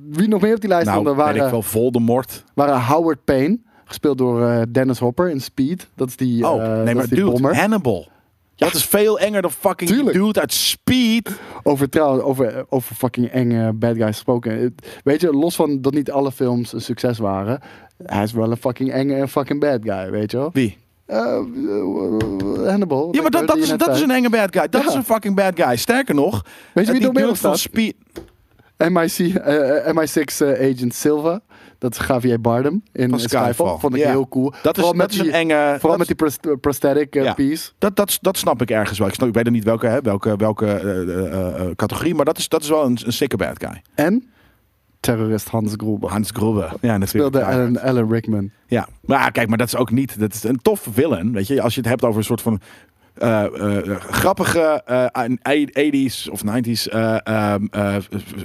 Speaker 3: wie nog meer op die lijst
Speaker 2: Nou,
Speaker 3: stond,
Speaker 2: ben ik
Speaker 3: waren,
Speaker 2: wel Voldemort.
Speaker 3: waren Howard Payne, gespeeld door eh, Dennis Hopper in Speed. Dat is die, eh
Speaker 2: Oh, nee,
Speaker 3: dat
Speaker 2: maar
Speaker 3: is die
Speaker 2: dude,
Speaker 3: bommer.
Speaker 2: Hannibal. Dat is veel enger dan fucking die
Speaker 3: Tuurlijk.
Speaker 2: dude uit Speed.
Speaker 3: Over, trouwens, over, over fucking enge bad guys gesproken. Het- Weet je, los van dat niet alle films een succes waren. Hij is wel een fucking enge en fucking bad guy, weet je wel.
Speaker 2: Wie?
Speaker 3: Eh, eh, Hannibal.
Speaker 2: Ja, maar dat, dat,
Speaker 3: Die
Speaker 2: is,
Speaker 3: je net
Speaker 2: dat is
Speaker 3: zei.
Speaker 2: een enge bad guy. Dat
Speaker 3: Ja.
Speaker 2: is een fucking bad guy. Sterker nog,
Speaker 3: wie
Speaker 2: eh,
Speaker 3: er
Speaker 2: die
Speaker 3: nog meer
Speaker 2: dude
Speaker 3: op
Speaker 2: van
Speaker 3: staat?
Speaker 2: Speed... e-
Speaker 3: MIC, eh, eh, MI6 eh, agent Silva. Dat is Javier Bardem in
Speaker 2: Van
Speaker 3: eh, Skyfall.
Speaker 2: Skyfall.
Speaker 3: Vond ik
Speaker 2: Ja.
Speaker 3: heel cool.
Speaker 2: Dat is,
Speaker 3: Vooral
Speaker 2: dat is een enge... dat
Speaker 3: Vooral met die pros- eh, prosthetic eh,
Speaker 2: Ja.
Speaker 3: piece.
Speaker 2: Dat, dat, dat snap ik ergens wel. Ik, snap, ik weet er niet welke, hè, welke, welke eh, eh, eh, categorie, maar dat is, dat is wel een, een sikke bad guy.
Speaker 3: En terrorist Hans Gruber.
Speaker 2: Hans Grubbe. Ja, natuurlijk.
Speaker 3: speelde
Speaker 2: Ja, ja.
Speaker 3: Alan, Alan Rickman.
Speaker 2: Ja, maar ja, kijk, maar dat is ook niet. Dat is een tof villain. Weet je, als je het hebt over een soort van. eh, eh, grappige eh 80s of 90s eh, ehm, eh,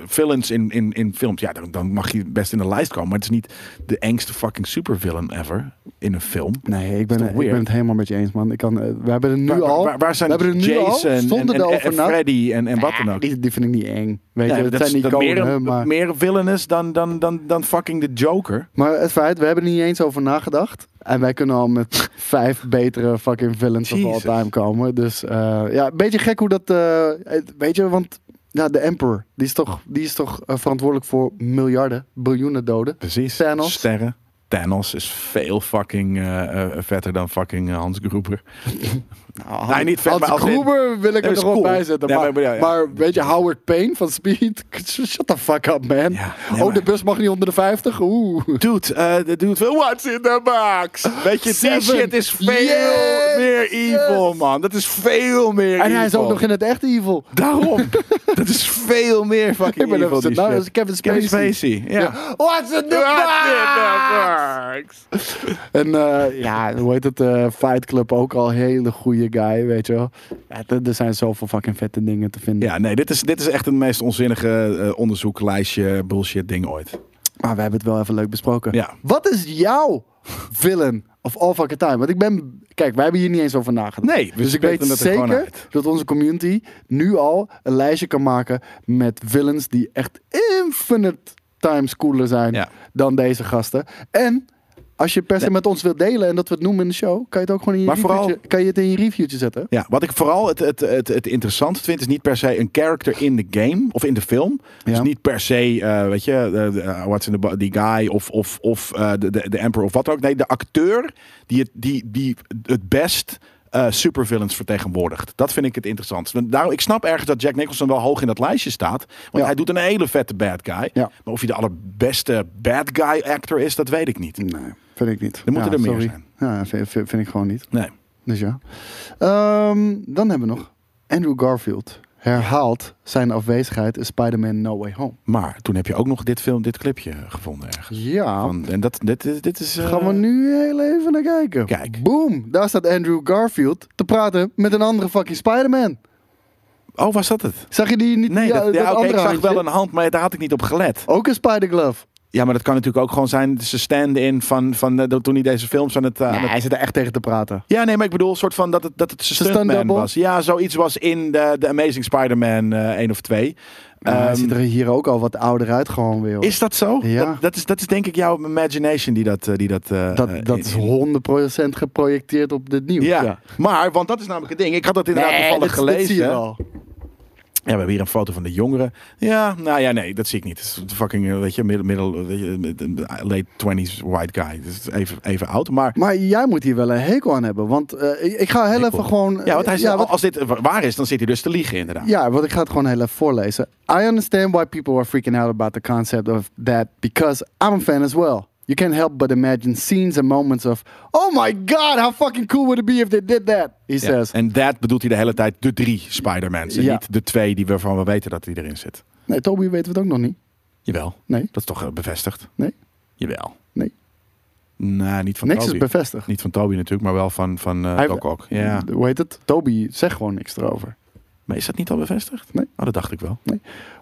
Speaker 2: villains in, in, in films. Ja, dan, dan mag je best in de lijst komen. Maar het is niet de engste fucking supervillain ever in een film.
Speaker 3: Nee, ik
Speaker 2: Is
Speaker 3: ben,
Speaker 2: toch
Speaker 3: ik
Speaker 2: weird?
Speaker 3: ben het helemaal met je eens, man. Ik kan, eh, we hebben er nu
Speaker 2: Waar- waar-
Speaker 3: al...
Speaker 2: waar, waar zijn
Speaker 3: we hebben er nu al,
Speaker 2: Jason en, en-
Speaker 3: zonder
Speaker 2: en-
Speaker 3: erover
Speaker 2: en
Speaker 3: na-
Speaker 2: Freddy en, en wat dan
Speaker 3: Ah,
Speaker 2: ook?
Speaker 3: Die, die vind ik niet eng. nou? Weet
Speaker 2: Ja,
Speaker 3: je,
Speaker 2: dat
Speaker 3: dat zijn
Speaker 2: is
Speaker 3: niet
Speaker 2: dat meer,
Speaker 3: koningen,
Speaker 2: een-
Speaker 3: maar...
Speaker 2: meer villainous dan, dan, dan, dan fucking de Joker.
Speaker 3: Maar het feit, we hebben er niet eens over nagedacht. En wij kunnen al met vijf betere fucking villains
Speaker 2: Jesus.
Speaker 3: of all time komen. Dus eh, ja, een beetje gek hoe dat... eh, het- weet je, want ja, de Emperor, die is toch, die is toch eh, verantwoordelijk voor miljarden, biljoenen doden.
Speaker 2: Precies.
Speaker 3: Thanos.
Speaker 2: Sterren. Thanos is veel fucking eh, eh, vetter dan fucking eh, Hans Gruber.
Speaker 3: Nou,
Speaker 2: Nee, niet vet,
Speaker 3: Hans
Speaker 2: maar als in-
Speaker 3: Gruber wil ik
Speaker 2: Nee,
Speaker 3: er
Speaker 2: is
Speaker 3: nog wel
Speaker 2: cool.
Speaker 3: bij zetten.
Speaker 2: Nee,
Speaker 3: maar,
Speaker 2: maar-
Speaker 3: maar,
Speaker 2: ja, ja.
Speaker 3: weet je, Howard Payne van Speed, shut the fuck up, man.
Speaker 2: Ja, nee,
Speaker 3: oh,
Speaker 2: maar-
Speaker 3: de bus mag niet onder de 50? Oeh.
Speaker 2: Dude, eh, de dude van What's in the box? Weet je, die
Speaker 3: Seven.
Speaker 2: shit is veel
Speaker 3: Yes,
Speaker 2: meer evil,
Speaker 3: yes.
Speaker 2: man. Dat is veel meer
Speaker 3: En hij is ook nog in het echte evil.
Speaker 2: Daarom. dat is veel meer fucking
Speaker 3: Ik ben
Speaker 2: evil,
Speaker 3: even
Speaker 2: die
Speaker 3: nou,
Speaker 2: shit.
Speaker 3: dat is Kevin Spacey.
Speaker 2: Kevin Spacey, ja.
Speaker 3: What's in the
Speaker 2: What's in the box?
Speaker 3: En eh, ja, hoe heet het? eh, Fight Club ook al hele goede guy, weet je wel. Ja, er- er zijn zoveel fucking vette dingen te vinden.
Speaker 2: Ja, nee, dit is, dit is echt het meest onzinnige eh, onderzoeklijstje bullshit ding ooit.
Speaker 3: Maar we hebben het wel even leuk besproken.
Speaker 2: Ja.
Speaker 3: Wat is jouw villain of all fucking time? Want ik ben... Kijk, wij hebben hier niet eens over nagedacht.
Speaker 2: Nee, we
Speaker 3: dus ik
Speaker 2: spitten
Speaker 3: weet
Speaker 2: het er gewoon
Speaker 3: zeker
Speaker 2: uit.
Speaker 3: dat onze community nu al een lijstje kan maken met villains die echt infinite times cooler zijn
Speaker 2: Ja.
Speaker 3: dan deze gasten. En... Als je per se met ons wilt delen en dat we het noemen in de show, kan je het ook gewoon in je,
Speaker 2: Maar vooral-
Speaker 3: reviewtje- kan je, het in je reviewtje zetten.
Speaker 2: Ja, wat ik vooral het, het, het, het interessant vind, is niet per se een character in de game of in de film. Dus
Speaker 3: Ja.
Speaker 2: niet per se, eh, weet je, eh, de, eh, what's in the bo- die guy of, of, of eh, de, de, de emperor of wat dan ook. Nee, de acteur die het, die, die het best eh, supervillains vertegenwoordigt. Dat vind ik het interessant. Daarom, ik snap ergens dat Jack Nicholson wel hoog in dat lijstje staat. Want
Speaker 3: Ja.
Speaker 2: hij doet een hele vette bad guy.
Speaker 3: Ja.
Speaker 2: Maar of hij de allerbeste bad guy actor is, dat weet ik niet.
Speaker 3: Nee, vind ik niet.
Speaker 2: Er moeten
Speaker 3: Ja,
Speaker 2: er meer
Speaker 3: sorry.
Speaker 2: zijn.
Speaker 3: Ja, vind, vind- vind ik gewoon niet.
Speaker 2: Nee.
Speaker 3: Dus ja. Ehm, dan hebben we nog Andrew Garfield. Herhaalt zijn afwezigheid in Spider-Man No Way Home.
Speaker 2: Maar toen heb je ook nog dit film, dit clipje gevonden ergens.
Speaker 3: Ja.
Speaker 2: Van- en dat, dit, is- dit is... eh,
Speaker 3: Oh. Gaan we nu heel even naar kijken.
Speaker 2: Kijk.
Speaker 3: Boom. Daar staat Andrew Garfield te praten met een andere fucking Spider-Man.
Speaker 2: Oh, was dat het?
Speaker 3: Zag je die niet?
Speaker 2: Nee,
Speaker 3: ja,
Speaker 2: dat, ja, oké, ik
Speaker 3: andere
Speaker 2: zag
Speaker 3: handje?
Speaker 2: wel een hand, maar daar had ik niet op gelet.
Speaker 3: Ook een Spider-Glove.
Speaker 2: Ja, maar dat kan natuurlijk ook gewoon zijn. Ze stand-in van, van eh, toen hij deze films aan het... eh, aan
Speaker 3: Nee,
Speaker 2: het-
Speaker 3: hij zit er echt tegen te praten.
Speaker 2: Ja, nee, maar ik bedoel, een soort van dat het, dat het zijn
Speaker 3: Zijn
Speaker 2: stuntman
Speaker 3: stunt-double?
Speaker 2: was. Ja, zoiets was in de, de Amazing Spider-Man eh 1 of 2.
Speaker 3: Maar hij
Speaker 2: Ehm,
Speaker 3: ziet er hier ook al wat ouder uit gewoon weer. hoor.
Speaker 2: is dat zo?
Speaker 3: Ja.
Speaker 2: Dat, dat is, dat is denk ik jouw imagination die dat... eh, die dat, eh, eh,
Speaker 3: dat, dat is 100%
Speaker 2: in-
Speaker 3: geprojecteerd op dit nieuws.
Speaker 2: ja.
Speaker 3: ja.
Speaker 2: maar, want dat is namelijk het ding. Ik had dat inderdaad toevallig
Speaker 3: dit-
Speaker 2: gelezen.
Speaker 3: dit zie je wel.
Speaker 2: Ja, we hebben hier een foto van de jongeren. Ja, nou ja, nee, dat zie ik niet. Het is fucking, eh, weet je, middel, middel, weet je, late 20s white guy. Dus even, even oud, maar...
Speaker 3: Maar jij moet hier wel een hekel aan hebben. Want eh, ik- ik ga heel even gewoon.
Speaker 2: Ja, want hij
Speaker 3: ja,
Speaker 2: zegt,
Speaker 3: wat,
Speaker 2: als dit eh, waar is, dan zit hij dus te liegen inderdaad.
Speaker 3: ja, want ik ga het gewoon heel even voorlezen. I understand why people are freaking out about the concept of that because I'm a fan as well. You can't help but imagine scenes and moments of, oh my god, how fucking cool would it be if they did that? He
Speaker 2: Ja.
Speaker 3: says.
Speaker 2: En dat bedoelt hij de hele tijd de drie Spider-Mans. En
Speaker 3: Ja.
Speaker 2: niet de twee die we van we weten dat die erin zit.
Speaker 3: Nee, Toby weten we het ook nog niet.
Speaker 2: Jawel.
Speaker 3: Nee.
Speaker 2: Dat is toch eh, bevestigd?
Speaker 3: Nee.
Speaker 2: Jawel.
Speaker 3: Nee.
Speaker 2: Nou, niet van
Speaker 3: niks
Speaker 2: Toby.
Speaker 3: is bevestigd.
Speaker 2: Niet van Toby natuurlijk, maar wel van, van eh
Speaker 3: Hij-
Speaker 2: Doc Ock. Ja.
Speaker 3: Hoe heet het? Toby zegt gewoon niks erover.
Speaker 2: Maar is dat niet al bevestigd?
Speaker 3: Nee.
Speaker 2: Oh, dat dacht ik wel.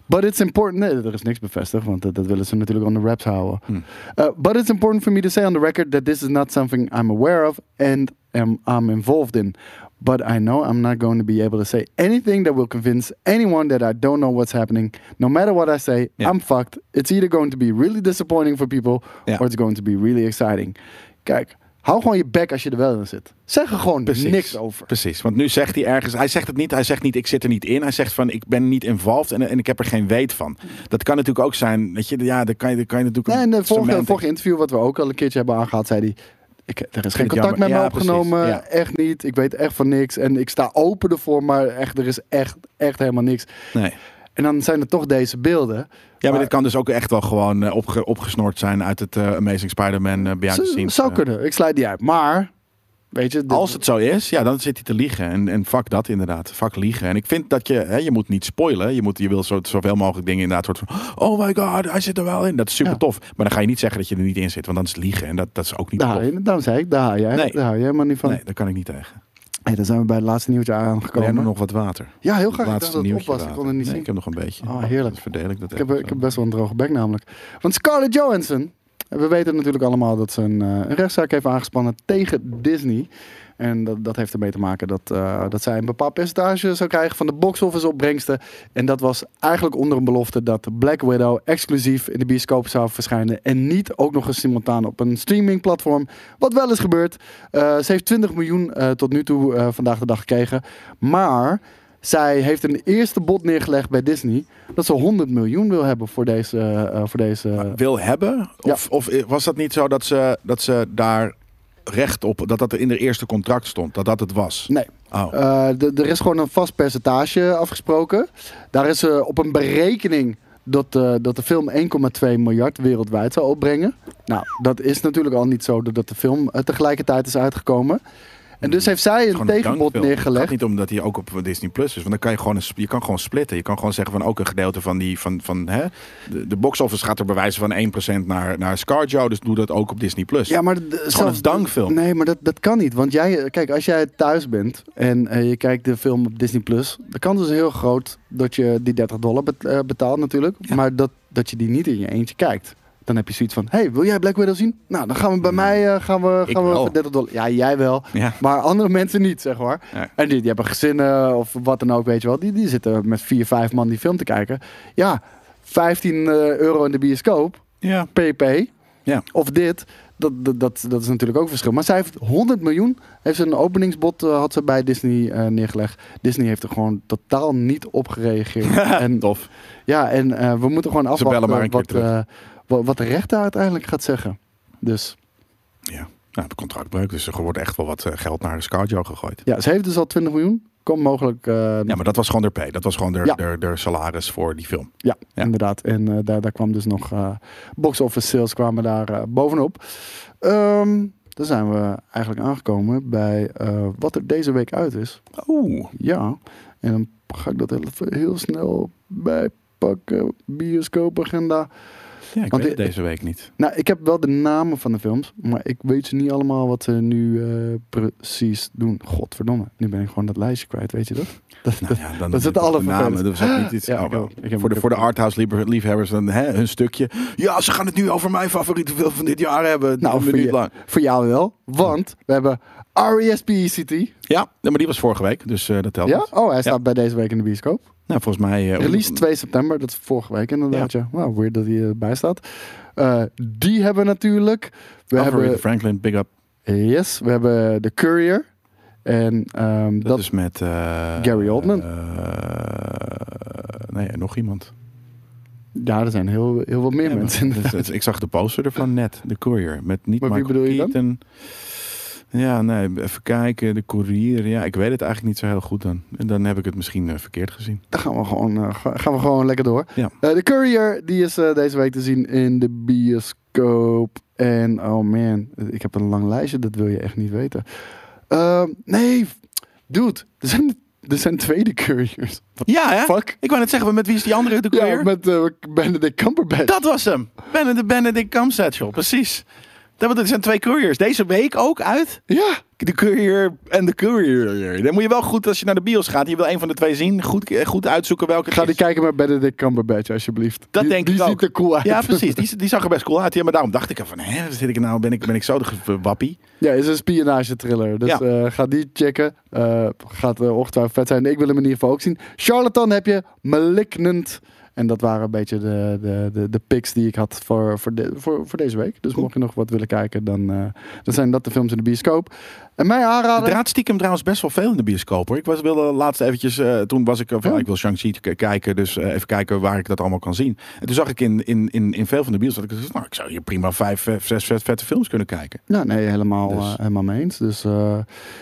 Speaker 3: But it's important. Nee, er is niks bevestigd, want dat, dat willen ze natuurlijk on the wraps houden.
Speaker 2: Hmm.
Speaker 3: Uh, but it's important for me to say on the record that this is not something I'm aware of and am, I'm involved in. But I know I'm not going to be able to say anything that will convince anyone that I don't know what's happening. No matter what I say,
Speaker 2: Ja.
Speaker 3: I'm fucked. It's either going to be really disappointing for people
Speaker 2: Ja.
Speaker 3: or it's going to be really exciting. Kijk, hou gewoon je bek als je er wel in zit. Zeg er gewoon
Speaker 2: Precies.
Speaker 3: niks over.
Speaker 2: Precies, want nu zegt hij ergens, hij zegt het niet, hij zegt niet ik zit er niet in. Hij zegt van ik ben niet involved en, en ik heb er geen weet van. Dat kan natuurlijk ook zijn, weet je, ja, dan kan je, dan kan je natuurlijk...
Speaker 3: Nee, in het vorige,
Speaker 2: semantics-
Speaker 3: vorige interview wat we ook al een keertje hebben aangehaald, zei hij... Ik, er is geen
Speaker 2: het jammer.
Speaker 3: contact met me
Speaker 2: Ja,
Speaker 3: opgenomen,
Speaker 2: precies, ja.
Speaker 3: echt niet. Ik weet echt van niks en ik sta open ervoor, maar echt, er is echt, echt helemaal niks.
Speaker 2: Nee.
Speaker 3: En dan zijn er toch deze beelden.
Speaker 2: Ja, maar,
Speaker 3: Maar-
Speaker 2: dit kan dus ook echt wel gewoon eh, opge- opgesnort zijn uit het eh, Amazing Spider-Man eh Behind the
Speaker 3: Zo-
Speaker 2: Scenes.
Speaker 3: zou
Speaker 2: eh.
Speaker 3: kunnen, ik sluit die uit. Maar, weet je... dit-
Speaker 2: Als het zo is, ja, dan zit hij te liegen. En, en fuck dat inderdaad. Fuck liegen. En ik vind dat je, hè, je moet niet spoilen. Je, moet, je wil zo, zoveel mogelijk dingen inderdaad soort van, oh my god, hij zit er wel in. Dat is super
Speaker 3: Ja.
Speaker 2: tof. Maar dan ga je niet zeggen dat je er niet in zit, want dan is het liegen. En dat, dat is ook niet
Speaker 3: Daar,
Speaker 2: tof.
Speaker 3: hou je- daarom zei ik, daar hou jij,
Speaker 2: Nee.
Speaker 3: daar hou jij helemaal niet van.
Speaker 2: Nee, daar kan ik niet tegen.
Speaker 3: Hey, dan zijn we bij het laatste nieuwtje
Speaker 2: Kan jij
Speaker 3: aangekomen.
Speaker 2: nog nog wat water?
Speaker 3: Ja, heel graag. Ik dacht
Speaker 2: Laatste
Speaker 3: dat het op
Speaker 2: nieuwtje.
Speaker 3: was, ik kon
Speaker 2: water.
Speaker 3: het niet
Speaker 2: Nee,
Speaker 3: zien.
Speaker 2: ik heb nog een beetje.
Speaker 3: Oh, heerlijk.
Speaker 2: Dus verdeel ik dat
Speaker 3: Ik heb, eh,
Speaker 2: even zo.
Speaker 3: ik heb best wel een droge bek namelijk. Want Scarlett Johansson, eh, we weten natuurlijk allemaal dat ze een, eh, een rechtszaak heeft aangespannen tegen Disney. En dat, dat heeft ermee te maken dat, eh, dat zij een bepaald percentage zou krijgen van de box-office opbrengsten. En dat was eigenlijk onder een belofte dat Black Widow exclusief in de bioscoop zou verschijnen. En niet ook nog eens simultaan op een streamingplatform. Wat wel is gebeurd. Eh, ze heeft 20 miljoen eh, tot nu toe eh, vandaag de dag gekregen. Maar zij heeft een eerste bod neergelegd bij Disney. Dat ze 100 miljoen wil hebben voor deze. eh, voor deze
Speaker 2: Wil hebben? Of, of was dat niet zo dat ze, dat ze daar recht op, dat dat er in de eerste contract stond, dat dat het was?
Speaker 3: nee.
Speaker 2: Oh.
Speaker 3: Eh, d- er is gewoon een vast percentage afgesproken. Daar is eh, op een berekening dat, eh, dat de film 1,2 miljard wereldwijd zou opbrengen. Nou, dat is natuurlijk al niet zo doordat de film eh, tegelijkertijd is uitgekomen. En dus heeft zij een
Speaker 2: Hmm. Gewoon een
Speaker 3: tegenbod
Speaker 2: dankfilm. Het
Speaker 3: neergelegd.
Speaker 2: gaat niet omdat hij ook op Disney Plus is. Want dan kan je gewoon, een, sp- je kan gewoon splitten. Je kan gewoon zeggen van ook een gedeelte van die... Van, van, hè, de, de box office gaat er bij wijze van 1% naar, naar Scarjo. Dus doe dat ook op Disney Plus.
Speaker 3: Ja, maar d- zelfs-
Speaker 2: een dankfilm.
Speaker 3: Nee, maar dat, dat kan niet. Want jij, eh, kijk, als jij thuis bent en eh, je kijkt de film op Disney Plus, de kans is heel groot dat je die 30 dollar bet- eh, betaalt natuurlijk. Maar dat, dat je die niet in je eentje kijkt. Dan heb je zoiets van: hey, wil jij Black Widow zien? Nou, dan gaan we bij mij eh, gaan we,
Speaker 2: Mm. Ik
Speaker 3: gaan we
Speaker 2: wel.
Speaker 3: voor 30 dollar. Ja, jij wel.
Speaker 2: Ja.
Speaker 3: Maar andere mensen niet, zeg maar.
Speaker 2: Ja.
Speaker 3: En die, die hebben gezinnen of wat dan ook, weet je wel. Die, die zitten met vier, vijf man die film te kijken. Ja, 15 euro in de bioscoop.
Speaker 2: Ja.
Speaker 3: PP.
Speaker 2: Ja.
Speaker 3: Of dit. Dat, dat, dat, dat is natuurlijk ook een verschil. Maar zij heeft 100 miljoen. Heeft ze een openingsbod eh, had ze bij Disney eh, neergelegd. Disney heeft er gewoon totaal niet op gereageerd. en,
Speaker 2: Tof.
Speaker 3: ja, en eh, we moeten gewoon afwachten
Speaker 2: bellen maar een keer
Speaker 3: wat,
Speaker 2: terug.
Speaker 3: eh, wa- wat de rechter uiteindelijk gaat zeggen. Dus
Speaker 2: Ja. Nou, de contractbreuk. Dus er wordt echt wel wat eh, geld naar Scarjo gegooid.
Speaker 3: ja, ze heeft dus al 20 miljoen. Komt mogelijk. eh,
Speaker 2: Ja, maar dat was gewoon de pay. Dat was gewoon de,
Speaker 3: Ja.
Speaker 2: de, de salaris voor die film.
Speaker 3: Ja,
Speaker 2: Ja.
Speaker 3: inderdaad. En eh, daar, daar kwam dus nog eh box office sales kwamen daar eh, bovenop. Ehm, dan zijn we eigenlijk aangekomen bij eh, wat er deze week uit is.
Speaker 2: Oeh.
Speaker 3: Ja, en dan ga ik dat even heel snel bijpakken. Bioscoopagenda.
Speaker 2: Ja, ik
Speaker 3: Want
Speaker 2: weet het
Speaker 3: i-
Speaker 2: deze week niet.
Speaker 3: Nou, ik heb wel de namen van de films, maar ik weet ze niet allemaal wat ze nu eh, precies doen. Godverdomme, nu ben ik gewoon dat lijstje kwijt, weet je dat? Dat,
Speaker 2: Nou ja, dan
Speaker 3: dat is het
Speaker 2: de
Speaker 3: allervervelendste.
Speaker 2: namen, Dat was ook niet iets.
Speaker 3: Ja,
Speaker 2: oh,
Speaker 3: ik
Speaker 2: wel.
Speaker 3: ook. Ik
Speaker 2: voor,
Speaker 3: heb- ik
Speaker 2: de,
Speaker 3: heb-
Speaker 2: voor de arthouse liefhe- liefhebbers dan, hè, hun stukje. Ja, ze gaan het nu over mijn favoriete film van dit jaar hebben.
Speaker 3: nou,
Speaker 2: Een
Speaker 3: voor,
Speaker 2: minuut
Speaker 3: je-
Speaker 2: lang.
Speaker 3: voor jou wel, want we hebben E RESPECT.
Speaker 2: Ja, nee, maar die was vorige week, dus eh, dat telt
Speaker 3: Ja?
Speaker 2: niet.
Speaker 3: Oh, hij staat bij deze week in de bioscoop.
Speaker 2: Nou, volgens mij... eh,
Speaker 3: Release
Speaker 2: om-
Speaker 3: 2 september, dat is vorige week inderdaad. Ja. Nou, weird dat hij erbij staat. Eh, die hebben we natuurlijk. We
Speaker 2: Alfred
Speaker 3: hebben,
Speaker 2: Franklin, Big Up.
Speaker 3: yes, we hebben The Courier. En ehm,
Speaker 2: Dat,
Speaker 3: dat,
Speaker 2: is met... eh,
Speaker 3: Gary Oldman.
Speaker 2: eh, nee, nog iemand.
Speaker 3: ja, er zijn heel, heel wat meer
Speaker 2: Ja,
Speaker 3: mensen.
Speaker 2: maar- dat is- ik zag de poster ervan net, de courier. Met niet
Speaker 3: Maar wie
Speaker 2: Michael
Speaker 3: bedoel je dan?
Speaker 2: Keaton. Ja, nee, even kijken. De courier. Ja, ik weet het eigenlijk niet zo heel goed dan. En dan heb ik het misschien eh, verkeerd gezien.
Speaker 3: Dan gaan we gewoon, eh, ga- gaan we gewoon lekker door.
Speaker 2: Ja.
Speaker 3: Eh, de Courier die is eh, deze week te zien in de bioscoop. goedkoop. En oh man, ik heb een lang lijstje, dat wil je echt niet weten. Ehm, nee, dude, er zijn, er zijn tweede couriers.
Speaker 2: Ja, hè?
Speaker 3: Fuck.
Speaker 2: Ik wou net zeggen, maar met wie is die andere de courier?
Speaker 3: Ja, met eh, Benedict Cumberbatch.
Speaker 2: Dat was hem. Benedict, Benedict Cumberbatch, precies. Dat er zijn twee couriers. Deze week ook uit.
Speaker 3: Ja,
Speaker 2: De courier en de courier. Dan moet je wel goed, als je naar de bios gaat, je wil een van de twee zien, goed, eh, goed uitzoeken welke
Speaker 3: ga
Speaker 2: het
Speaker 3: die
Speaker 2: is.
Speaker 3: kijken met Benedict Cumberbatch, alsjeblieft.
Speaker 2: Dat
Speaker 3: die,
Speaker 2: denk
Speaker 3: die
Speaker 2: ik ook.
Speaker 3: ziet er cool uit.
Speaker 2: Ja, precies. Die, die zag er best cool uit. Ja, maar daarom dacht ik even, hè, zit ik nou, ben ik, ben ik zo de ge- wappie?
Speaker 3: Ja, is een spionage-thriller. Dus
Speaker 2: Ja.
Speaker 3: eh, ga die checken. Eh, gaat eh, ongetwijfeld vet zijn. Ik wil hem in ieder geval ook zien. Charlatan heb je. Malignant. En dat waren een beetje de, de, de, de picks die ik had voor, voor, de, voor, voor deze week. Dus mocht je nog wat willen kijken, dan, eh, dan zijn dat de films in de bioscoop. En mijn aanrader...
Speaker 2: Er raadt stiekem trouwens best wel veel in de bioscoop hoor. Ik was, wilde laatst eventjes, eh, toen was ik eh, van,
Speaker 3: Ja.
Speaker 2: ik wil Shang-Chi k- kijken, dus eh, even kijken waar ik dat allemaal kan zien. En toen zag ik in, in, in, in veel van de bios, dat ik dacht, nou, ik zou hier prima vijf, eh, zes vet- vette films kunnen kijken.
Speaker 3: Ja, Nou, nee, helemaal,
Speaker 2: Dus.
Speaker 3: eh, helemaal mee eens. Dus eh,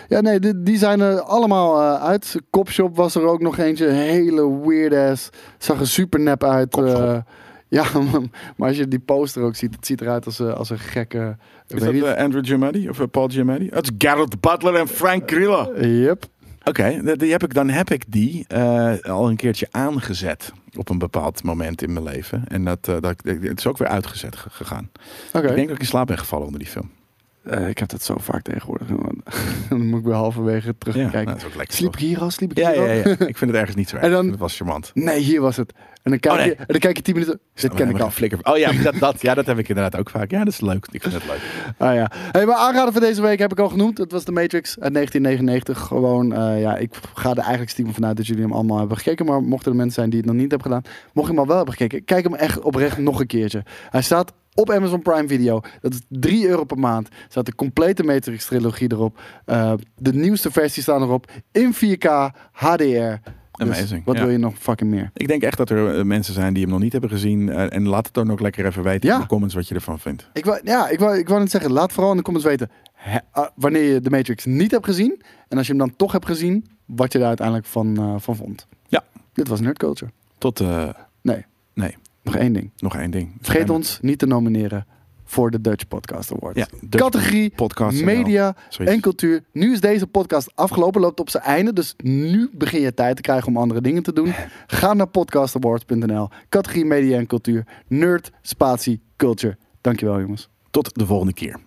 Speaker 3: ja, nee, die, die zijn er allemaal eh, uit. Kopshop was er ook nog eentje. Een Hele weird ass. Zag er super nep uit.
Speaker 2: Kopshop.
Speaker 3: eh, ja, maar als je die poster ook ziet, het ziet eruit als, eh, als een gekke. ik
Speaker 2: Is
Speaker 3: weet
Speaker 2: dat
Speaker 3: niet.
Speaker 2: eh, Andrew Giamatti of eh, Paul Giamatti? Het is Garrett Butler en Frank Grillo.
Speaker 3: Yep.
Speaker 2: Oké, die- die heb ik, dan heb ik die eh, al een keertje aangezet op een bepaald moment in mijn leven. En dat, eh, dat, het is ook weer uitgezet ge- gegaan.
Speaker 3: Oké.
Speaker 2: Ik denk dat ik in slaap ben gevallen onder die film.
Speaker 3: Eh, ik heb dat zo vaak tegenwoordig. man. Dan moet ik weer halverwege
Speaker 2: Ja,
Speaker 3: terugkijken.
Speaker 2: nou, dat is ook lekker.
Speaker 3: sliep ik
Speaker 2: toch?
Speaker 3: hier al? Sliep ik
Speaker 2: Ja,
Speaker 3: hier
Speaker 2: ja,
Speaker 3: al?
Speaker 2: ja. Ik vind het ergens niet zo erg.
Speaker 3: En dan-
Speaker 2: Ik vind Het was charmant.
Speaker 3: Nee, hier was het. En dan kijk,
Speaker 2: Oh, nee.
Speaker 3: je, en dan kijk je tien minuten. Dit ken ik al.
Speaker 2: Flikker. Oh ja, dat, dat, ja, dat heb ik inderdaad ook vaak. Ja, dat is leuk. Ik vind het leuk.
Speaker 3: Ah ja. Hey, maar aanrader van deze week heb ik al genoemd. Het was The Matrix uit 1999. Gewoon, eh, ja, ik ga er eigenlijk stiekem vanuit dat jullie hem allemaal hebben gekeken. Maar mochten er mensen zijn die het nog niet hebben gedaan, mocht je hem al wel hebben gekeken, kijk hem echt oprecht nog een keertje. Hij staat op Amazon Prime Video. Dat is 3 euro per maand. Er staat de complete Matrix trilogie erop. Eh, de nieuwste versie staan erop. In 4K HDR. Dus
Speaker 2: Amazing,
Speaker 3: wat
Speaker 2: ja.
Speaker 3: wil je nog fucking meer?
Speaker 2: Ik denk echt dat er eh, mensen zijn die hem nog niet hebben gezien. eh, en laat het dan ook lekker even weten
Speaker 3: Ja.
Speaker 2: in de comments wat je ervan vindt.
Speaker 3: Ik wou, ja, ik wou, ik wou net zeggen, laat vooral in de comments weten hè, ah, wanneer je de Matrix niet hebt gezien. En als je hem dan toch hebt gezien, wat je daar uiteindelijk van, eh, van vond.
Speaker 2: Ja.
Speaker 3: Dit was Nerd Culture.
Speaker 2: Tot, eh,
Speaker 3: Nee,
Speaker 2: nee,
Speaker 3: nog één ding.
Speaker 2: nog één ding.
Speaker 3: Vergeet ons niet te nomineren voor de Dutch Podcast Award.
Speaker 2: Ja, Dutch
Speaker 3: Categorie
Speaker 2: Podcast
Speaker 3: media
Speaker 2: Zoiets.
Speaker 3: en cultuur. Nu is deze podcast afgelopen, loopt op zijn einde. Dus nu begin je tijd te krijgen om andere dingen te doen. Ga naar podcastawards.nl. Categorie media en cultuur. Nerd, spatie, culture. Dankjewel jongens.
Speaker 2: Tot de volgende keer.